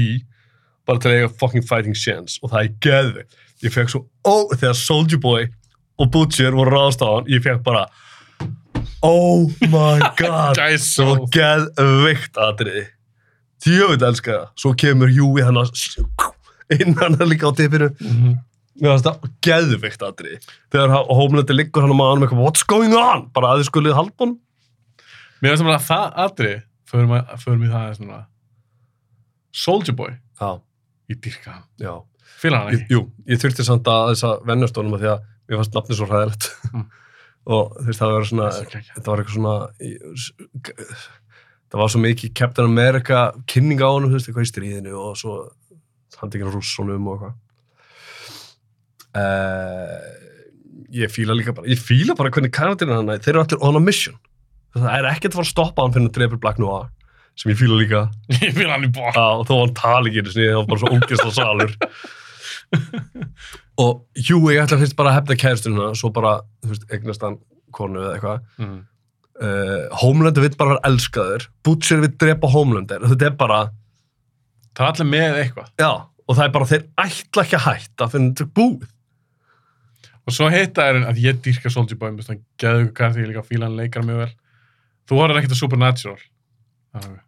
Speaker 2: bara til að eiga fucking fighting chance og það er geðvikt ég fekk svo, ó, þegar Soldier Boy og Butcher voru ráðast á hann ég fekk bara oh my god
Speaker 1: Gæs
Speaker 2: svo geðvikt atriði djöfitt elska það svo kemur Júi hann að inn hann er líka á tippinu
Speaker 1: Mhm.
Speaker 2: Mér fannst það geðvikt aðri. Þegar ha- Homelander liggur hann á maðanum eitthvað, what's going on? Bara að þið skulið halda hann.
Speaker 1: Mér finnst bara að það atri förum, að, förum í það aðeins núna Soldier Boy,
Speaker 2: Já,
Speaker 1: ég dyrka hann
Speaker 2: já.
Speaker 1: Fýla hann
Speaker 2: Ég,
Speaker 1: ekki
Speaker 2: jú, ég þurfti samt að þess að vennast honum af því að mér fannst nafnið svo hræðilegt.
Speaker 1: Mm.
Speaker 2: og þú veist, það var svona,
Speaker 1: Það er svo geggjað.
Speaker 2: þetta var eitthvað svona, í- s- það var svo mikið Captain America kynning á honum, þú veist, eitthvað í stríðinu og svo handikinn rússunum og eitthvað. Uh, ég fíla líka bara, ég fíla bara hvernig karakterinn hann, þeir eru allir on a mission. Það er ekkert að fara að stoppa hann fyrir að drepa Black Noir, sem ég fíla líka.
Speaker 1: Ég fýla hann í bóð
Speaker 2: Já, og þó hann tali ekki einu sinni, það var bara svo ógæsla salur. og Huey ætla fyrst bara að hefna kæðstununa, svo bara, þú veist, eignast hann konu eða eitthvað.
Speaker 1: mm.
Speaker 2: Uh, Homelander vill bara vera elskaður, Butcher vill drepa Homelander, þetta er bara,
Speaker 1: Það er allir með eitthvað
Speaker 2: já, og það er bara, þeir ætla ekki að hætta fyrir þetta er búið.
Speaker 1: Og svo heita er hann að ég dyrka Soldier Boy Mér finnst hann geðu ykkur karti, ég líka fýla hann leikar mjög vel Þú horfður ekkert að Supernatural Þannig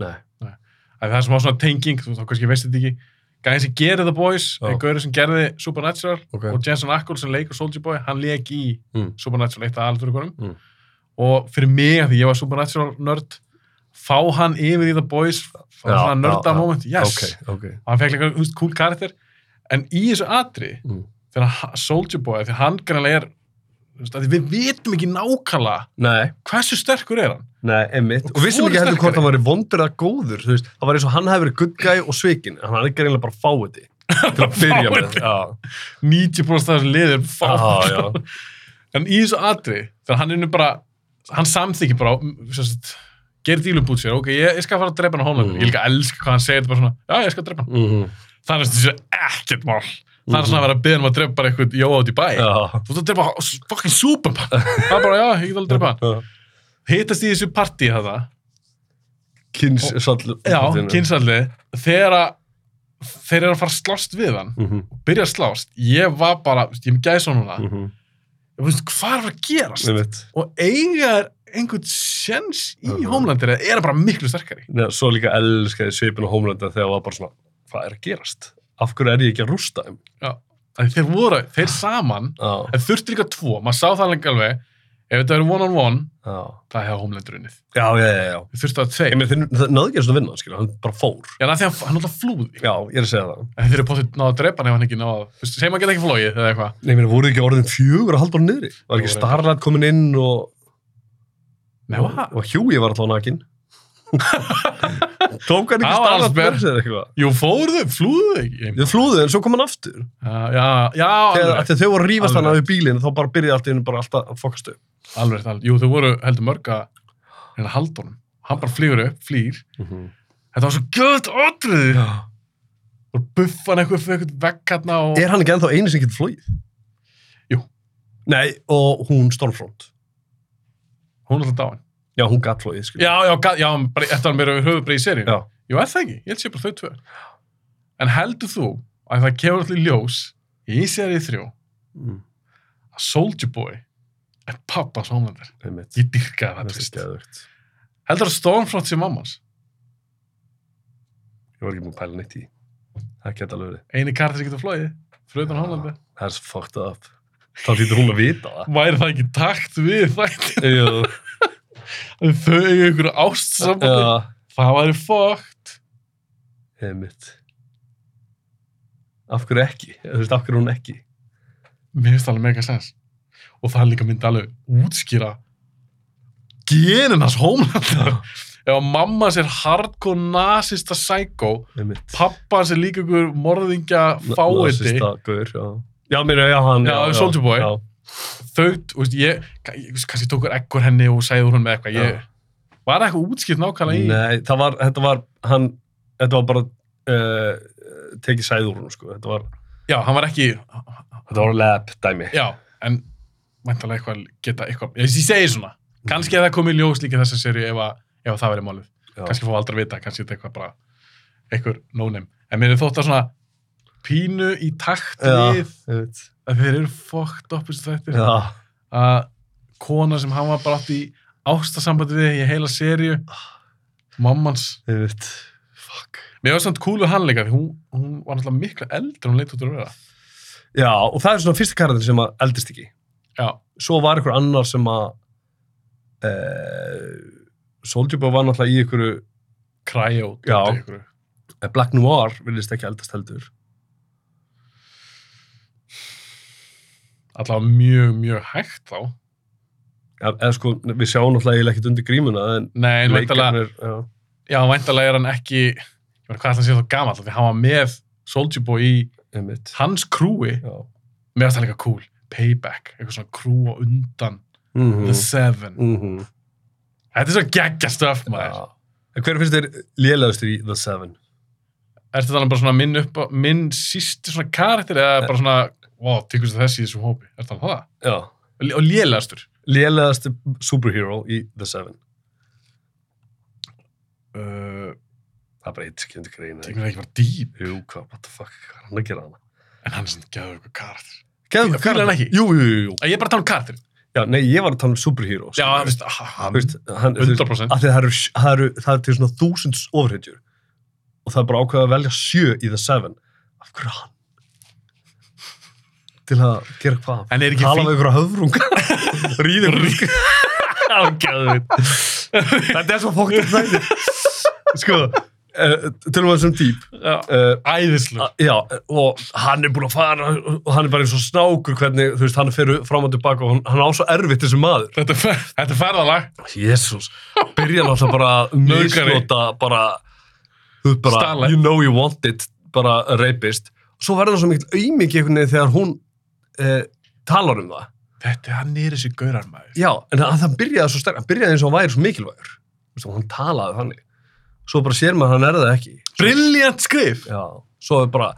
Speaker 2: Nei,
Speaker 1: að það er smá svona tenging, þú þá kannski veist þetta ekki Gæðin sem gerir The Boys,
Speaker 2: Já.
Speaker 1: er gaurið sem gerði Supernatural
Speaker 2: ok.
Speaker 1: og Jensen Ackles sem leikur Soldier Boy, hann leik í
Speaker 2: Mm.
Speaker 1: Supernatural eitt af aðalfyrirkonum
Speaker 2: Mm.
Speaker 1: og fyrir mig að því ég var Supernatural nörd fá hann yfir í The Boys fá
Speaker 2: Já,
Speaker 1: svona nörda
Speaker 2: já, já.
Speaker 1: moment, yes
Speaker 2: Ok, ok.
Speaker 1: og hann fekk líka húst cool karakter en í þessu atri
Speaker 2: Mm.
Speaker 1: þegar ha- Soldier Boy, þegar hann grannlega er þú veist, af því við vitum ekki nákvæmlega
Speaker 2: Nei,
Speaker 1: hversu sterkur er hann
Speaker 2: nei, einmitt.
Speaker 1: Og
Speaker 2: Og vissum
Speaker 1: hvor er
Speaker 2: ekki heldur hvort
Speaker 1: sterkari?
Speaker 2: hann var í vondur eða góður, þú veist, það var eins og hann hefði verið good guy og svikin, en hann er ekki reynilega bara fáiði til að byrja með.
Speaker 1: Fáiði.
Speaker 2: Já.
Speaker 1: 90% af þessu liður
Speaker 2: Já,
Speaker 1: fá
Speaker 2: já.
Speaker 1: en í þessu atri þegar hann er nú bara hann samþykir bara mm, sem sagt, gerir dílum búið sér, ok, ég, ég skal fara að drepa hann á hónum
Speaker 2: Mhm.
Speaker 1: ég líka elska hvað hann segir, þetta bara svona, já, ég skal drepa hann
Speaker 2: Mm
Speaker 1: þannig að þessu er ekkert mál það er svona að vera að beðum að drepa bara eitthvað jóa út í bæ
Speaker 2: Já.
Speaker 1: þú ert að drepa h- fucking Superman það er bara, já, ég get alveg að drepa hann hittast í þessu partí þetta
Speaker 2: Kyns, sall,
Speaker 1: já, kynsalli þegar að þeir eru að fara að slást við hann
Speaker 2: Mhm,
Speaker 1: byrja að slást, ég var bara þú veist, ég er með gæsa núna,
Speaker 2: Mm. mhm.
Speaker 1: ég veist hvað er að fara að gerast
Speaker 2: Ég veit.
Speaker 1: og eiga er einhvern sjens í
Speaker 2: Mhm.
Speaker 1: Homelandir eða er bara miklu sterkari
Speaker 2: Nei, svo líka elskaði svipin og homelanda þegar það var bara svona, hvað er að gerast? Af hverju er ég ekki að rústa þeim?
Speaker 1: Af því þeir voru, þeir saman
Speaker 2: Já,
Speaker 1: en þurfti líka tvo, maður sá það lengi alveg ef þetta verið one on one,
Speaker 2: já,
Speaker 1: það hefði Homelander unnið
Speaker 2: já, já, já, já.
Speaker 1: þeir þurfti að tveir,
Speaker 2: Ég með þeir það náðu ekki að svona vinna, skilja, hann bara fór.
Speaker 1: já, af því að hann alltaf flúði
Speaker 2: Já, ég er að segja það.
Speaker 1: en þeir eru potið náða að drepa hann ef hann ekki náða þú veist, segjum að geta ekki flóið eða eitthvað
Speaker 2: Nei, mér voru ekki orðin fjögur að halda hann niðri. Var ekki
Speaker 1: Voru.
Speaker 2: Starlight komin inn og,
Speaker 1: Nei,
Speaker 2: og,
Speaker 1: hvað?
Speaker 2: og Hughie var alltaf nakin. Tók hann ekki
Speaker 1: Það var alls
Speaker 2: Starlight
Speaker 1: ber.
Speaker 2: með sér eitthvað.
Speaker 1: Jú, fóruðu, flúðu þau ekki
Speaker 2: Þau flúðu en svo kom hann aftur.
Speaker 1: Já, já, já,
Speaker 2: Þegar
Speaker 1: alveg,
Speaker 2: af því að þau voru að rífast hann
Speaker 1: Alveg.
Speaker 2: af bílinn þá bara byrjaði allt í hennu bara alltaf að fokast upp.
Speaker 1: alveg, alveg Jú, þau voru heldur mörg að hérna halda honum Hann bara flýgur upp, flýr
Speaker 2: Mhm.
Speaker 1: Þetta var svo gött otrið Og buffan eitthvað fyrir eitthvað vekk hérna og...
Speaker 2: Er hann ekki ennþá eini sem getur flóið?
Speaker 1: Jú.
Speaker 2: Nei, og hún Stormfront.
Speaker 1: Hún er alltaf dáin
Speaker 2: Já, hún gat flóið, skilja.
Speaker 1: Já, já, ga- já, bara, eftir hann meira við höfubrið í seríu
Speaker 2: Já.
Speaker 1: Jú, er það ekki, ég held sér bara þau tvö En heldur þú að það kefur allir ljós Í seríu þrjó
Speaker 2: Mm,
Speaker 1: Að Soldier Boy Er pappa Sómlander
Speaker 2: einmitt.
Speaker 1: Ég dyrkaði það
Speaker 2: Það er
Speaker 1: tvist
Speaker 2: skæðugt.
Speaker 1: Heldur að Stormfront sé mammas
Speaker 2: Ég var ekki múið að pæla neitt í. því. Það geta alveg verið.
Speaker 1: Einu kartir sem getur flóið Fröðan
Speaker 2: Já.
Speaker 1: Hólandi
Speaker 2: Það er svo fucked up. Þá lítur hún að vita það.
Speaker 1: Væri það ekki takt við þættin
Speaker 2: Jú,
Speaker 1: að Þau eru einhverju ást saman
Speaker 2: já,
Speaker 1: Það væri fókt
Speaker 2: einmitt. Af hverju ekki? Þú veist, af hverju hún ekki?
Speaker 1: Mér finnst það alveg mega sens Og það líka myndi alveg útskýra Genin hans Hólandi Ef að mamma hans er hardcore nasista psycho
Speaker 2: Einmitt.
Speaker 1: Pappa hans er líka einhver morðingja fáiði
Speaker 2: Sista gaur, já. Já, mér, já, hann.
Speaker 1: Já, Soulja Boy.
Speaker 2: Já,
Speaker 1: þau, þú veist, ég, ka- ég veist, kannski tókur ekkur henni og sagði úr hún með eitthvað, ég,
Speaker 2: Já.
Speaker 1: var eitthvað útskipt nákvæmlega í,
Speaker 2: Nei, það var, þetta var, hann, þetta var bara uh, tekið sæður hún, sko. Þetta var,
Speaker 1: já, hann var ekki,
Speaker 2: þetta var lab dæmi.
Speaker 1: já, en mæntalega eitthvað geta eitthvað, ég, ég segi svona, kannski að það komi í ljós líka þessa serju ef, að- ef að það verið málið,
Speaker 2: Já.
Speaker 1: kannski fá aldrei að vita, kannski þetta eitthvað bara, eitthvað no-name, en mér er þótt að svona pínu í takt
Speaker 2: Já,
Speaker 1: við
Speaker 2: ég veit.
Speaker 1: að þeir eru fokkt upp þessu þættir,
Speaker 2: Já.
Speaker 1: að kona sem hann var bara átt í ástasambandi við í heila serju, mammans,
Speaker 2: Ég veit, fuck.
Speaker 1: Mér var samt cool við hann líka, því hún, hún var náttúrulega miklu eldri en hún leitt út úr að vera.
Speaker 2: Já, og það er svona fyrsta karakter sem að eldist ekki.
Speaker 1: Já,
Speaker 2: Svo var ykkur annar sem að uh, Soldier Boy var náttúrulega í ykkur
Speaker 1: Cryo,
Speaker 2: Já.
Speaker 1: dóttir ykkur.
Speaker 2: Black Noir vilist ekki eldast heldur.
Speaker 1: Alltaf mjög, mjög hægt þá.
Speaker 2: Ja, eða sko, við sjáum náttúrulega eiginlega ekkert undir grímuna, en
Speaker 1: Nei, en væntalega,
Speaker 2: leikarnir- já.
Speaker 1: já, væntalega er hann ekki, ég veit hvað ætla að sé þá gamall, því hann var með Soulja Boy í
Speaker 2: Einmitt.
Speaker 1: hans krúi,
Speaker 2: Já.
Speaker 1: mér varst það líka cool, Payback, eitthvað svona krú á undan,
Speaker 2: Mm -hmm.
Speaker 1: The Seven.
Speaker 2: mm
Speaker 1: Þetta er svo geggja stöf, maður.
Speaker 2: Já. En hver finnst þér lélegastur í The Seven?
Speaker 1: Er þetta um bara svona minn upp, á- minn sísti svona karakter, eða bara svona, wow, tykkust þessi í þessum hópi, er þetta um það?
Speaker 2: Já.
Speaker 1: Og lélegastur.
Speaker 2: Lélegast superhero í The Seven.
Speaker 1: Uh,
Speaker 2: Það er bara eitt skjöndu greina.
Speaker 1: Tekur það ekki bara dýp?
Speaker 2: Jú, hvað, what the fuck, hvað er hann að gera hana?
Speaker 1: En hann er svona gæður eitthvað karakter.
Speaker 2: Geðum,
Speaker 1: Fílar hann ekki?
Speaker 2: Jú, jú, jú, jú.
Speaker 1: Að ég er bara að tala um karakter.
Speaker 2: Já, nei, ég var að tala um superhero.
Speaker 1: Já,
Speaker 2: skilurðu.
Speaker 1: þú veist, ah, hann,
Speaker 2: Þú veist, hann, þú veist,
Speaker 1: 100%.
Speaker 2: af því að það eru, það eru, það eru til svona þúsunds ofurhetjur og það er bara ákveðið að velja sjö í The Seven af hverju hann? Til að gera hvað?
Speaker 1: En er ekki
Speaker 2: Tala
Speaker 1: fínt-
Speaker 2: við ykkur að höfrunga Ríða ykkur Ágæðið Þetta er svo fókt að þætti Sko, uh, tölum við þessum dýp
Speaker 1: Já.
Speaker 2: uh,
Speaker 1: Æðislu.
Speaker 2: A- Já, og hann er búin að fara og hann er bara eins og snákur hvernig, þú veist, hann fer fram og tilbaka og hann, hann á svo erfitt þessi maður.
Speaker 1: Þetta, er fer- þetta er ferðalag.
Speaker 2: Jésús, byrja náttúrulega bara að
Speaker 1: Nauðgari.
Speaker 2: misnota bara, þú veist, bara,
Speaker 1: Starlight.
Speaker 2: you know you want it, bara rapist. Svo verður það svo mikil aumingi einhvern veginn þegar hún eh, talar um það.
Speaker 1: Þetta, hann er þessi gaurar maður.
Speaker 2: Já, en það, það byrjaði svo sterk, hann byrjaði eins og hann væri svo mikilvægur. Þú veist, og hann talaði þannig. Svo bara sér maður að hann er það ekki.
Speaker 1: Brilliant skrif.
Speaker 2: Já, svo er bara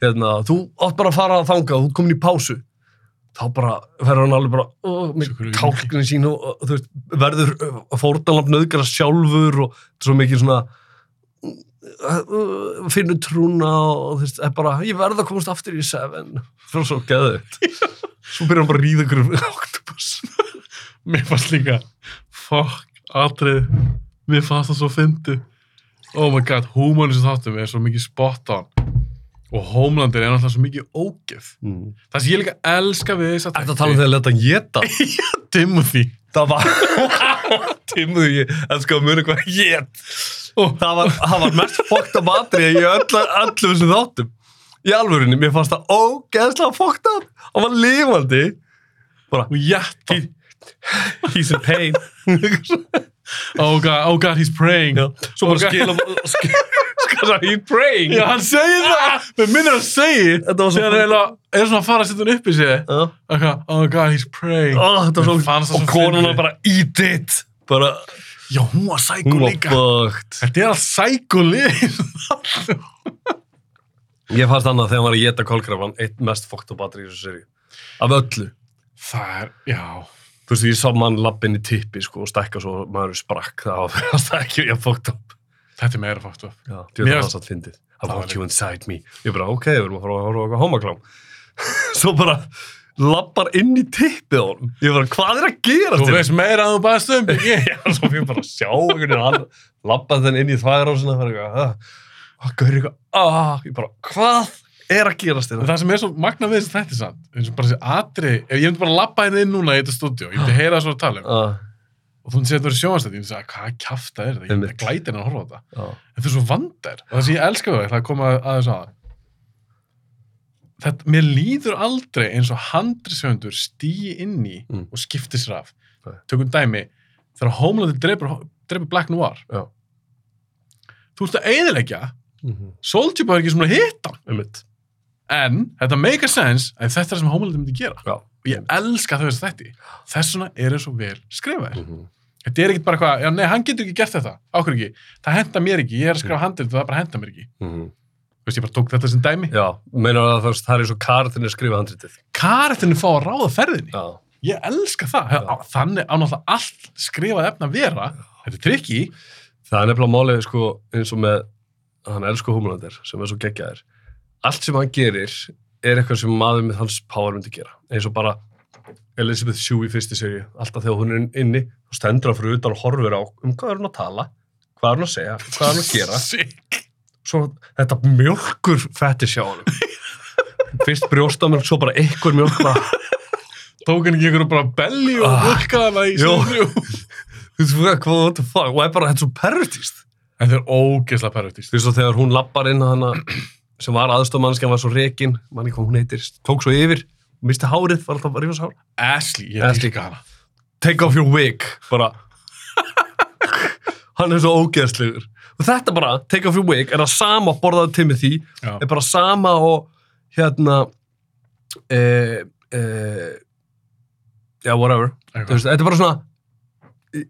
Speaker 2: hérna, þú átt bara að fara að þanga, þú ert komin í pásu þá bara verður hann alveg bara ó, með
Speaker 1: Sjúkur í líki.
Speaker 2: kálknin sín og, og þú veist, verður fórtalamp nöðgara sjálfur og þetta er svo mikið svona uh, finnur trúna og þú veist, er bara, ég verð að komast aftur í seven, það er svo geðið svo byrjar hann bara að ríða ykkur um oktopus
Speaker 1: Mér fannst líka, fuck, atrið, mér fannst það svo fyndi. Oh my god, húmónu sem þáttum er svo mikið spot on. Og Homelandir er náttúrulega svo mikið ógeð.
Speaker 2: mm.
Speaker 1: Það sem ég líka elska við þess að...
Speaker 2: Þetta tala um þegar leta hann geta
Speaker 1: Timothy.
Speaker 2: Það var Timmuðu ég, en sko mjög hvað Jét það, var- það var mest fokta matri Ég öll, öllum sem þáttum Í alvörunni, mér fannst það ógeðslega fokta Það var lifandi
Speaker 1: Og jætti.
Speaker 2: He's in pain
Speaker 1: Oh god, oh god, he's praying.
Speaker 2: Já, Svo bara
Speaker 1: Ok.
Speaker 2: skilum Skasa, he's praying
Speaker 1: Já, hann segir það. Mér minnir að segja.
Speaker 2: Ah! Þetta var svo
Speaker 1: Þegar hann eiginlega- er svona að fara að setja hann upp í sig.
Speaker 2: Já.
Speaker 1: Eitthvað, Oh god, he's praying.
Speaker 2: Ó, þetta var
Speaker 1: Mér
Speaker 2: svo
Speaker 1: fannst það
Speaker 2: Og
Speaker 1: svo
Speaker 2: konuna
Speaker 1: fyndið.
Speaker 2: bara eat it Bara,
Speaker 1: Já, hún var sækó
Speaker 2: hún var
Speaker 1: líka.
Speaker 2: bögt
Speaker 1: Þetta er allt sækó lið.
Speaker 2: Ég fannst annað þegar hann var að geta kólkrafan Eitt mest fokta matri í þessu seri Af öllu
Speaker 1: Það er, já.
Speaker 2: Þú veist, ég sá mann lappin í tippi, sko, og stekka svo maður sprakk það á þess að ekki ég fókt upp.
Speaker 1: Þetta er meira fucked up.
Speaker 2: Já, því að
Speaker 1: Mér
Speaker 2: það var
Speaker 1: varst-
Speaker 2: satt fyndið. I
Speaker 1: var
Speaker 2: want
Speaker 1: líka.
Speaker 2: you inside me. Ég bara, ok, við erum að fara að horfa á eitthvað homaklám. svo bara lappar inn í tippið á honum. Ég bara, hvað er að hérna? gera
Speaker 1: Þú veist meira að þú um, bara stöðum byggi.
Speaker 2: Já, svo fyrir bara að sjá einhvern veginn hann lappa þenn inn í þvagrásina og það er eitthvað, ah, hann gaur eitthvað, ah, ég bara, hvað er að gerast hérna?"
Speaker 1: En
Speaker 2: þér?
Speaker 1: það sem er svo magna við þess að þetta er samt, eins og bara þessi atri, ef ég myndi bara labba henni inn núna í þetta stúdíu, ég myndi heyra það svona tala um,
Speaker 2: Ah,
Speaker 1: og þú myndi segja að þetta verið sjóðanstætt, ég myndi segja, hvað kjafta er þetta, ég myndi
Speaker 2: Einmitt.
Speaker 1: glæta henni að horfa á þetta.
Speaker 2: ah.
Speaker 1: En þetta er svo vandar, og það sem ég elska við það, það er koma aðeins að það. Þetta, mér líður aldrei eins og handrisöndur stýi inn í
Speaker 2: Mm.
Speaker 1: og skipti sér af.
Speaker 2: Nei.
Speaker 1: Tökum dæmi, þegar Homelandi dreipur, dreipur Black Noir,
Speaker 2: Já.
Speaker 1: þú ert að eyðileggja,
Speaker 2: Mm -hmm.
Speaker 1: Soulja Boy er ekki svona að hitta hann.
Speaker 2: Einmitt.
Speaker 1: En þetta make a sense að þetta er það sem Homeland myndi gera.
Speaker 2: Já.
Speaker 1: Og ég elska þau þess að þetta. Þess vegna er það svo vel skrifaðir.
Speaker 2: Mm -hmm.
Speaker 1: Þetta er ekkit bara hvað, já nei, hann getur ekki gert þetta. Ákveður ekki. Það henda mér ekki. Ég er að skrifa handið og það bara henda mér ekki.
Speaker 2: Mhm.
Speaker 1: Þú veist, ég bara tók þetta sem dæmi.
Speaker 2: Já, meinar það að það- það er eins og kartinni skrifa handritið.
Speaker 1: Karatinn fá að ráða ferðinni.
Speaker 2: Já.
Speaker 1: Ég elska það.
Speaker 2: Já.
Speaker 1: Á- Þannig á náttúrulega allt skrifað efna að vera. Þetta er trikki.
Speaker 2: Það er nefnilega málið sko eins og með hann elsku Homelander sem er svo geggjaðir. Allt sem hann gerir er eitthvað sem maður með hans power myndi gera. Eins og bara Elizabeth Shue í fyrstu seríu, alltaf þegar hún er inn- inni og stendur hann fyrir utan og horfir á um hvað er hún að tala, hvað er hún að segja, hvað er hún að gera. Svo þetta mjölkur fætti sjá hann. Fyrst brjóstamjölk, svo bara einhver mjölk bara
Speaker 1: Tók hann ekki einhverju bara belli og
Speaker 2: Ah.
Speaker 1: vulkaða hana í
Speaker 2: Jú.
Speaker 1: sjónu.
Speaker 2: Þú veist, hvað- what the fuck, og er bara þetta er svo pervertist.
Speaker 1: En það er ógeðslega pervertist.
Speaker 2: Þú veist og þegar hún lappar inn hana sem var aðstofmannskja, var svo rekin, manni hvað hún heitir, tók svo yfir, misti hárið, var alltaf að rífa svo hár.
Speaker 1: Ashley, ég
Speaker 2: Ashley.
Speaker 1: dýrka hana.
Speaker 2: Take off your wig, bara. hann er svo ógeðslegur. Og þetta bara, take off your wig, er það sama að borðaðu Timothy,
Speaker 1: Já.
Speaker 2: er bara sama og hérna, e, e, já, whatever.
Speaker 1: Eitthvað.
Speaker 2: Þú veist, þetta er bara svona,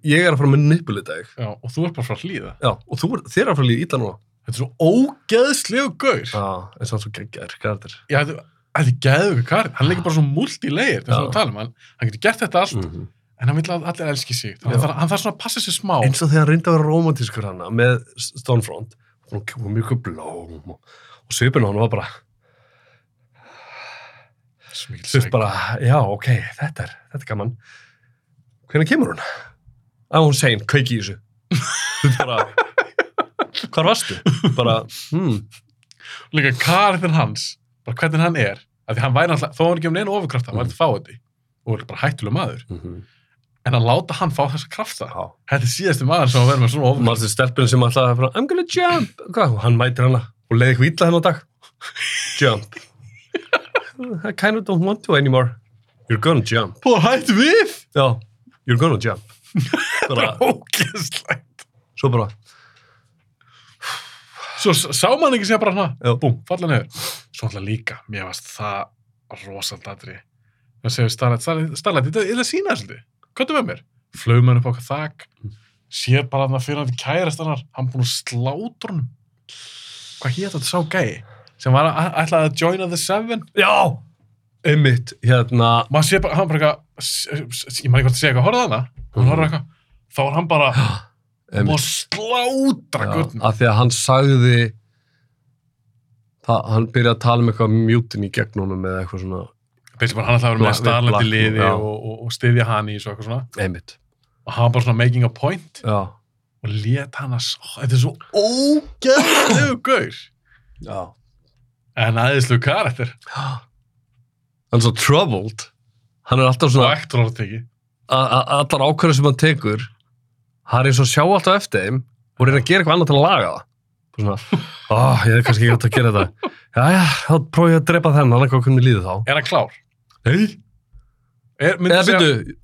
Speaker 2: ég er að fara að manipulita þig.
Speaker 1: Já, og þú ert bara frá að hlýða.
Speaker 2: Já, og þú, er- þér er að fara að líða illa núna.
Speaker 1: Þetta er svo ógeðslegu gaur.
Speaker 2: Já, eins og hann svo geggjaður, hvað er þetta?
Speaker 1: Já, þetta þetta er geðugur karl. Hann leikur bara svo multi-layer, þess að
Speaker 2: Já.
Speaker 1: við talum. Hann, hann getur gert þetta allt,
Speaker 2: Mhm.
Speaker 1: en hann vil að allir elski sig. Þannig
Speaker 2: Já.
Speaker 1: að Hann, þarf- hann þarf svona að passa sig smá.
Speaker 2: eins og þegar hann reyndi að vera romantískur hana með Stonefront hún kjóði mjög blóm og, og svipin á hann var bara,
Speaker 1: Smíl
Speaker 2: þú veist bara já, ok, þetta er, þetta er gaman hvernig kemur hún? að hún segin, kveiki í þessu þú veist bara, hvar varstu? bara, hmm,
Speaker 1: Líka karlinn hans, bara hvernig hann er. Af því hann væri alltaf, þó hann ekki um neina ofurkrafta, hann væri þetta fáiði. Og er bara hættulega maður.
Speaker 2: mm -hmm.
Speaker 1: En að láta hann fá þessa krafta.
Speaker 2: já
Speaker 1: Þetta er síðasti maður sem að vera með svona ofurkrafta.
Speaker 2: maður sem stelpun sem alltaf er bara, I'm gonna jump Hvað? og hann mætir hana og leiði eitthvað illa hennar dag jump I kind of don't want to anymore you're gonna jump
Speaker 1: Búið að hættu við!
Speaker 2: já, you're gonna jump bara,
Speaker 1: Ógeðslega.
Speaker 2: svo bara
Speaker 1: Svo s- sá mann ekki sér bara hana.
Speaker 2: Já.
Speaker 1: Búm, falla niður. Svo alltaf líka, mér varst það rosaldadri. Það segir Starlight, Starlight, Starlight, þetta er að sína þér svolítið. Hvað er með mér? Flögum hann upp á okkar þak, sér bara hann að fyrir hann við kærast hannar, hann búinn að slátur hann. Hvað hétt þetta sá gæi? sem var að ætlaði að joina the seven
Speaker 2: Já! Einmitt, hérna,
Speaker 1: maður sé bara, hann bara eitthvað s- s- ég maður ekki hvort að segja eitthvað, horfðu það hann
Speaker 2: Mhm.
Speaker 1: horfður eitthvað, þá var hann bara
Speaker 2: einmitt.
Speaker 1: og slátra
Speaker 2: Já,
Speaker 1: gutnum
Speaker 2: af því að hann sagði það, hann byrjaði að tala um eitthvað mjútin í gegn honum eða eitthvað svona
Speaker 1: Basically bara hann ætlaði að vera með
Speaker 2: Black-
Speaker 1: starlet í
Speaker 2: Black-
Speaker 1: liði
Speaker 2: já.
Speaker 1: og, og, og styðja hann í svo eitthvað svona
Speaker 2: einmitt
Speaker 1: og hann var bara svona making a point
Speaker 2: já,
Speaker 1: og let hann að, s- Ó, þetta er svo ógæðlegu gaur
Speaker 2: já.
Speaker 1: en aðeinslu karakter
Speaker 2: hann er svo troubled hann er alltaf
Speaker 1: og
Speaker 2: svona
Speaker 1: ektur orðteki
Speaker 2: a- a- allar ákvörðu sem hann tekur hann er eins og sjá alltaf eftir þeim og reyna að gera eitthvað annað til að laga það Bara svona, ó, ég er kannski ekki átt að gera þetta já, já, þá prófið ég að drepa þennan hann eitthvað hvernig líði þá
Speaker 1: er hann klár?
Speaker 2: nei,
Speaker 1: Er,
Speaker 2: eða
Speaker 1: Eða, segja,
Speaker 2: byrju,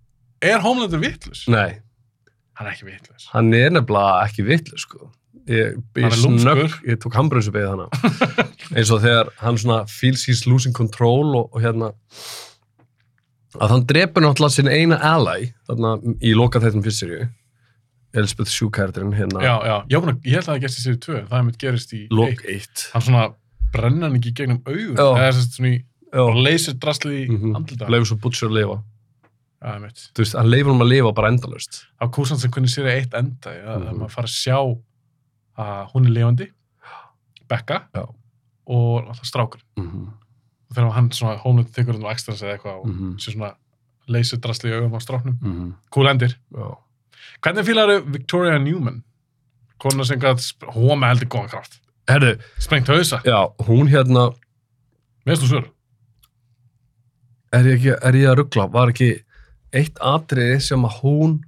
Speaker 1: er Homelander vittlus?
Speaker 2: nei
Speaker 1: Hann er ekki vittlus
Speaker 2: Hann er nefnilega ekki vitlu, sko. Ég,
Speaker 1: Hann
Speaker 2: ég
Speaker 1: er lúmskur.
Speaker 2: snögg, ég tók hambrunsu beðið hana. Eins og þegar hann svona feels he's losing control og, og hérna að hann drepur náttúrulega sinn eina ally þarna í loka þettum fyrst serju Elspeth Sjúkærdirinn hérna
Speaker 1: Já, já, ég, var búinn að, ég held að það gerst í sér tvö það er mitt gerist í
Speaker 2: lok
Speaker 1: eitt.
Speaker 2: 1
Speaker 1: hann svona brenna hann ekki í gegnum augun
Speaker 2: Já.
Speaker 1: eða þess að svona í og leysir draslið í mm -hmm. andlita
Speaker 2: Mhm. leifur svo Butcher að lifa
Speaker 1: Já, ég veit.
Speaker 2: þú veist, hann leifur hann að lifa bara endalaust
Speaker 1: á kúsan sem hvernig sér eitt enda ja, mm
Speaker 2: Mhm.
Speaker 1: maður fara að sjá að hún er lifandi Becca
Speaker 2: Já.
Speaker 1: og alltaf strákur
Speaker 2: mm -hmm.
Speaker 1: og þegar hann svona hómlönd þykkur um ekstra eða eitthvað og mm
Speaker 2: Mhm.
Speaker 1: sér svona leysir drasli í augum á stráknum
Speaker 2: Mm -hmm.
Speaker 1: cool endir
Speaker 2: já
Speaker 1: hvernig fílaru Victoria Newman kona sem gæt hóma heldur góðan kraft
Speaker 2: herru,
Speaker 1: sprengt hausa
Speaker 2: já, hún hérna
Speaker 1: mér finnst þú svör
Speaker 2: er ég, ekki, er ég að ruggla, var ekki eitt atriði sem að hún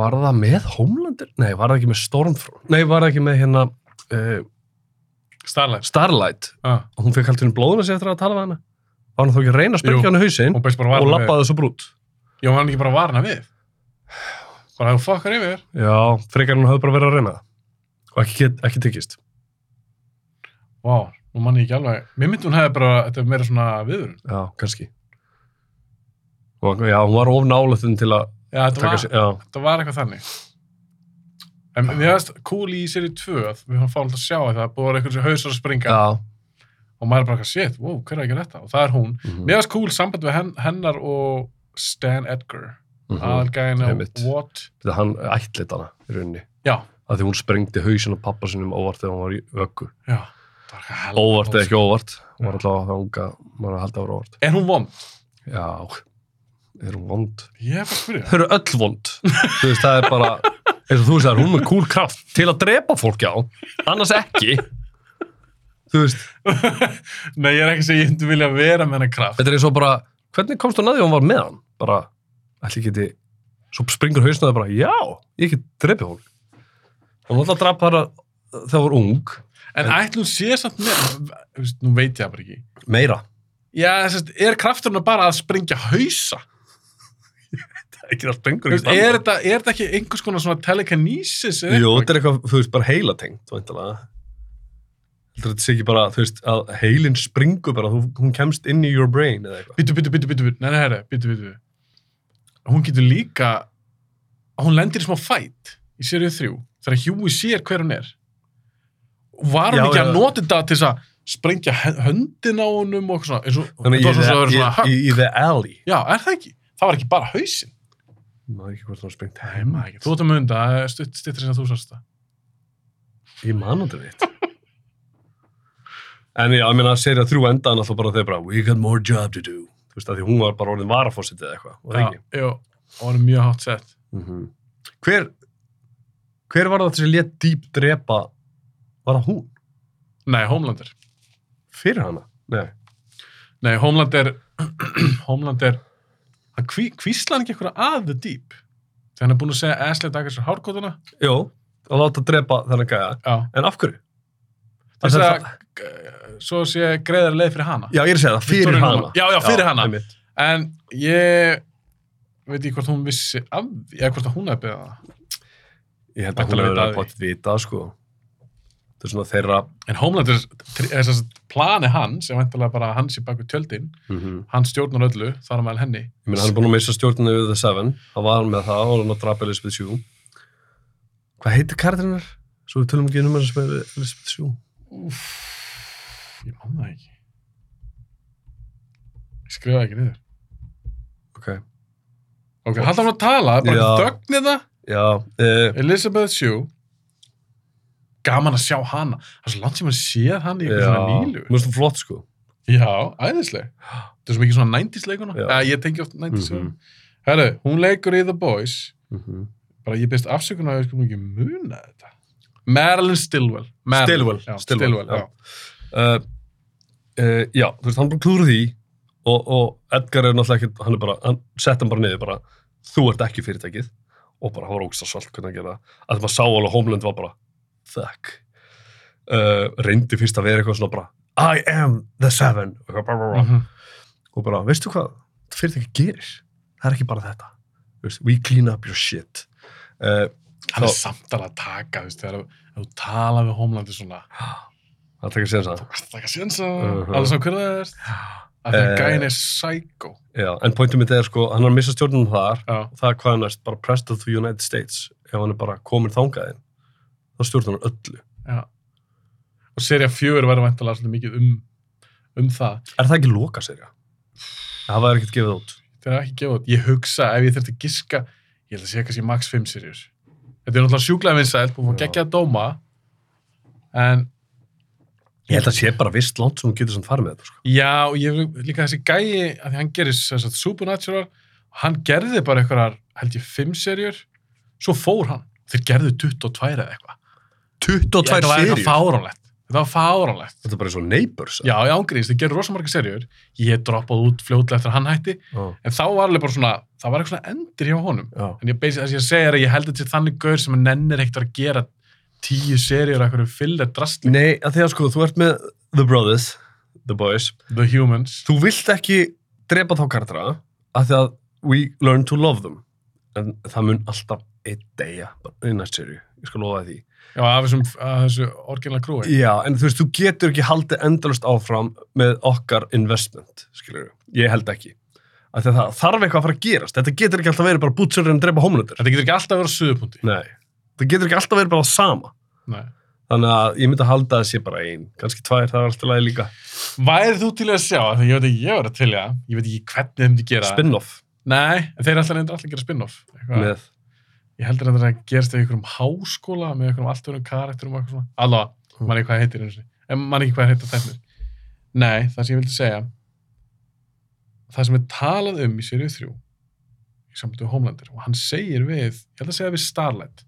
Speaker 2: var það með Homelander? Nei, var það ekki með Stormfront? Nei, var það ekki með hérna uh,
Speaker 1: Starlight
Speaker 2: Starlight?
Speaker 1: ah.
Speaker 2: Hún fekk alltaf hún blóðuna sér eftir að tala við hana. Var hann þá ekki að reyna að
Speaker 1: Jú.
Speaker 2: spengja hann í hausinn
Speaker 1: hún beist bara
Speaker 2: og
Speaker 1: varna við
Speaker 2: lappaði þessu brút?
Speaker 1: já hann ekki bara varna við bara þú fokkar yfir
Speaker 2: Já, frekar hann hafði bara verið að reyna það. Og ekki, get- ekki tekist.
Speaker 1: vá nú mann ég ekki alveg mér myndi hún hefði bara þetta er meira svona viður
Speaker 2: Já, kannski. Og, já, hún var of nálaðin til að
Speaker 1: já þetta
Speaker 2: taka
Speaker 1: var
Speaker 2: sér. Já,
Speaker 1: það var eitthvað þannig en mér finnst cool í séri 2 að við fáum alltaf að sjá að það er búið að vera einhvern sem hausar að springa
Speaker 2: já.
Speaker 1: og maður er bara eitthvað shit, wow, hver er ekki þetta og það er hún,
Speaker 2: Mm
Speaker 1: mér finnst cool samband við hen, hennar og Stan Edgar mm
Speaker 2: -hmm.
Speaker 1: -hmm. aðalgæðin á
Speaker 2: Einmitt.
Speaker 1: What
Speaker 2: Hann ætlit hana í rauninni.
Speaker 1: já,
Speaker 2: að því hún sprengdi hausin á pappa sinum óvart þegar hún var í vöggu.
Speaker 1: já, það var eitthvað helvítið
Speaker 2: Óvart eða ekki óvart, hún
Speaker 1: Já.
Speaker 2: var alltaf að unga, maður að halda að vera óvart.
Speaker 1: er hún vond?
Speaker 2: Já, er hún vond?
Speaker 1: ég er bara að spyrja
Speaker 2: Þau eru öll vond. þú veist, það er bara, eins og þú sagðir, hún er með cool kraft til að drepa fólk á, annars ekki. þú veist,
Speaker 1: nei, ég er ekki að segja, ég myndi vilja vera með hennar kraft
Speaker 2: þetta er eins og bara, hvernig komst hún að því að hún var með hann? Bara, ætli ég geti, svo springur hausin að það bara, já, ég get drepið fólk. Hún alltaf drapa hana þegar hún var ung,
Speaker 1: en ætlum sé samt með þú veist, nú veit ég það bara ekki
Speaker 2: meira.
Speaker 1: já, þess, er krafturinn bara að springja hausa?
Speaker 2: Ekki það springur
Speaker 1: Þú veist, er þetta, er þetta ekki einhvers konar svona telekinesis? eða
Speaker 2: Jú,
Speaker 1: eitthvað?
Speaker 2: þetta er eitthvað, þú veist, bara heila tengt, væntalega. Heldur þetta sé ekki bara, þú veist, að heilin springur bara, þú, hún kemst inn í your brain eða eitthvað.
Speaker 1: Bítu, bítu, bítu, bítu, bítu, nei, nei, herri, bítu, bítu, bítu. Hún getur líka, hún lendir í smá fætt í serið þrjú, þegar Huey sér hver hún er. Var hún
Speaker 2: Já,
Speaker 1: ekki
Speaker 2: já.
Speaker 1: að nota þetta til þess að sprengja he- höndin á honum og eitthvað svona, eins og,
Speaker 2: Þannig
Speaker 1: þetta var
Speaker 2: í,
Speaker 1: svona sem að vera
Speaker 2: the,
Speaker 1: svona
Speaker 2: í,
Speaker 1: högg.
Speaker 2: í, í the alley.
Speaker 1: Já, er það ekki? Það var ekki bara hausin.
Speaker 2: Maður ekki hvort það var springt
Speaker 1: Nei, maður ekki. Þú ert að munda, stutt, stittir sem þú sást það.
Speaker 2: Ég man þetta veit. en já, ég meina, serið að þrjú endaðan alltaf bara þegar bara, we got more job to do. Þú veist, að því hún var bara orðin varafósitið eða eitthvað, og það ekki.
Speaker 1: Já, jú, og hann er mjög hátt sett. mhm.
Speaker 2: Hver, hver var það sem létt dýp drepa, var það hún?
Speaker 1: Nei, Homelander.
Speaker 2: Fyrir hana? Nei.
Speaker 1: Nei, Homeland er Homeland er hann hví, hvísla hann ekki eitthvað að The Deep þegar hann er búin að segja Ashley Daggers og hárkotuna
Speaker 2: Jó, að láta drepa þennan gæja.
Speaker 1: Já,
Speaker 2: En af hverju?
Speaker 1: þess
Speaker 2: Það er
Speaker 1: að eh, svo sé greiðar leið fyrir hana
Speaker 2: Já, ég er að segja það, fyrir
Speaker 1: Victoria
Speaker 2: hana.
Speaker 1: Newman. Já, já, fyrir hana.
Speaker 2: einmitt.
Speaker 1: En ég veit ekki hvort hún vissi af því, eða hvort að hún hefði beðið það
Speaker 2: Ég held að hún
Speaker 1: Væntanlega
Speaker 2: hefur
Speaker 1: vita
Speaker 2: að
Speaker 1: af
Speaker 2: bótt vita, sko. Það er svona þeirra...
Speaker 1: En Homeland er, er þess að plani hans sem væntalega bara hans í baku tjöldin hann stjórnar öllu, þar á meðal henni
Speaker 2: Ég meina, hann er búin að missa stjórnina yfir The Seven. Hann var með það og hann að drapa Elizabeth Shue. Hvað heitir kardinnar? Svo við tölum ekki um hennar sem er Elizabeth Shue.
Speaker 1: Úf, ég man það ekki. Ég skrifaði ekki niður.
Speaker 2: ok.
Speaker 1: Ok, halda hann að tala, það er bara hérna.
Speaker 2: Já.
Speaker 1: þögnir það.
Speaker 2: Já, uh,
Speaker 1: Elizabeth Shue. Gaman að sjá hana. Það er svo langt sem að séð hann í einhver svona nýlu.
Speaker 2: Mér finnst það flott sko.
Speaker 1: Já, æðisleg. Það er svo mikið svona 90s leikuna.
Speaker 2: Já.
Speaker 1: Já. ég tengi oft 90s. Mm
Speaker 2: Mhm.
Speaker 1: Herru, hún leikur í The Boys.
Speaker 2: Mm -hmm.
Speaker 1: Bara ég byrst afsökunar að ég skulum ekki muna þetta. Marilyn Stilwell. Marilyn,
Speaker 2: Stilwell,
Speaker 1: Já,
Speaker 2: Stilwell,
Speaker 1: Stilwell, já.
Speaker 2: já. uh, uh, já, þú veist, hann bara klúður því og, og Edgar er náttúrulega ekki, hann er bara, hann sett hann bara niður bara, þú ert ekki fyrirtækið og bara, hann var ógst að svalt hvernig að gera það. að maður sá alveg, Homeland var bara, fuck. Uh, reyndi fyrst að vera eitthvað svona bara, I am the seven, og, bara, bara, bara,
Speaker 1: Mhm.
Speaker 2: og bara, veistu hvað, þetta fyrirtæki gerir, það er ekki bara þetta, Þú veist, we clean up your shit. Uh,
Speaker 1: Hann er
Speaker 2: Þá-
Speaker 1: samt alveg að taka, þú veist, þegar ef þú tala við Homelandi svona.
Speaker 2: það tekur
Speaker 1: Þú
Speaker 2: síðan það.
Speaker 1: ert ekki að sjensa.
Speaker 2: Mhm.
Speaker 1: Alveg svo hverða það er. Af því
Speaker 2: Eh.
Speaker 1: að gæin er psycho.
Speaker 2: Já, en pointum mitt er sko, hann er að missa stjórnum þar
Speaker 1: Já.
Speaker 2: og það er hvað hann er bara President of the United States ef hann er bara komin þangaðinn þá stjórnar hann öllu.
Speaker 1: Já. Og serja fjögur verður vantilega svolítið mikið um, um það.
Speaker 2: Er það ekki loka serja? Það var ekkert gefið út.
Speaker 1: Það er ekki gefað. út. Ég hugsa ef ég þurfti að giska, ég held að sé kannski max 5 serjur. Þetta er náttúrulega sjúklega vinsælt, búin að
Speaker 2: Já.
Speaker 1: gegja að dóma, en
Speaker 2: Ég held að sé bara vist langt sem hún getur samt farið með þetta. Sko.
Speaker 1: já, og ég líka þessi gæi, að því hann gerir sem sagt, Supernatural, hann gerði bara einhverjar, held ég, 5 serjur, svo fór hann. Þeir gerðu 22 eða eitthvað.
Speaker 2: 22
Speaker 1: Þetta var
Speaker 2: serjur?
Speaker 1: eitthvað fáránlegt. Þetta var fáránlegt.
Speaker 2: Þetta er bara eins og Neighbors.
Speaker 1: Já, ég ángriðist, þeir gerðu rosa marga serjur. Ég droppaði út fljótlega eftir að hann hætti,
Speaker 2: Já.
Speaker 1: En þá var alveg bara svona, það var eitthvað svona endir hjá honum.
Speaker 2: Já.
Speaker 1: En ég beins þess að ég segja er að ég held að þetta sé þannig gaur sem að nennir ekkert að gera tíu seríur af eitthvað fyllir drastli.
Speaker 2: Nei, að því að sko, þú ert með The Brothers, The Boys.
Speaker 1: The Humans.
Speaker 2: Þú vilt ekki drepa þá kardra að því að we learn to love them. En það mun alltaf einn degja í næst serju. Ég skal lofa þér því.
Speaker 1: Já, af þessum, af þessu orginal krúi.
Speaker 2: Já, en þú veist, þú getur ekki haldið endalust áfram með okkar investment, skilur við. Ég held ekki. Af því að það þarf eitthvað að fara að gerast. Þetta getur ekki alltaf verið bara bútsurinn að drepa homunundir.
Speaker 1: Þetta getur ekki alltaf að vera suðupunkti.
Speaker 2: Nei. Það getur ekki alltaf verið bara það sama.
Speaker 1: Nei.
Speaker 2: Þannig að ég myndi að halda að sé bara ein, kannski tvær, það var alltaf lagi líka.
Speaker 1: Værið þú til í að sjá, þegar ég veit ekki, ég verið til í að, ég veit ekki hvernig þeim til gera. það.
Speaker 2: Spin-off
Speaker 1: Nei, en þeir ætla reyndir alltaf að gera spin-off. Eitthvað.
Speaker 2: með,
Speaker 1: Ég heldur að það gerist í einhverjum háskóla með einhverjum allt öðrum karakterum og eitthvað svona. Allavega, mann ekki hvað það heitir einu sinni. En mann ekki hvað það heitir tæknir. Nei, það sem ég vildi segja, það sem er talað um í sérið þrjú, í samtöðu Homelander, og hann segir við, ég held að segja við Starlight,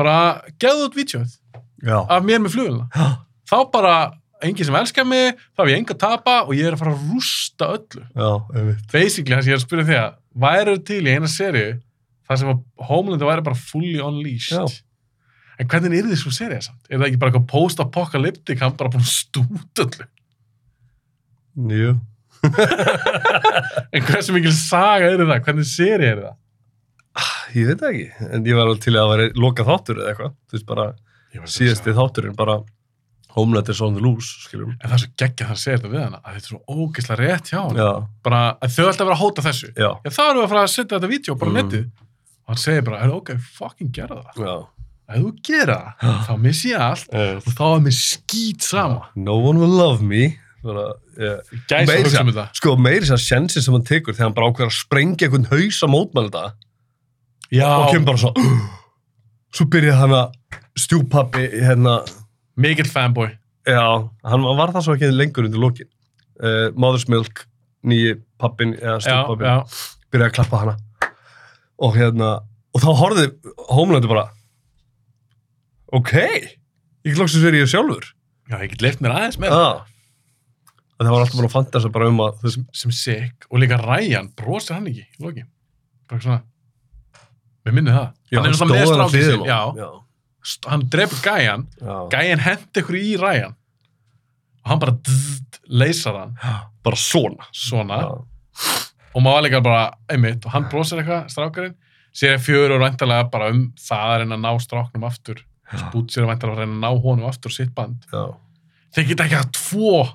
Speaker 1: bara geðu út vítjóð
Speaker 2: já.
Speaker 1: af mér með flugulina. Þá bara, enginn sem elskar mig, þá hef ég enga að tapa og ég er að fara að rústa öllu
Speaker 2: Já, einmitt.
Speaker 1: basically það sem ég er að spyrja þig að væru til í eina serju þar sem að Homeland væri bara fully unleashed
Speaker 2: Já.
Speaker 1: en hvernig er þið svo serja samt? Er það ekki bara eitthvað post-apocalyptic hann bara búin að stúta öllu
Speaker 2: Jú.
Speaker 1: en hversu mikil saga er það? Hvernig serja er það?
Speaker 2: Ég veit það ekki, en ég var alveg til að það væri loka þáttur eða eitthvað. Þú veist, bara síðasti þátturinn, bara Homeland is on the loose, skiljum.
Speaker 1: en það er svo geggja það að segja þetta við hana að þetta er svo ógeðslega rétt hjá hann
Speaker 2: Já,
Speaker 1: bara að þau ætla að vera að hóta þessu
Speaker 2: já.
Speaker 1: já þá erum við að fara að setja þetta vídeo bara á
Speaker 2: Mm.
Speaker 1: netið og hann segir bara, "Heyrðu, ok, fucking gera það
Speaker 2: Já.
Speaker 1: ef þú gera það, þá miss ég allt og þá er mér skýt sama
Speaker 2: No one will love me Bara, yeah.
Speaker 1: gæsa
Speaker 2: Meira
Speaker 1: hugsa um
Speaker 2: segja-
Speaker 1: þetta
Speaker 2: Sko, meiri sér sjensin sem hann tekur þegar hann bara ákveður að sprengja einhvern haus að mótmæla þetta
Speaker 1: já,
Speaker 2: og kemur bara svo Svo byrjaði hann að stjúpappi hérna,
Speaker 1: Mikill fanboy.
Speaker 2: já, hann var það svo ekki lengur undir lokin uh, Mother's Milk, nýji pappin eða
Speaker 1: Já,
Speaker 2: stjúpappi,
Speaker 1: já.
Speaker 2: byrjaði að klappa hana og hérna og þá horfði Homelandi bara Ok ég loksins verið ég sjálfur
Speaker 1: já, ég get leift mér aðeins með það.
Speaker 2: ah. Það var alltaf bara að fanta bara um að þess,
Speaker 1: Sem sick. Og líka Ryan, brosir hann ekki í loki. Bara svona, við minnið það. hann er alltaf með strákið sér. Já,
Speaker 2: já.
Speaker 1: st- hann drefur gæjan.
Speaker 2: já.
Speaker 1: Gæjan hendi ykkur í Ryan. Og hann bara dzz, leysar hann
Speaker 2: Bara svona.
Speaker 1: svona.
Speaker 2: Já.
Speaker 1: Og maður líka bara, einmitt, og hann brosir eitthvað, strákarinn. Sér er fjör og ræntalega bara um það að reyna að ná stráknum aftur. Bút sér að væntalega að reyna að ná honum aftur sitt band.
Speaker 2: já.
Speaker 1: Þeir geta ekki að tvo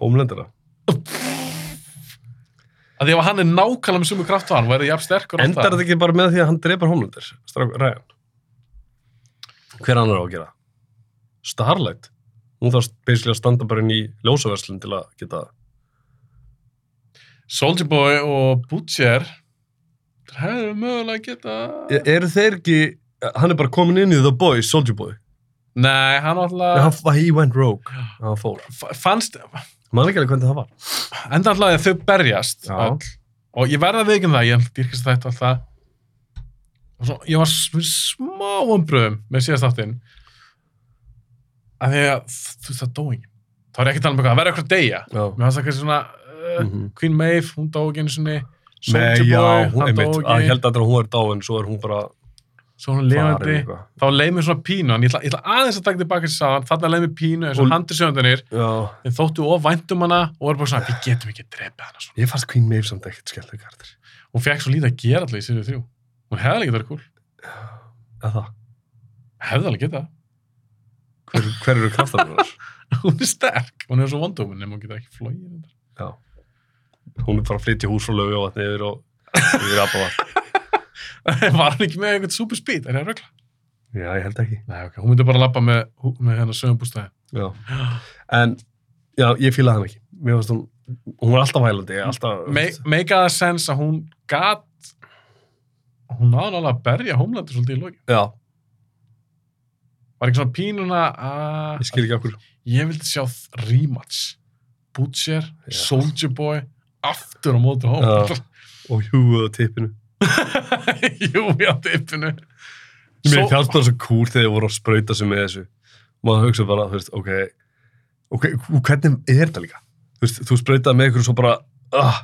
Speaker 2: Homelandera.
Speaker 1: að því að hann er nákvæmlega með sumu kraft og hann væri jafn sterkur og
Speaker 2: Endar
Speaker 1: það.
Speaker 2: þetta ekki bara með því að hann drepar Homelander? Strák, Ryan. Hver annar á að gera? Starlight. hún þarf basically að standa bara inn í ljósaverslun til að geta
Speaker 1: Soldier Boy og Butcher þeir hefðu mögulega geta
Speaker 2: E- eru þeir ekki, hann er bara komin inn í The Boy, Soldier Boy
Speaker 1: Nei, hann
Speaker 2: uh,
Speaker 1: alltaf
Speaker 2: hann, he went rogue, hann fór
Speaker 1: fannst
Speaker 2: maður ekki alveg hvernig það var
Speaker 1: enda alltaf að þau berjast
Speaker 2: Já.
Speaker 1: öll. og ég verða að veikinn það, ég dýrkast þetta alltaf og svo, ég var s- smá ombröðum með síðast áttin af því að þú veist það dói þá er ég ekki að tala um eitthvað, það verður eitthvað að deyja
Speaker 2: já.
Speaker 1: mér fannst það kannski svona uh,
Speaker 2: Mhm.
Speaker 1: Queen Maeve, hún dó ekki einu sinni
Speaker 2: Nei,
Speaker 1: Soldier
Speaker 2: já,
Speaker 1: Boy, hann
Speaker 2: hún,
Speaker 1: dó
Speaker 2: einmitt, að ég
Speaker 1: ekki
Speaker 2: held að hún er dáin, svo er hún bara
Speaker 1: svo hún levandi
Speaker 2: eitthvað.
Speaker 1: þá leið mér svona pínu en ég ætla, ég ætla aðeins að taka tilbaka þess að þarna leið mér pínu eins og
Speaker 2: Og-
Speaker 1: handur sjöndunir
Speaker 2: Já,
Speaker 1: þeim þóttu of væntum hana og er bara svona við getum ekki að drepa hana svona
Speaker 2: ég fannst Queen Maeve samt ekkert skemmtileg karakter.
Speaker 1: hún fekk svo lítið að gera alltaf í sérið þrjú hún hefði alveg getað verið cool
Speaker 2: Eða það,
Speaker 1: hefði alveg getað
Speaker 2: hver, hver eru kraftar hennar?
Speaker 1: hún er sterk hún er svo vondómin nema hún getur ekki flóið
Speaker 2: Já. Hún er bara að flytja hús frá lögu og vatni yfir og yfir apavar.
Speaker 1: var hann ekki með einhvern super speed er það rögla
Speaker 2: Já, ég held ekki.
Speaker 1: Nei, okay. hún myndi bara lappa með, hú- með hérna hennar sögumbústæði
Speaker 2: Já. En, já, ég fílaði hann ekki. Mér fannst hún, hún var alltaf hælandi, alltaf...
Speaker 1: Me- make a sense að hún gat hún náði alveg að berja homlandi svolítið í loki
Speaker 2: Já,
Speaker 1: var ekki svona pínuna að
Speaker 2: ég skil ekki okkur.
Speaker 1: ég vildi sjá þ- rematch Butcher,
Speaker 2: Já.
Speaker 1: Soldier Boy aftur á móti hóm
Speaker 2: Já. Og hjúið á tippinu.
Speaker 1: jú, já, tippinu
Speaker 2: Mér fannst bara svo cool þegar ég voru að sprauta sig með þessu. Maður hugsa bara, þú veist, ok, ok, hvernig er þetta líka? Þú veist, þú sprautaði með ykkur og svo bara, ah,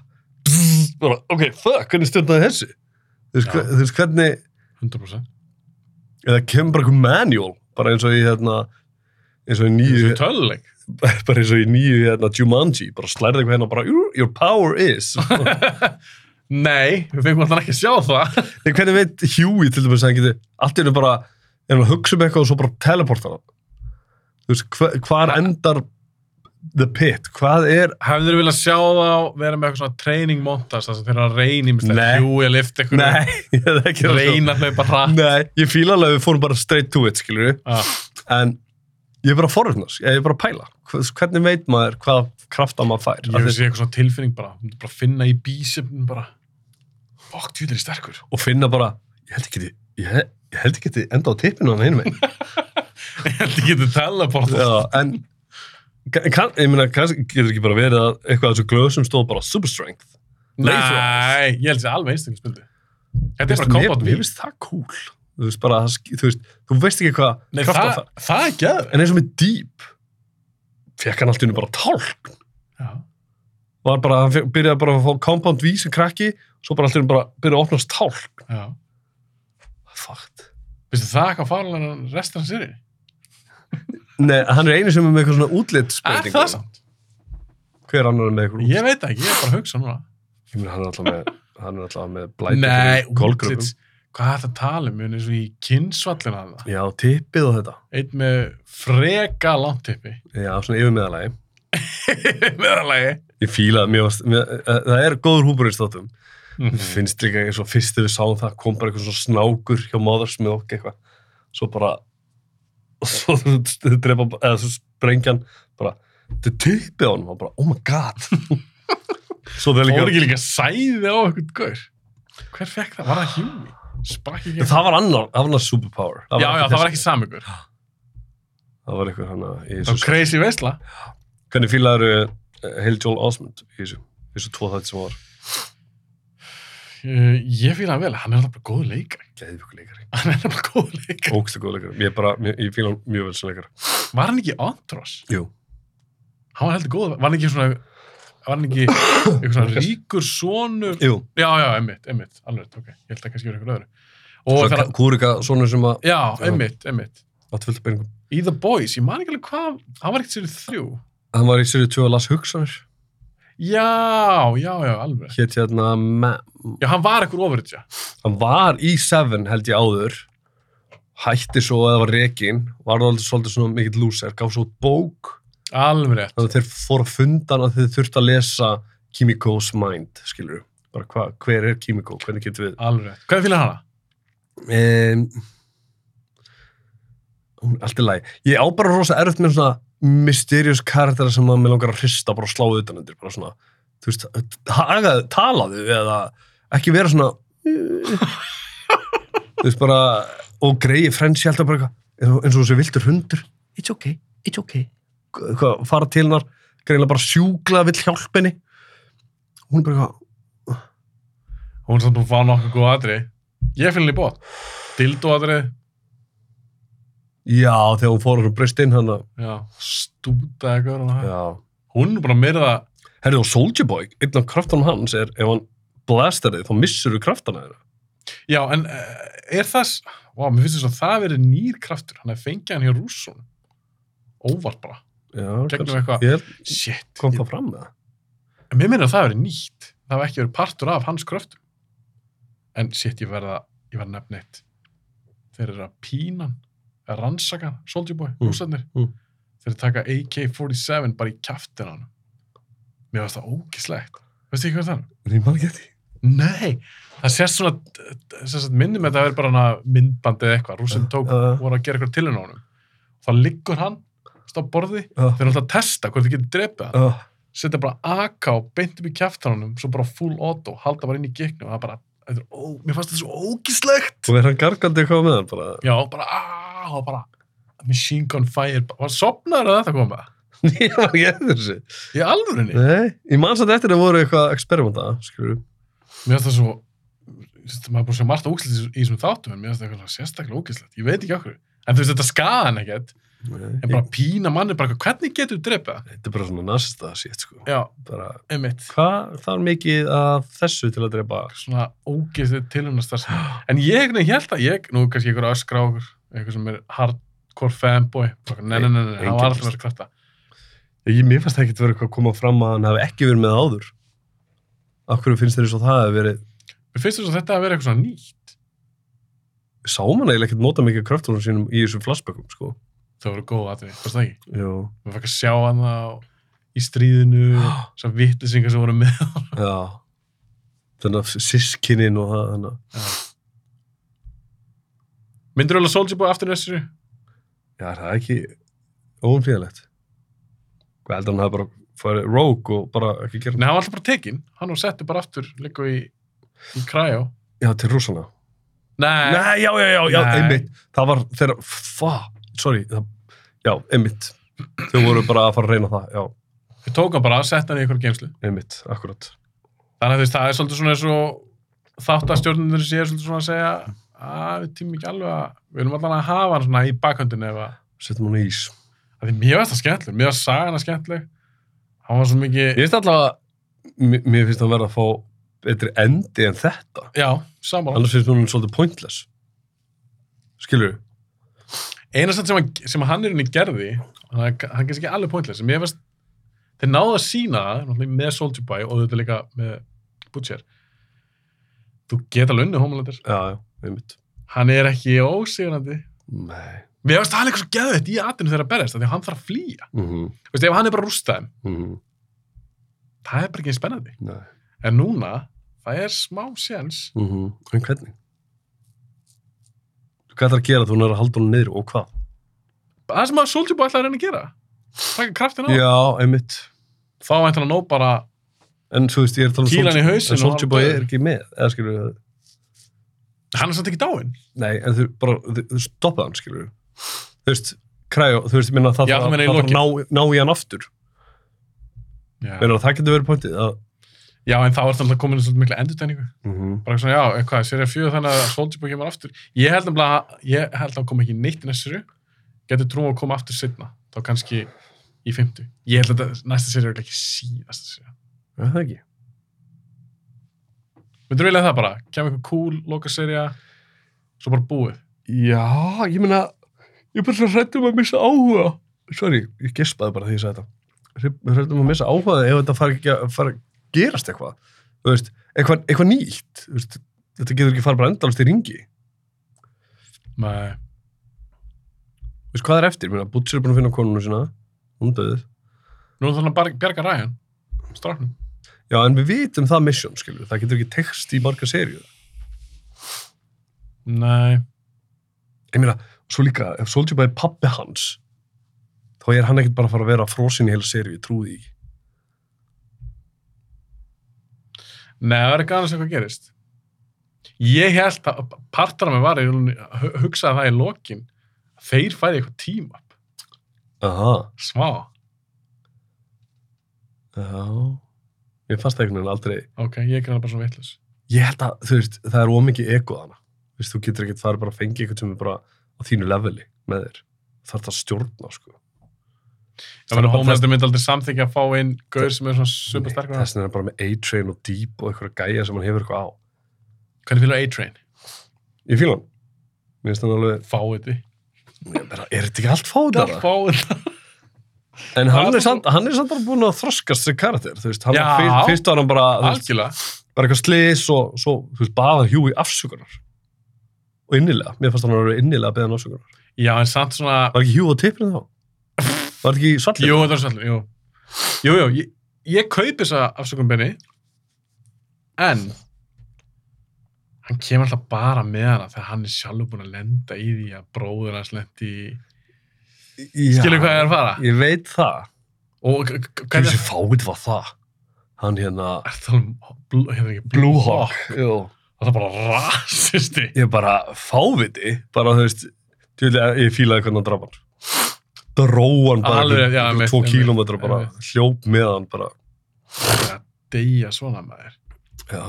Speaker 2: bzz, bara, ok, fuck, hvernig stjórnaði þessu? Þú veist,
Speaker 1: Já.
Speaker 2: hve- þú veist, hvernig,
Speaker 1: 100%
Speaker 2: eða kemur bara eitthvað manual, bara eins og í, hérna, eins og í nýju,
Speaker 1: töluleik
Speaker 2: bara eins og í nýju, hérna, Jumanji, bara slærði eitthvað hérna og bara, your, your power is.
Speaker 1: nei, við fengum alltaf ekki að sjá það
Speaker 2: Þegar hvernig veit Huey til dæmis að hann geti, allt er bara, er hann að hugsa um eitthvað og svo bara teleportar hann. Þú veist, hva, hvar endar the pit, hvað er,
Speaker 1: hefur þið viljað sjá það vera með eitthvað svona training montas þar sem þeir eru að reyna í
Speaker 2: Nei.
Speaker 1: jú, ég lift eitthvað
Speaker 2: nei, ég hef ekki að sjá.
Speaker 1: reyna að hlaupa hratt
Speaker 2: Nei, ég fíla alveg að við fórum bara straight to it, skilur við.
Speaker 1: Ah,
Speaker 2: En ég er bara forröfnars, ég er bara að pæla. Hvers- Hvernig veit maður hvað krafta maður fær?
Speaker 1: ég
Speaker 2: Af
Speaker 1: vil
Speaker 2: því-
Speaker 1: sé eitthvað svona tilfinning bara þú myndir bara finna í bísefnum bara fokk, tjúlir er ég sterkur
Speaker 2: Og finna bara, ég held ekki þið, ég, he- ég held ekki þið enda á tippinu hann einu meginn.
Speaker 1: ég held ég geti teleportað
Speaker 2: Já, en ka- kann, ég meina, kannski getur ekki bara verið að eitthvað af þessu glöðsum stóð bara super strength.
Speaker 1: Nei, ég held þessi alveg einstaklega spildu. Þetta er bara combat
Speaker 2: Mér
Speaker 1: beef.
Speaker 2: finnst það cool. Þú veist bara, að það sk- þú veist, þú veist ekki hvað
Speaker 1: Nei,
Speaker 2: krafta
Speaker 1: það,
Speaker 2: maður fær.
Speaker 1: það er gæður.
Speaker 2: En eins og með deep, fekk hann allt í hennu bara tálk. var bara, hann fe- byrjaði bara að fá compound V sem krakki, svo bara allir bara byrjaði að opnast tálk.
Speaker 1: Já.
Speaker 2: Fakt.
Speaker 1: Vistu það eitthvað fárlega en restan sér?
Speaker 2: Nei, hann er einu sem er með eitthvað svona
Speaker 1: Er
Speaker 2: útlitsbreytingu.
Speaker 1: það samt?
Speaker 2: Hver annar er með eitthvað útlits?
Speaker 1: Ég veit það ekki, ég er bara að hugsa núna.
Speaker 2: Ég meina, hann er alltaf með, hann er alltaf með blæti
Speaker 1: Nei,
Speaker 2: gólgröfum.
Speaker 1: útlits. Hvað er það að tala um? Ég er eins og í kynnsvallina það.
Speaker 2: Já, tippið og þetta.
Speaker 1: Einn með freka langtippi.
Speaker 2: Já, svona yfir meðalagi.
Speaker 1: Meðalagi.
Speaker 2: Ég fílaði mjög, mjög eh, það er góður húburins þáttum.
Speaker 1: Mhm.
Speaker 2: Mér finnst líka eins og fyrst þegar við sáum það kom bara eitthvað svona snákur hjá Mother's Milk eitthvað. Svo bara og svo þau drepa eða svo sprengjan bara þau tippið á hann og bara oh my god Svo þau
Speaker 1: Fór
Speaker 2: líka
Speaker 1: ekki líka sæði á eitthvað gaur. Hver fekk það? Var það hjúmi? Sprakk ekki.
Speaker 2: Það var annar, annar superpower
Speaker 1: Já, já, það var
Speaker 2: þessi.
Speaker 1: ekki sami ykkur.
Speaker 2: Það var eitthvað hann að í
Speaker 1: Það var
Speaker 2: þessu
Speaker 1: crazy veisla.
Speaker 2: Hvernig fílaður uh, Heil Joel Osmond í þessu, í þessu tvo þætt sem var
Speaker 1: Uh, Ég fýla hann vel, hann er alltaf bara góð leikari.
Speaker 2: Geðvíku leikari,
Speaker 1: hann er bara góð leikar
Speaker 2: ógstu góð leikari Ég, bara, ég, ég fíla hann mjög vel sem leikari
Speaker 1: var hann ekki Andros?
Speaker 2: Jú
Speaker 1: hann var heldur góð, var hann ekki svona var hann ekki eitthvað svona ríkur sonur
Speaker 2: Jú,
Speaker 1: já, já, emmitt, emmitt, alveg, rétt, ok ég held að kannski verið eitthvað öðru og
Speaker 2: svo
Speaker 1: þegar,
Speaker 2: kúrika svona sem að
Speaker 1: já, emmitt, emmitt
Speaker 2: átti fullt af peningum
Speaker 1: í The Boys, ég man ekki alveg hvað hann var ekkert sér í þrjú
Speaker 2: Hann var í sérið 2 að las hugsanir
Speaker 1: já, já, já, alveg
Speaker 2: hétt hérna Mem.
Speaker 1: já, hann var ekkur ofurutja
Speaker 2: Hann var í Seven held ég áður hætti svo eða var rekin var það svolítið svona mikill lúser gaf svo út bók
Speaker 1: alveg rétt,
Speaker 2: þannig að þeir fóru að fundan að þeir þurftu að lesa Kimiko's Mind skilur við bara hva, hver er Kimiko, hvernig getum við
Speaker 1: alveg rétt hvað fylgir hana?
Speaker 2: um, hún er allt í lagi ég á bara rosa erft með svona mysterious karakter sem að mér langar að hrista bara að slá utan undir, bara svona þú veist, hagaðu, talaðu eða ekki vera svona þú veist bara og greiði frensi alltaf bara eitthvað, eins og- eins og þessi viltur hundur it's okay, it's okay Hvað, fara til hennar, greiðlega bara sjúkla vill hjálp henni hún er bara eitthvað
Speaker 1: Hún samt hún fá nokkuð góð atri. Ég fylg henni í bótt. Dildo atri.
Speaker 2: já, þegar hún fór og breyst inn hann að-
Speaker 1: Já. Stúta eitthvað. og það.
Speaker 2: já
Speaker 1: Hún er bara að myrða
Speaker 2: herrið og Soldier Boy, einn af kraftanum hans er ef hann blastar þig, þá missur þú kraftana þeirra
Speaker 1: Já, en eh, er það... s- Vá, mér finnst þess að það verið nýr kraftur. Hann er fengið hann hjá rússum. Óvart bara. Gegnum
Speaker 2: já, kannski.
Speaker 1: eitthvað.
Speaker 2: Ég held-
Speaker 1: Shit.
Speaker 2: kom það fram með það
Speaker 1: En mér minnir að það verið nýtt. Það hafa ekki verið partur af hans kröftum. En shit, ég verða... Ég verða nefn eitt. Þeir eru að pína hann, að rannsaka hann, Soldier Boy,
Speaker 2: Mm,
Speaker 1: rússarnir.
Speaker 2: mm.
Speaker 1: Þeir eru að taka AK-47 bara í kjaftin hann. Mér varst það ógislegt. Veistu ekki hvað það er?
Speaker 2: Nei, maður geti.
Speaker 1: Nei, það sést svona sem sagt, minnum þetta að vera bara hana myndbandi eða eitthvað, rússinn tók
Speaker 2: Já, já.
Speaker 1: og voru að gera eitthvað til henni á honum. Þá liggur hann veist, á borði,
Speaker 2: Uh,
Speaker 1: þeir eru alltaf að testa hvort þið getur drepið hann,
Speaker 2: uh,
Speaker 1: setja bara AK og beint upp í kjæftan honum, svo bara full auto halda bara inn í giknum og það bara þetta er, ó, mér fannst þetta svo ógíslegt
Speaker 2: og er hann gargandi eitthvað með hann bara?
Speaker 1: Já, bara, aaa, og bara machine gun fire, bara, var sopnaður að þetta koma
Speaker 2: Ég var ekki eftir þessi.
Speaker 1: í alvörinni,
Speaker 2: Nei, ég man satt eftir að voru eitthvað experimenta, skilur við.
Speaker 1: mér fannst það svo þú veist, maður er búin að sjá margt ógíslegt í þessum þáttum en mér fannst það eitthvað sérstaklega ógíslegt, ég veit ekki okkur en þú veist þetta skaðan ekkert En bara pína manni, bara eitthvað, hvernig getur þú dreipið það?
Speaker 2: Þetta er bara svona nasista shit, sko.
Speaker 1: Já,
Speaker 2: Bara,
Speaker 1: einmitt.
Speaker 2: hvað þarf mikið af þessu til að drepa?
Speaker 1: Svona ógeðið tilhörnastar. En ég nefnir held að ég, nú kannski ykkur öskra á okkur, eitthvað sem er hardcore fanboy, bara, nei, nei, nei, nei,
Speaker 2: Engin
Speaker 1: það var alltaf
Speaker 2: list.
Speaker 1: verið krafta.
Speaker 2: Ég, mér fannst ekki að vera eitthvað að koma fram að hann hafi ekki verið með áður. Af hverju finnst þér eins og það hefur verið?
Speaker 1: Mér finnst þess að þetta að vera eitthvað svona nýtt.
Speaker 2: Sá mann eiginlega ekkert nota mikið kröftunum sínum í þessum flashbackum, sko.
Speaker 1: Það voru góð aðrið, fannst það ekki?
Speaker 2: Jú.
Speaker 1: Mér fækka að sjá hann á í stríðinu, svona vittlisingar sem voru með.
Speaker 2: Já. Þannig að sískinin og það, þannig að...
Speaker 1: Myndur þú alveg Soldier Boy aftur næstu?
Speaker 2: Já, er það ekki óumfélagt? Hvað heldur hann hafi bara farið rogue og bara ekki gera
Speaker 1: Nei, hann var alltaf bara tekinn, hann var settur bara aftur, líka í, í kræjó.
Speaker 2: Já, til rússana.
Speaker 1: Nei,
Speaker 2: Nei, já, já, já, já,
Speaker 1: Nei.
Speaker 2: einmitt. Það var þeirra, fa, sorry, það, já, einmitt. Þau voru bara að fara að reyna það, já,
Speaker 1: við tókum bara að setja hann í eitthvað geimslu.
Speaker 2: einmitt, akkurat.
Speaker 1: Þannig að þú veist, það er svolítið svona eins og þáttastjórnundur séu svolítið svona að segja að við tímum ekki alveg að við erum allan að hafa hann svona í bakhöndinu ef að
Speaker 2: Settum hann í ís.
Speaker 1: að því mjög veist það skemmtileg, mjög að saga hana skemmtileg hann var svo mikið,
Speaker 2: Ég finnst allavega, mér mér finnst hann verða að fá betri endi en þetta.
Speaker 1: já, saman
Speaker 2: Annars finnst mér hann svolítið pointless. Skilur,
Speaker 1: eina samt sem, hann, sem hann er henni gerði hann er hann er kannski ekki alveg pointless, en mér veist þeir náðu að sína það náttúrulega með Soldier Boy og þetta líka með Butcher þú get alveg unni homalandir
Speaker 2: já, já, einmitt.
Speaker 1: hann er ekki ósýrandi
Speaker 2: Nei.
Speaker 1: mér veist það er líka svo geðvett í atinu þegar að berjast af því að hann þarf að flýja,
Speaker 2: Mm -hmm,
Speaker 1: Þú veist, ef hann er bara rústaðum
Speaker 2: mm -hmm,
Speaker 1: það er bara ekki eins spennandi.
Speaker 2: nei.
Speaker 1: En núna, það er smá séns.
Speaker 2: Mm En hvernig? Hvað ætlar að gera þú næra að halda hún niður og hvað?
Speaker 1: Það sem að Soldier Boy ætlaði að reyna að gera. Takka kraftin á. hann.
Speaker 2: Já, einmitt.
Speaker 1: Þá ætlaði hann nóg bara,
Speaker 2: En svo veist, ég er að tala um
Speaker 1: Kýla hann í
Speaker 2: Soulja-
Speaker 1: hausinn
Speaker 2: en Soulja
Speaker 1: og
Speaker 2: Boy
Speaker 1: hann
Speaker 2: er
Speaker 1: dauður.
Speaker 2: ekki með, eða skilur við
Speaker 1: hann er samt ekki dáinn.
Speaker 2: Nei, en þau bara, þau- þau stoppaði hann, skilur við Þú veist, kræjó, þú veist, ég minna það
Speaker 1: Já, þú
Speaker 2: þarf
Speaker 1: meinar í
Speaker 2: það þarf að ná, ná í hann aftur
Speaker 1: Já.
Speaker 2: Meina það getur verið pointið að
Speaker 1: já, en þá er það komin í svolítið mikla endurtegningu. Bara svona, já, eitthvað, serið fjöðu þannig að Soldier Boy kemur aftur. Ég held nefnilega, ég held að hann kom ekki neitt í næstu serið. Getur trú að koma aftur setna. Þá kannski í 50. Ég held að þetta- næsta serið er örugglega ekki síðasta serið.
Speaker 2: Já, það ekki
Speaker 1: Myndur vilja það bara? Kemur eitthvað cool, loka svo bara búið.
Speaker 2: Já, ég minna Ég er bara svo hrættum að missa áhuga Sorry, ég gespaði bara því ég sagði þetta Hrættum að missa áhuga ef þetta fara ekki að fara að gerast eitthvað Þú veist, eitthvað, eitthvað nýtt Þú veist, Þetta getur ekki fara bara endalast í ringi
Speaker 1: Nei.
Speaker 2: Þú veist, hvað er eftir? Ég meina, Butcher er búin að finna konunum sína Hún döðið
Speaker 1: Nú er þannig að bjarga Ryan. Stráknum.
Speaker 2: Já, en við vitum það mission, skilur. Það getur ekki text í marga seríu.
Speaker 1: Nei.
Speaker 2: Ég meina, svo líka, ef Soulja Boy er pappi hans, þá er hann ekkert bara að fara að vera frosin í heila seríu, ég trúi því ekki.
Speaker 1: Nei, það er ekki annars eitthvað gerist. Ég held að partar af mig var, ég hugsaði það í lokin, þeir færi eitthvað tíma,
Speaker 2: Aha,
Speaker 1: smá.
Speaker 2: já. Mér fannst það einhvern veginn aldrei.
Speaker 1: Ok, ég er greinlega bara svo vittlust.
Speaker 2: Ég held að, þú veist, það er ómikið egoð hana. Þú veist, þú getur ekkert farið bara að fengi eitthvað sem er bara á þínu leveli með þér. Það er það stjórna, sko.
Speaker 1: Það verður hómlæstur myndi aldrei samþykja að fá inn gaur sem er svona super
Speaker 2: Nei,
Speaker 1: sterkur.
Speaker 2: Þess vegna er hann bara með A-Train og Deep og einhverja gæja sem hann hefur eitthvað á.
Speaker 1: Hvernig fylgur A-Train?
Speaker 2: Ég fíla hann. Mér finnst hann alveg,
Speaker 1: Fáiði.
Speaker 2: ég bara, er þetta ekki allt fáðara?
Speaker 1: Fáiði.
Speaker 2: En
Speaker 1: Það
Speaker 2: hann
Speaker 1: er
Speaker 2: er, samt, hann er samt bara búin að þroskast sem karakter, þú veist, hann
Speaker 1: Já.
Speaker 2: fyrst, fyrst var hann bara, þú veist,
Speaker 1: Algjörlega.
Speaker 2: bara eitthvað slis og svo, þú veist, baða hjúi afsökunar og innilega, mér fannst hann að vera innilega að beða hann afsökunar.
Speaker 1: Já, en samt svona...
Speaker 2: Var ekki hjúi á tippinu þá? Var þetta ekki svallið?
Speaker 1: Jú, þetta var svellum, jú. Jú, jú, ég, ég kaupi þessa afsökun Benny, en hann kemur alltaf bara með hana þegar hann er sjálfur búinn að lenda í því að bróður hans lendi í...
Speaker 2: Já,
Speaker 1: Skilur hvað ég er að fara?
Speaker 2: Ég veit það.
Speaker 1: Og k- k-
Speaker 2: Hvað
Speaker 1: hvernig...
Speaker 2: þessi fáið var það? Hann hérna,
Speaker 1: Er það um bl hérna ekki
Speaker 2: Blue Hawk, jú.
Speaker 1: Það er bara rasisti.
Speaker 2: Ég bara, fáviti, bara, þú veist, tjóðlega, ég fílaði hvernig hann draf hann. Dróan bara,
Speaker 1: Alveg,
Speaker 2: einhver-
Speaker 1: já,
Speaker 2: einhver
Speaker 1: einmitt,
Speaker 2: tvo
Speaker 1: einmitt,
Speaker 2: kílómetra bara, hljóp með hann bara,
Speaker 1: Það er að deyja svona maður.
Speaker 2: Já,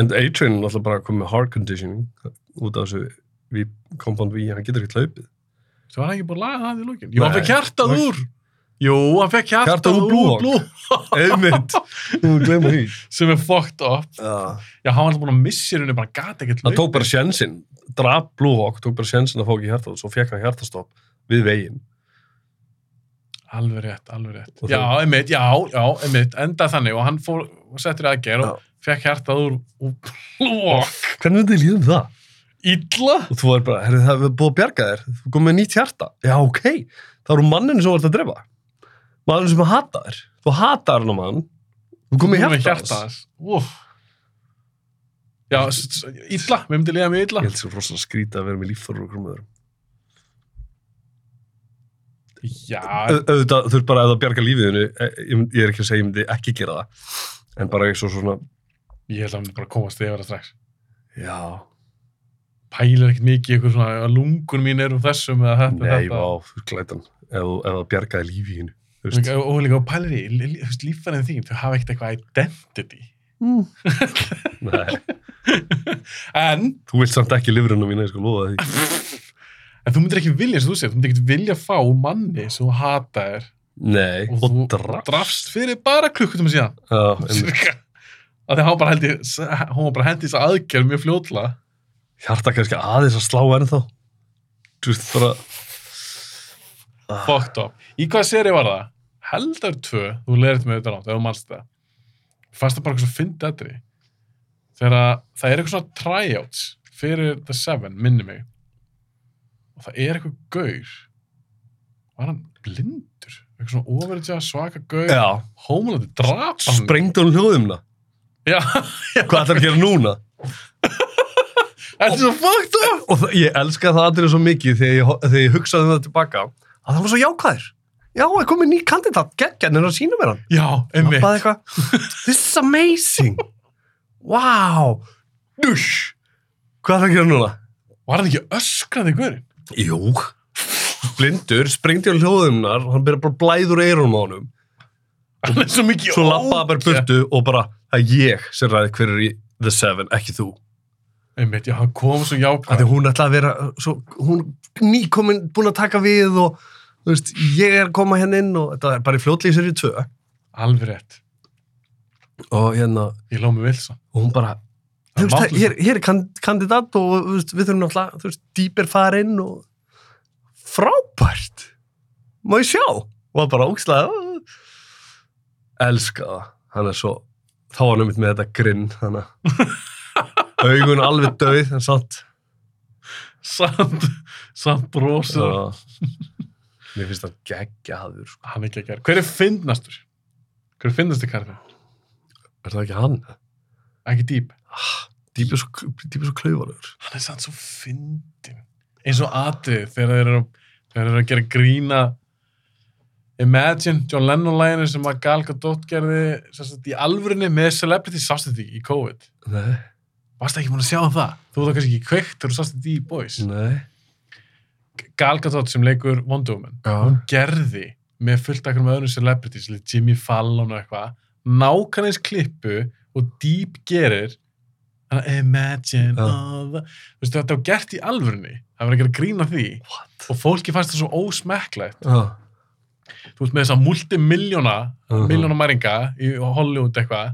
Speaker 2: en A-Train er náttúrulega bara komið með hard conditioning út af þessu við compound V, hann getur ekki hlaupið.
Speaker 1: Svo var hann ekki búinn að laga það í lókin. Jú, hann
Speaker 2: Nei.
Speaker 1: fekk hjartað úr. Jú, hann fekk hjartað
Speaker 2: Hjartað úr
Speaker 1: úr
Speaker 2: Blue Hawk.
Speaker 1: Blue Hawk,
Speaker 2: Einmitt, þú glemur því.
Speaker 1: sem er fucked up.
Speaker 2: Já.
Speaker 1: Já, hann var alltaf búinn að missa henni, bara gata ekkert
Speaker 2: Hann
Speaker 1: hlaupið.
Speaker 2: tók bara sjensin, draf Blue Hawk, tók bara sjensin að fá ekki hjartað og svo fekk hann hjartastopp við veginn.
Speaker 1: Alveg rétt, alveg rétt.
Speaker 2: Og
Speaker 1: Já,
Speaker 2: þú-
Speaker 1: einmitt, já, já, einmitt, endað þannig og hann fór og settur í aðgerð og fekk hjartað úr og plók.
Speaker 2: Hvernig myndið líðum það?
Speaker 1: Ítla?
Speaker 2: Og þú er bara, herri það er búið að bjarga þér, þú komið með nýtt hjarta. Já, ok, það eru manninu sem þú ert að drefa. Manninu sem hata þér. Þú hata hann á mann, þú komið hjarta.
Speaker 1: hjarta Ah.
Speaker 2: hans.
Speaker 1: hans. Úf. Já, s- s- ítla, við myndum liða mjög ítla.
Speaker 2: Ég held svo rosalega skrítið að vera með líffóru og krumöður.
Speaker 1: Já,
Speaker 2: Au- auðvitað þurft bara að það bjarga lífiðinu eh, ég er ekki að segja, ég myndi ekki gera það en bara eins og svona
Speaker 1: ég held að hann myndi bara komast yfir það strax.
Speaker 2: já,
Speaker 1: Pælir ekkert mikið í eitthvað svona að lungun mín eru úr þessum eða þetta.
Speaker 2: nei,
Speaker 1: þetta.
Speaker 2: vá, þú veist, glætan ef, þú- ef það bjargaði lífiðinu þú veist
Speaker 1: Líka- Og líka, og pælir í, li- li- þú veist, líffærið þín, þau hafa ekkert eitthvað identity.
Speaker 2: mm. nei,
Speaker 1: En,
Speaker 2: þú vilt samt ekki lifrinu mína, ég sko lofa því
Speaker 1: en þú myndir ekki vilja, eins og þú segir, þú myndir ekki vilja fá manni sem þú hataðir
Speaker 2: nei,
Speaker 1: og,
Speaker 2: og
Speaker 1: þú
Speaker 2: drafst
Speaker 1: drafst fyrir bara klukkutum síðan
Speaker 2: já, en
Speaker 1: cirka að því hann bara hendi hún var bara hendi þess aðgerð mjög fljótla
Speaker 2: hjarta kannski aðeins að slá ennþá þú veist bara ah,
Speaker 1: fucked up, í hvaða seri var það? Heldar 2, þú leirðið með þetta rátt ef þú manst það fannst það bara eitthvað svo fyndið aðri þegar að það er eitthvað svona tryouts fyrir The Seven, minni mig og það er eitthvað gaur var hann blindur eitthvað svona ofurðja svaka gaur
Speaker 2: já,
Speaker 1: hómulandi drapa hann
Speaker 2: sprengdi hún hljóðumna
Speaker 1: já,
Speaker 2: hvað ætlar að gera núna
Speaker 1: þetta er svo fucked up
Speaker 2: og það- ég elska það aðrið svo mikið þegar ég, ho- þegar ég hugsaði um það tilbaka að það var svo jákvæður já, það er komið ný kandidat, geggjarn er að sína mér hann
Speaker 1: já, einmitt
Speaker 2: Labbaði eitthvað, this is amazing wow dush, hvað er það að gera núna?
Speaker 1: Var hann ekki öskrandi í guðurinn?
Speaker 2: jú blindur, sprengdi á hljóðumnar hann byrja bara blæður eyrunum á honum
Speaker 1: Hann er svo mikið
Speaker 2: svo labbaði bara í
Speaker 1: ógeð.
Speaker 2: burtu og bara það er ég sem ræði hver er í The Seven, ekki þú
Speaker 1: Einmitt, já, hann kom svo
Speaker 2: að því
Speaker 1: jákvæð.
Speaker 2: hún ætla að vera svo, hún nýkomin búin að taka við og þú veist, ég er að koma hérna inn og þetta er bara í fljótlýsir í tvö
Speaker 1: Alveg rétt.
Speaker 2: og hérna,
Speaker 1: Ég lóð með Wilson.
Speaker 2: og hún bara
Speaker 1: Það er
Speaker 2: þú veist, það-
Speaker 1: máttlaust.
Speaker 2: hér, hér er kan- kandidat og þú veist, við þurfum náttúrulega, þú veist, dýper farinn og frábært má ég sjá og það bara ókslega elska það, hann er svo þá var hann um með þetta grinn þannig augun alveg döið en samt
Speaker 1: Samt, samt brosið.
Speaker 2: Já. Mér finnst það geggjaður, sko.
Speaker 1: Hann er ekki að gera. Hver er fyndnastur? Hver er fyndnastur karfið?
Speaker 2: Er það ekki hann?
Speaker 1: Ekki dýp.
Speaker 2: Dýpið svo, dýpi svo klaufarlegur.
Speaker 1: Hann er samt svo fyndin. Eins og atrið þegar þeir eru, þeir eru að gera grína Imagine, John Lennon-læginu sem að Gal Gadot gerði sem sagt, í alvörinni með Celebrity sástu þetta ekki í COVID.
Speaker 2: Nei,
Speaker 1: Varst ekki múin að sjá um það? Þú var kannski ekki kveikt þegar þú sástu þetta í Boys.
Speaker 2: nei.
Speaker 1: Gal Gadot sem leikur Wonder Woman,
Speaker 2: Já.
Speaker 1: hún gerði með fullt akkur með öðrum celebrities, like Jimmy Fallon og eitthvað, nákvæmleins klippu og dýp gerir þannig að imagine
Speaker 2: Já.
Speaker 1: all the... Þú veist, þetta var gert í alvörunni, það var ekki að grína því
Speaker 2: What? Ah.
Speaker 1: og fólki fannst það svo ósmekklegt.
Speaker 2: Já.
Speaker 1: Þú veist, með þess að multimiljóna
Speaker 2: Mhm.
Speaker 1: miljóna mæringa í Hollywood eitthvað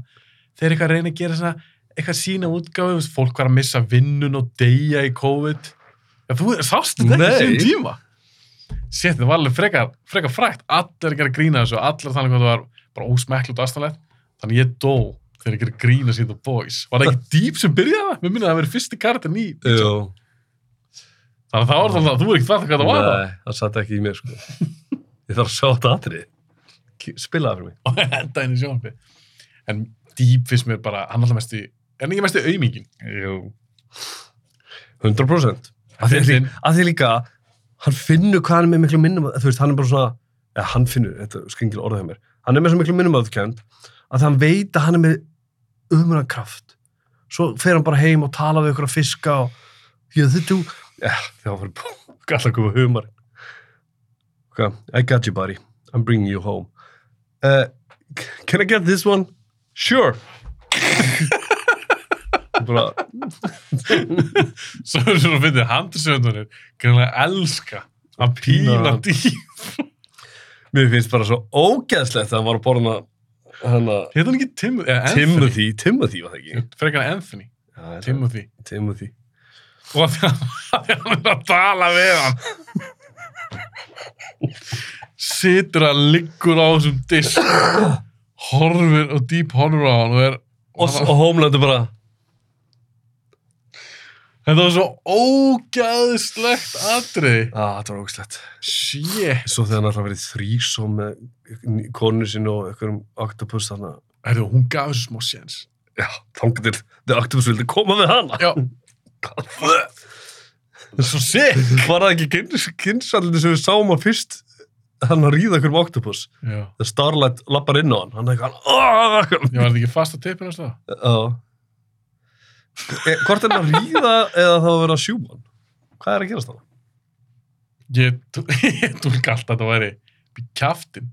Speaker 1: þeir eitthvað reyna að gera svona, eitthvað sína útgáfi, þú veist, fólk var að missa vinnun og deyja í COVID Já, þú sást þetta ekki
Speaker 2: Nei.
Speaker 1: síðan tíma Sétt, það var alveg frekar, frekar frækt allir að gera grína þessu, allir að tala um hvað það var bara ósmekklut og astanlegt þannig ég dó þegar ég gera grína síðan The Boys Var það ekki Deep sem byrjaði það? Mér minnir að það verið fyrsti kartin í
Speaker 2: Jú.
Speaker 1: Þannig að það var það, þú er ekki það hvað það var það
Speaker 2: Nei, það satt ekki í mér, sko. Ég þarf að sjá þetta atrið. Ki- Spila það fyrir mig.
Speaker 1: og enda henni sjónfi en Deep finnst mér bara, hann er alltaf mesti er hann ekki mesti auðmingin? Jú
Speaker 2: 100%. Að því,
Speaker 1: Fyndin.
Speaker 2: líka, að því líka, hann finnur hvað hann er með miklu minnum, þú veist, hann er bara svona, eða hann finnur, þetta er skringil orðið hjá mér, hann er með svo miklu minnum að hann veit að hann er með umræðan kraft. Svo fer hann bara heim og tala við ykkur að fiska og, ég þetta, já, það var bara, gæla að koma humar. Ok, I got you, buddy. I'm bringing you home. Uh, c- can I get this one? Sure. bara,
Speaker 1: Svo er svona að finna handisöndunir greinlega elska að pína
Speaker 2: Pína.
Speaker 1: dýr.
Speaker 2: Mér finnst bara svo ógeðslegt að hann var að borna hana,
Speaker 1: Hétt hann ekki Tim, eh, Anthony?
Speaker 2: Timothy, Timothy var það ekki?
Speaker 1: Frekar en Anthony,
Speaker 2: Já,
Speaker 1: Timothy.
Speaker 2: Timothy.
Speaker 1: Og að því að því að hann er að tala við hann. Situr að liggur á þessum disk, horfir og dýp horfir á hann og er...
Speaker 2: Og, s- og Homeland er bara,
Speaker 1: Þetta var svo ógæðslegt atriði.
Speaker 2: að þetta var ógeðslegt.
Speaker 1: Shit.
Speaker 2: Svo þegar hann alltaf verið þrísom með konu sinni og einhverjum octopus þarna.
Speaker 1: Herðu, hún gaf þessu smá séns.
Speaker 2: Já, þangar til þegar octopus vildi koma með hana.
Speaker 1: Já. Svo sick.
Speaker 2: Var það ekki kynsallinu sem við sáum að fyrst hann að ríða einhverjum octopus?
Speaker 1: Já.
Speaker 2: Þegar Starlight lappar inn á hann, hann er eitthvað,
Speaker 1: Ég var þetta ekki fast að tippinu þess að?
Speaker 2: Já. E, hvort er hann að ríða eða þá að vera að sjúma hann? Hvað er að gerast þannig?
Speaker 1: Ég, tú- ég tólka alltaf að þetta væri upp í kjaftin.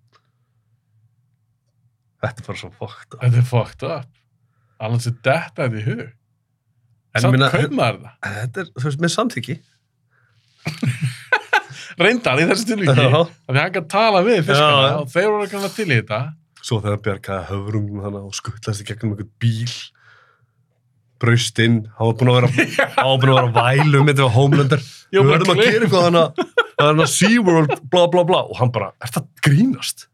Speaker 2: Þetta er bara svo fokkt. En
Speaker 1: Þetta er fucked up. Allan sem detta þetta í hug.
Speaker 2: En
Speaker 1: Samt
Speaker 2: minna-
Speaker 1: kaup maður það.
Speaker 2: Eh, Þetta er, þú veist, með samþyggi.
Speaker 1: Reyndar í þessu tilvíki.
Speaker 2: Já.
Speaker 1: Af því hann kann tala við fiskana
Speaker 2: Já, já.
Speaker 1: og þeir voru kannar til í þetta.
Speaker 2: Svo þegar hann bjargaði höfrungum þannig og skuttlast í gegnum einhvern bíl, braust inn, hann var búinn að vera, hann var búinn að vera vælum, þetta var homelander.
Speaker 1: Ég
Speaker 2: Við
Speaker 1: var
Speaker 2: verðum
Speaker 1: bara
Speaker 2: að
Speaker 1: klip.
Speaker 2: gera eitthvað þannig að, þannig að SeaWorld, bla bla bla, og hann bara, er það grínast?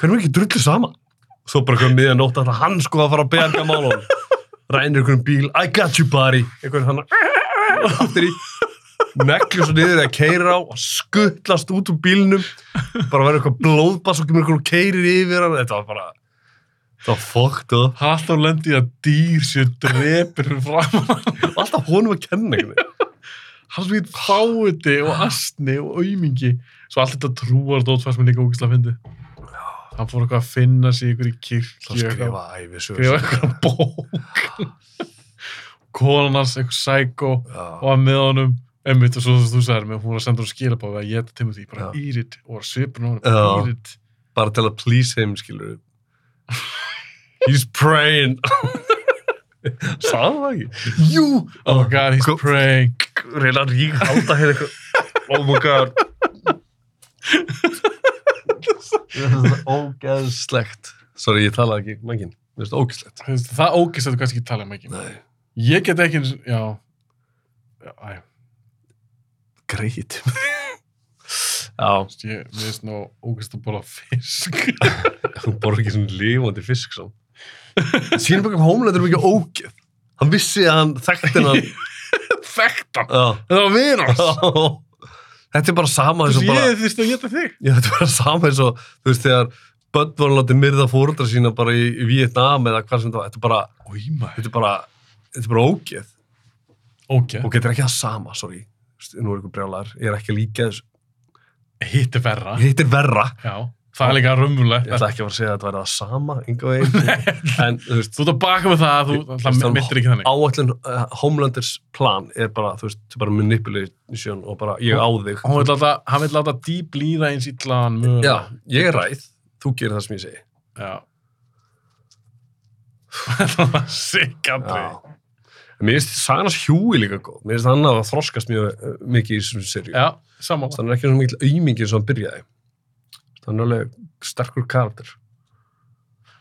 Speaker 2: Hvernig er ekki drullu saman? Svo bara eitthvað miðan nótt að hann sko að fara að berga málunum. Rænir einhverjum bíl, I got you buddy, einhvern hann að, aftur í, neglur svo niður eða keirir á og skuttlast út úr bílnum, bara verður eitthvað blóðbass og kemur einhverjum og keirir yfir hann, þetta var bara, þetta var fokkt og
Speaker 1: Halló lendi í að dýr sér drepir fyrir framan hann.
Speaker 2: alltaf honum að kenna einhvern veginn.
Speaker 1: Hann sem heit fáiði og astni og aumingi. Svo allt þetta trúar dótfærs mér líka ógislega að fyndi. Hann fór eitthvað að finna sig ykkur í kirkju.
Speaker 2: Það skrifa æfisögur.
Speaker 1: skrifa eitthvað bók konan hans, eitthvað sækó og
Speaker 2: Já,
Speaker 1: að með honum einmitt og svo þú sagðir mig, hún var að senda hún skilabóð að ég þetta Timothy, bara
Speaker 2: Já.
Speaker 1: írit og var svipin á honum,
Speaker 2: Já.
Speaker 1: bara írit
Speaker 2: bara til að please him, skilur við. He's praying. Sáðu það ekki?
Speaker 1: Jú! Oh my god, he's
Speaker 2: Kom-
Speaker 1: praying
Speaker 2: Reyna að rík halda hér eitthvað. Oh my god. Þetta er ógeðslegt. Sorry, ég talaði ekki mækin. Þetta er ógeðslegt.
Speaker 1: Þú veist, Það ógist að þú kannski ekki tala um ekki
Speaker 2: Nei.
Speaker 1: Ég get ekki, eins- já Já, æ,
Speaker 2: Greit. Já,
Speaker 1: þú veist, ég mér finnst nú ógist að bóla fisk
Speaker 2: þú borður ekki svona lifandi fisk svo. Sýnum bara um Homeland er mikið ógeð. Hann vissi að hann þekkti hann.
Speaker 1: Þekktan,
Speaker 2: Já.
Speaker 1: þetta var vinast
Speaker 2: Þetta er bara sama eins og bara...
Speaker 1: Ég þýrst að geta þig
Speaker 2: Já, þetta var sama eins og, þú veist, þegar börn var látið myrða fóröldra sína bara í, í Vietnam eða hvað sem þetta var, þetta er bara,
Speaker 1: Ójma
Speaker 2: þetta er bara, þetta er bara ógeð.
Speaker 1: Ok,
Speaker 2: Og þetta er ekki það sama, sorry, Þú veist, nú er ykkur brjálar, ég er ekki að líka þessu.
Speaker 1: hitt er verra
Speaker 2: Hitt er verra,
Speaker 1: Já, Það er líka
Speaker 2: Ég
Speaker 1: rumvulegt.
Speaker 2: ætla ekki að fara að segja að þetta væri það sama, yngu veginn. en, þú veist,
Speaker 1: Þú ert að baka með það að
Speaker 2: Ég-
Speaker 1: þú
Speaker 2: Kristján-
Speaker 1: mittir ekki þannig.
Speaker 2: áallin uh, Homelanders plan er bara, þú veist, bara manipulation og bara ég á þig.
Speaker 1: Hún vil láta, hann vil láta dýb líða eins illa hann mögulega.
Speaker 2: Já, ég ræð, þú gerir það sem ég segi.
Speaker 1: Já. Þetta var sick atrið.
Speaker 2: Já. En Mér finnst Sanas Hjúi líka góð. Mér finnst hann að þroskast mjög uh, mikið í þessum serju.
Speaker 1: Já, samanlega.
Speaker 2: Þannig er ekki svona mikil aumingi eins og hann byrjaði. Þannig er alveg sterkur karakter.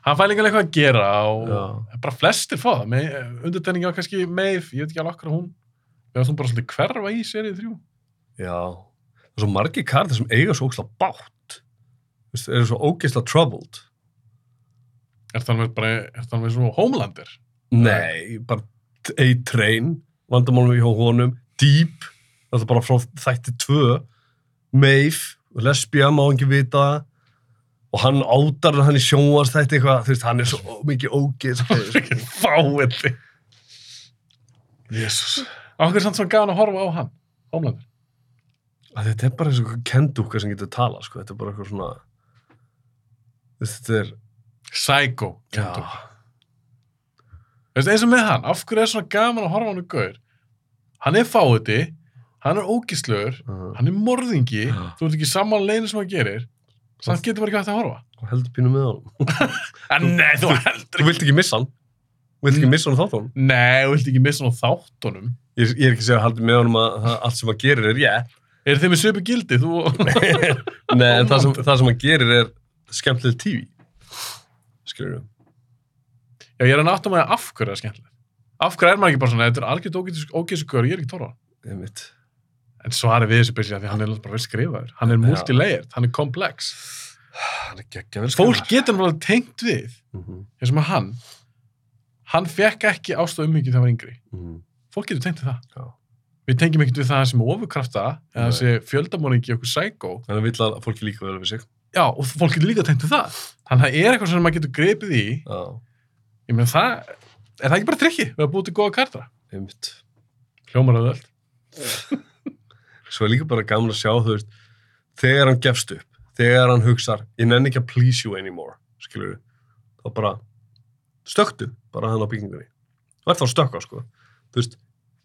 Speaker 1: Hann fær líka alveg eitthvað að gera og
Speaker 2: Já.
Speaker 1: bara flestir fá það. Undertenningi var kannski Maeve, ég veit ekki alveg okkur að hún. Við varst hún bara svolítið hverfa í serið þrjú.
Speaker 2: Já. Það er svo margir karakter sem eiga svo ógislega bátt. Þú veist, eru svo ógislega troubled.
Speaker 1: Er það alveg bara, er það alveg svo homelander?
Speaker 2: Nei, bara A-Train, vandamálum hjá honum, Deep, það er bara frá þætti 2, Maeve, lesbía, má ekki vita það, og hann átar hann í sjónvars þætti eitthvað, þú veist, hann er svo mikið ógeð.
Speaker 1: Það er ekki fáiði.
Speaker 2: Jésús.
Speaker 1: Okkur er samt svo gana að horfa á hann, homelander.
Speaker 2: Þetta er bara eins og eitthvað kendúka sem getur talað, sko, þetta er bara eitthvað svona, þú veist, þetta er,
Speaker 1: Psycho. Kentucky.
Speaker 2: já,
Speaker 1: Veist, eins og með hann, af hverju er svona gaman að horfa á hann og gaur? Hann er fáiði, hann er ógislögur,
Speaker 2: uh,
Speaker 1: hann er morðingi,
Speaker 2: Já.
Speaker 1: þú ert ekki saman leiðin sem hann gerir, samt getur maður ekki hægt að horfa.
Speaker 2: heldur pínu með honum.
Speaker 1: En nei, þú heldur
Speaker 2: Þú vilt ekki missa hann, þú vilt ekki missa hann þáttunum.
Speaker 1: Nei, þú vilt ekki missa hann á þáttunum.
Speaker 2: Ég, ég er ekki að segja að haldur með honum að það- allt sem hann gerir er ég,
Speaker 1: Er þeim með svipu gildi? Þú...
Speaker 2: Nei, en það sem, það sem hann gerir er skemmtileg tífi. Skilur við?
Speaker 1: Já, ég er að náttum að það af hverju það er skemmtilegt. Af hverju er maður ekki bara svona, þetta er algjörð ógeðsugur, ég er ekki tóra.
Speaker 2: Ég mitt.
Speaker 1: En svarið við þessu byrja því hann er bara vel skrifaður. Hann er
Speaker 2: Já.
Speaker 1: multilayered, hann er komplex.
Speaker 2: Hann er geggja vel
Speaker 1: Fólk getur náttúrulega tengt við,
Speaker 2: Mm -hmm.
Speaker 1: eins og með hann, hann fekk ekki ástöð umhyggju þegar hann var yngri. Fólk getur tengt við það.
Speaker 2: mhm, Já.
Speaker 1: Við tengjum ekkert við það sem er ofurkrafta, eða
Speaker 2: Nei.
Speaker 1: þessi fjöldamóningi okkur psycho.
Speaker 2: Þannig að vill að fólki líka vel við sig.
Speaker 1: Já, og fólk getur líka tengt við það. Þannig að það er eitthvað sem maður getur grepið í
Speaker 2: Já,
Speaker 1: Ég meina það, er það ekki bara trikki? Við hafa búið til góða kartra.
Speaker 2: ég mitt.
Speaker 1: Hljómar að öll.
Speaker 2: Svo er líka bara gaman að sjá, þú veist, þegar hann gefst upp, þegar hann hugsar, ég nenni ekki að please you anymore, skilur við? Þá bara stöktu bara hann á byggingunni. Þú ert þá að stökka, sko. Þú veist,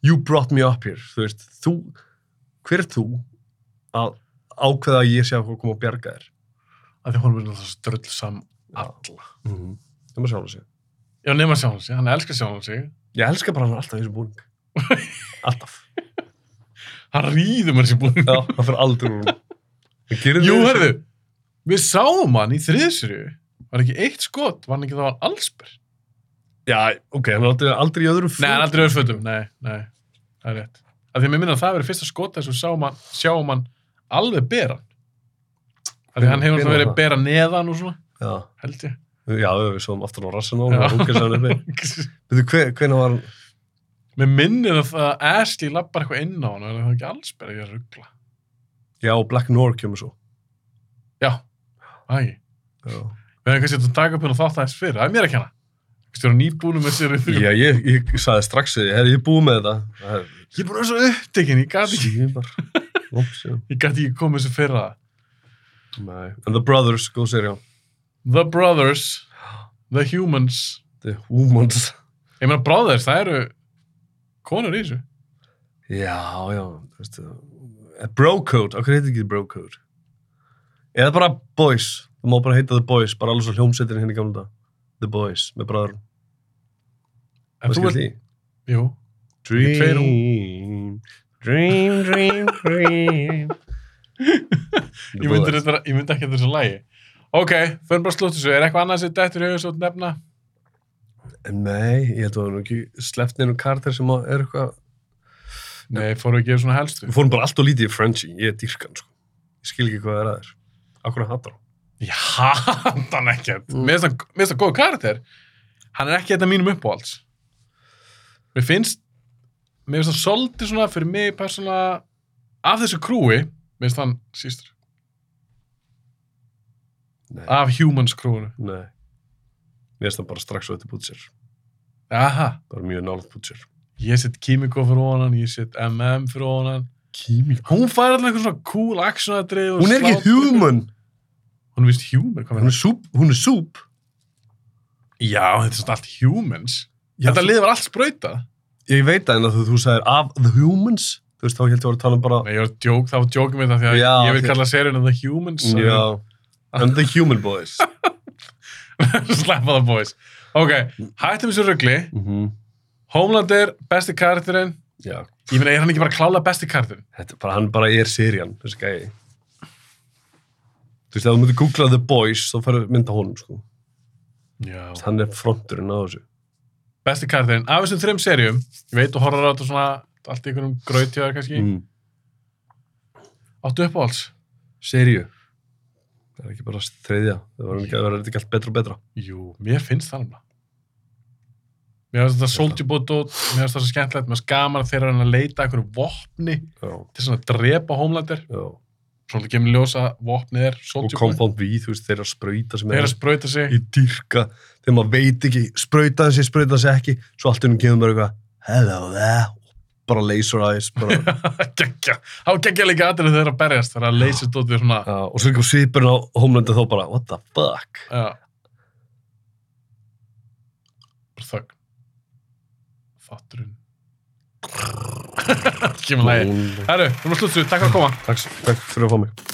Speaker 2: you brought me up here, þú veist, þú, hver er þú að ákveða að ég sé að koma og bjarga þér?
Speaker 1: Af því hún verður náttúrulega ströll sam alla.
Speaker 2: Mm -hmm. Það maður sjálf sig.
Speaker 1: Já, nema sjálfan sig. Hann elskar sjálfan sig.
Speaker 2: Ég elska bara hann alltaf í þessum búning. Alltaf.
Speaker 1: Hann rýður mér sér búin.
Speaker 2: Já, hann fyrir aldrei úr hún. Það gerir
Speaker 1: Jú,
Speaker 2: þau-
Speaker 1: herðu, við sáum hann í þriðsuru. Var ekki eitt skot, var hann ekki þá hann allsber?
Speaker 2: Já, ok, hann er aldrei, aldrei í öðru
Speaker 1: Nei, hann er aldrei öðfötum. Nei, nei, það er rétt. Af því að mér minna að það verið fyrsta skot þess að við sáum hann, sjáum hann alveg beran. Af því að hann hefur
Speaker 2: Hvenær
Speaker 1: náttúrulega verið
Speaker 2: var það?
Speaker 1: bera neðan og svona,
Speaker 2: Já,
Speaker 1: held ég.
Speaker 2: já við svoðum aftur á rassinu og
Speaker 1: Já.
Speaker 2: hann húkast hann uppi. Veitu, hve- hvenær var hann?
Speaker 1: Mér minnir að það að Ashley lappar eitthvað inn á hann og er það ekki alls bara ekki að ruggla.
Speaker 2: Já, Black Noir kemur svo.
Speaker 1: Já, það ekki.
Speaker 2: Já,
Speaker 1: Við hefum kannski þetta að taka upp hérna þátt aðeins fyrir. Það er mér að kenna. Kannski eru nýbúinu með sér í þrjú.
Speaker 2: já ég, ég sagði strax því, herri, ég er búið með þetta. Það er-
Speaker 1: Ég er bara svo upptekinn, ég gæti ekki,
Speaker 2: Síðan bara, langt síðan.
Speaker 1: ég gat ekki komið þessu fyrir það.
Speaker 2: Nei. And The Brothers, góð serið,
Speaker 1: The Brothers, The Humans.
Speaker 2: The Humans.
Speaker 1: Ég meina Brothers, það eru konur í þessu.
Speaker 2: Já, já, þú veist, eh, Bro Code, okkur heitir ekki Bro Code? Eða bara Boys, það má bara heita The Boys, bara alveg svo hljómsveitin henni gamla dag. The Boys, með bræður.
Speaker 1: En þú ert,
Speaker 2: því?
Speaker 1: jú, Í tveir
Speaker 2: Dream, dream, dream, dream.
Speaker 1: ég myndi, þetta, ég myndi ekki að þessu lægi. Ok, förum bara að slúta þessu. Er eitthvað annað sem dættur í auðvitað nefna?
Speaker 2: Nei, ég held að það var ekki sleppt neina karakter sem að er eitthvað...
Speaker 1: Nei, fórum við að gefa svona helstu.
Speaker 2: Við fórum bara allt og lítið í Frenchie, ég er dýrkan, sko. Ég skil ekki hvað það er að þér. Akkur að hata hann.
Speaker 1: Ég hata hann ekkert.
Speaker 2: Mm.
Speaker 1: Mér finnst hann- mér finnst það góð karakter. Hann er ekki þetta mínum uppáhalds. Mér finnst, mér finnst það svolítið svona fyrir mig persónulega af þessu krúi, mér finnst hann sístur.
Speaker 2: Nei.
Speaker 1: Af humans krúinu.
Speaker 2: Nei. Mér finnst það bara strax á þetta bútsir.
Speaker 1: Aha.
Speaker 2: Bara mjög nálaðt bútsir.
Speaker 1: Ég set Kimiko fyrir honan, ég set MM fyrir honan.
Speaker 2: Kími.
Speaker 1: Hún fær alltaf eitthvað svona cool action aðrið.
Speaker 2: Hún er ekki human.
Speaker 1: Hún er vist human, hvað
Speaker 2: Hún
Speaker 1: með
Speaker 2: er súb, hún er súb.
Speaker 1: Já, þetta er svona allt humans.
Speaker 2: Já,
Speaker 1: þetta lið var allt spröyta.
Speaker 2: Ég veit það en að þú, þú sagðir af The Humans, þú veist, þá heldur þú að tala um bara,
Speaker 1: Nei, ég var að djók, það var djókum við það því að
Speaker 2: Já,
Speaker 1: ég vil
Speaker 2: því-
Speaker 1: kalla seríuna The Humans.
Speaker 2: já, and The Human Boys.
Speaker 1: Sleppa það, boys. Ok, hættum þessu rugli. Homelander, besti karakterinn.
Speaker 2: Já,
Speaker 1: Ég meina, er hann ekki bara klála besti karakterinn?
Speaker 2: þetta er bara, hann bara er serían, þessi gæi. Þú veist, ef þú myndir googla The Boys, þá færðu mynda honum, sko.
Speaker 1: Já.
Speaker 2: Hann er fronturinn á þessu.
Speaker 1: Besti karakterinn. Af þessum þreim seríum, ég veit og horfður á þetta svona allt í einhverjum grautjöðar kannski.
Speaker 2: Mm.
Speaker 1: Áttu upp á alls?
Speaker 2: Seríu. Það er ekki bara þriðja, það var ekki, það var ekki allt betra og betra.
Speaker 1: Jú, mér finnst það alveg. Mér finnst þetta Soldier Boy dót, mér finnst það svo skemmtilegt, mér finnst gaman að þeir eru að reyna að leita að einhverju vopni
Speaker 2: Já,
Speaker 1: til svona að drepa Homelander.
Speaker 2: já.
Speaker 1: Svolítið kemur ljósa vopnið er
Speaker 2: Og
Speaker 1: Soldier Boy.
Speaker 2: Compound V, þú veist, þeirra spröyta sem
Speaker 1: Þeir eru að sprauta sig.
Speaker 2: ég dyrka þegar maður veit ekki, sprauta þessi, sprauta þessi ekki svo allt innum kemur bara eitthvað hello there, bara laser eyes bara,
Speaker 1: Gekkja. Há gekkja líka aðrið þeir eru að berjast, þeir eru að leysa dót við svona...
Speaker 2: já, og svo líka svipurinn á homelandu þá bara, what the fuck
Speaker 1: Já. Bara þögn. Fatturinn. Kemur lægi.
Speaker 2: Hún-
Speaker 1: Herru, við erum að sluttu. Takk fyrir að koma.
Speaker 2: takk, takk fyrir að fá mig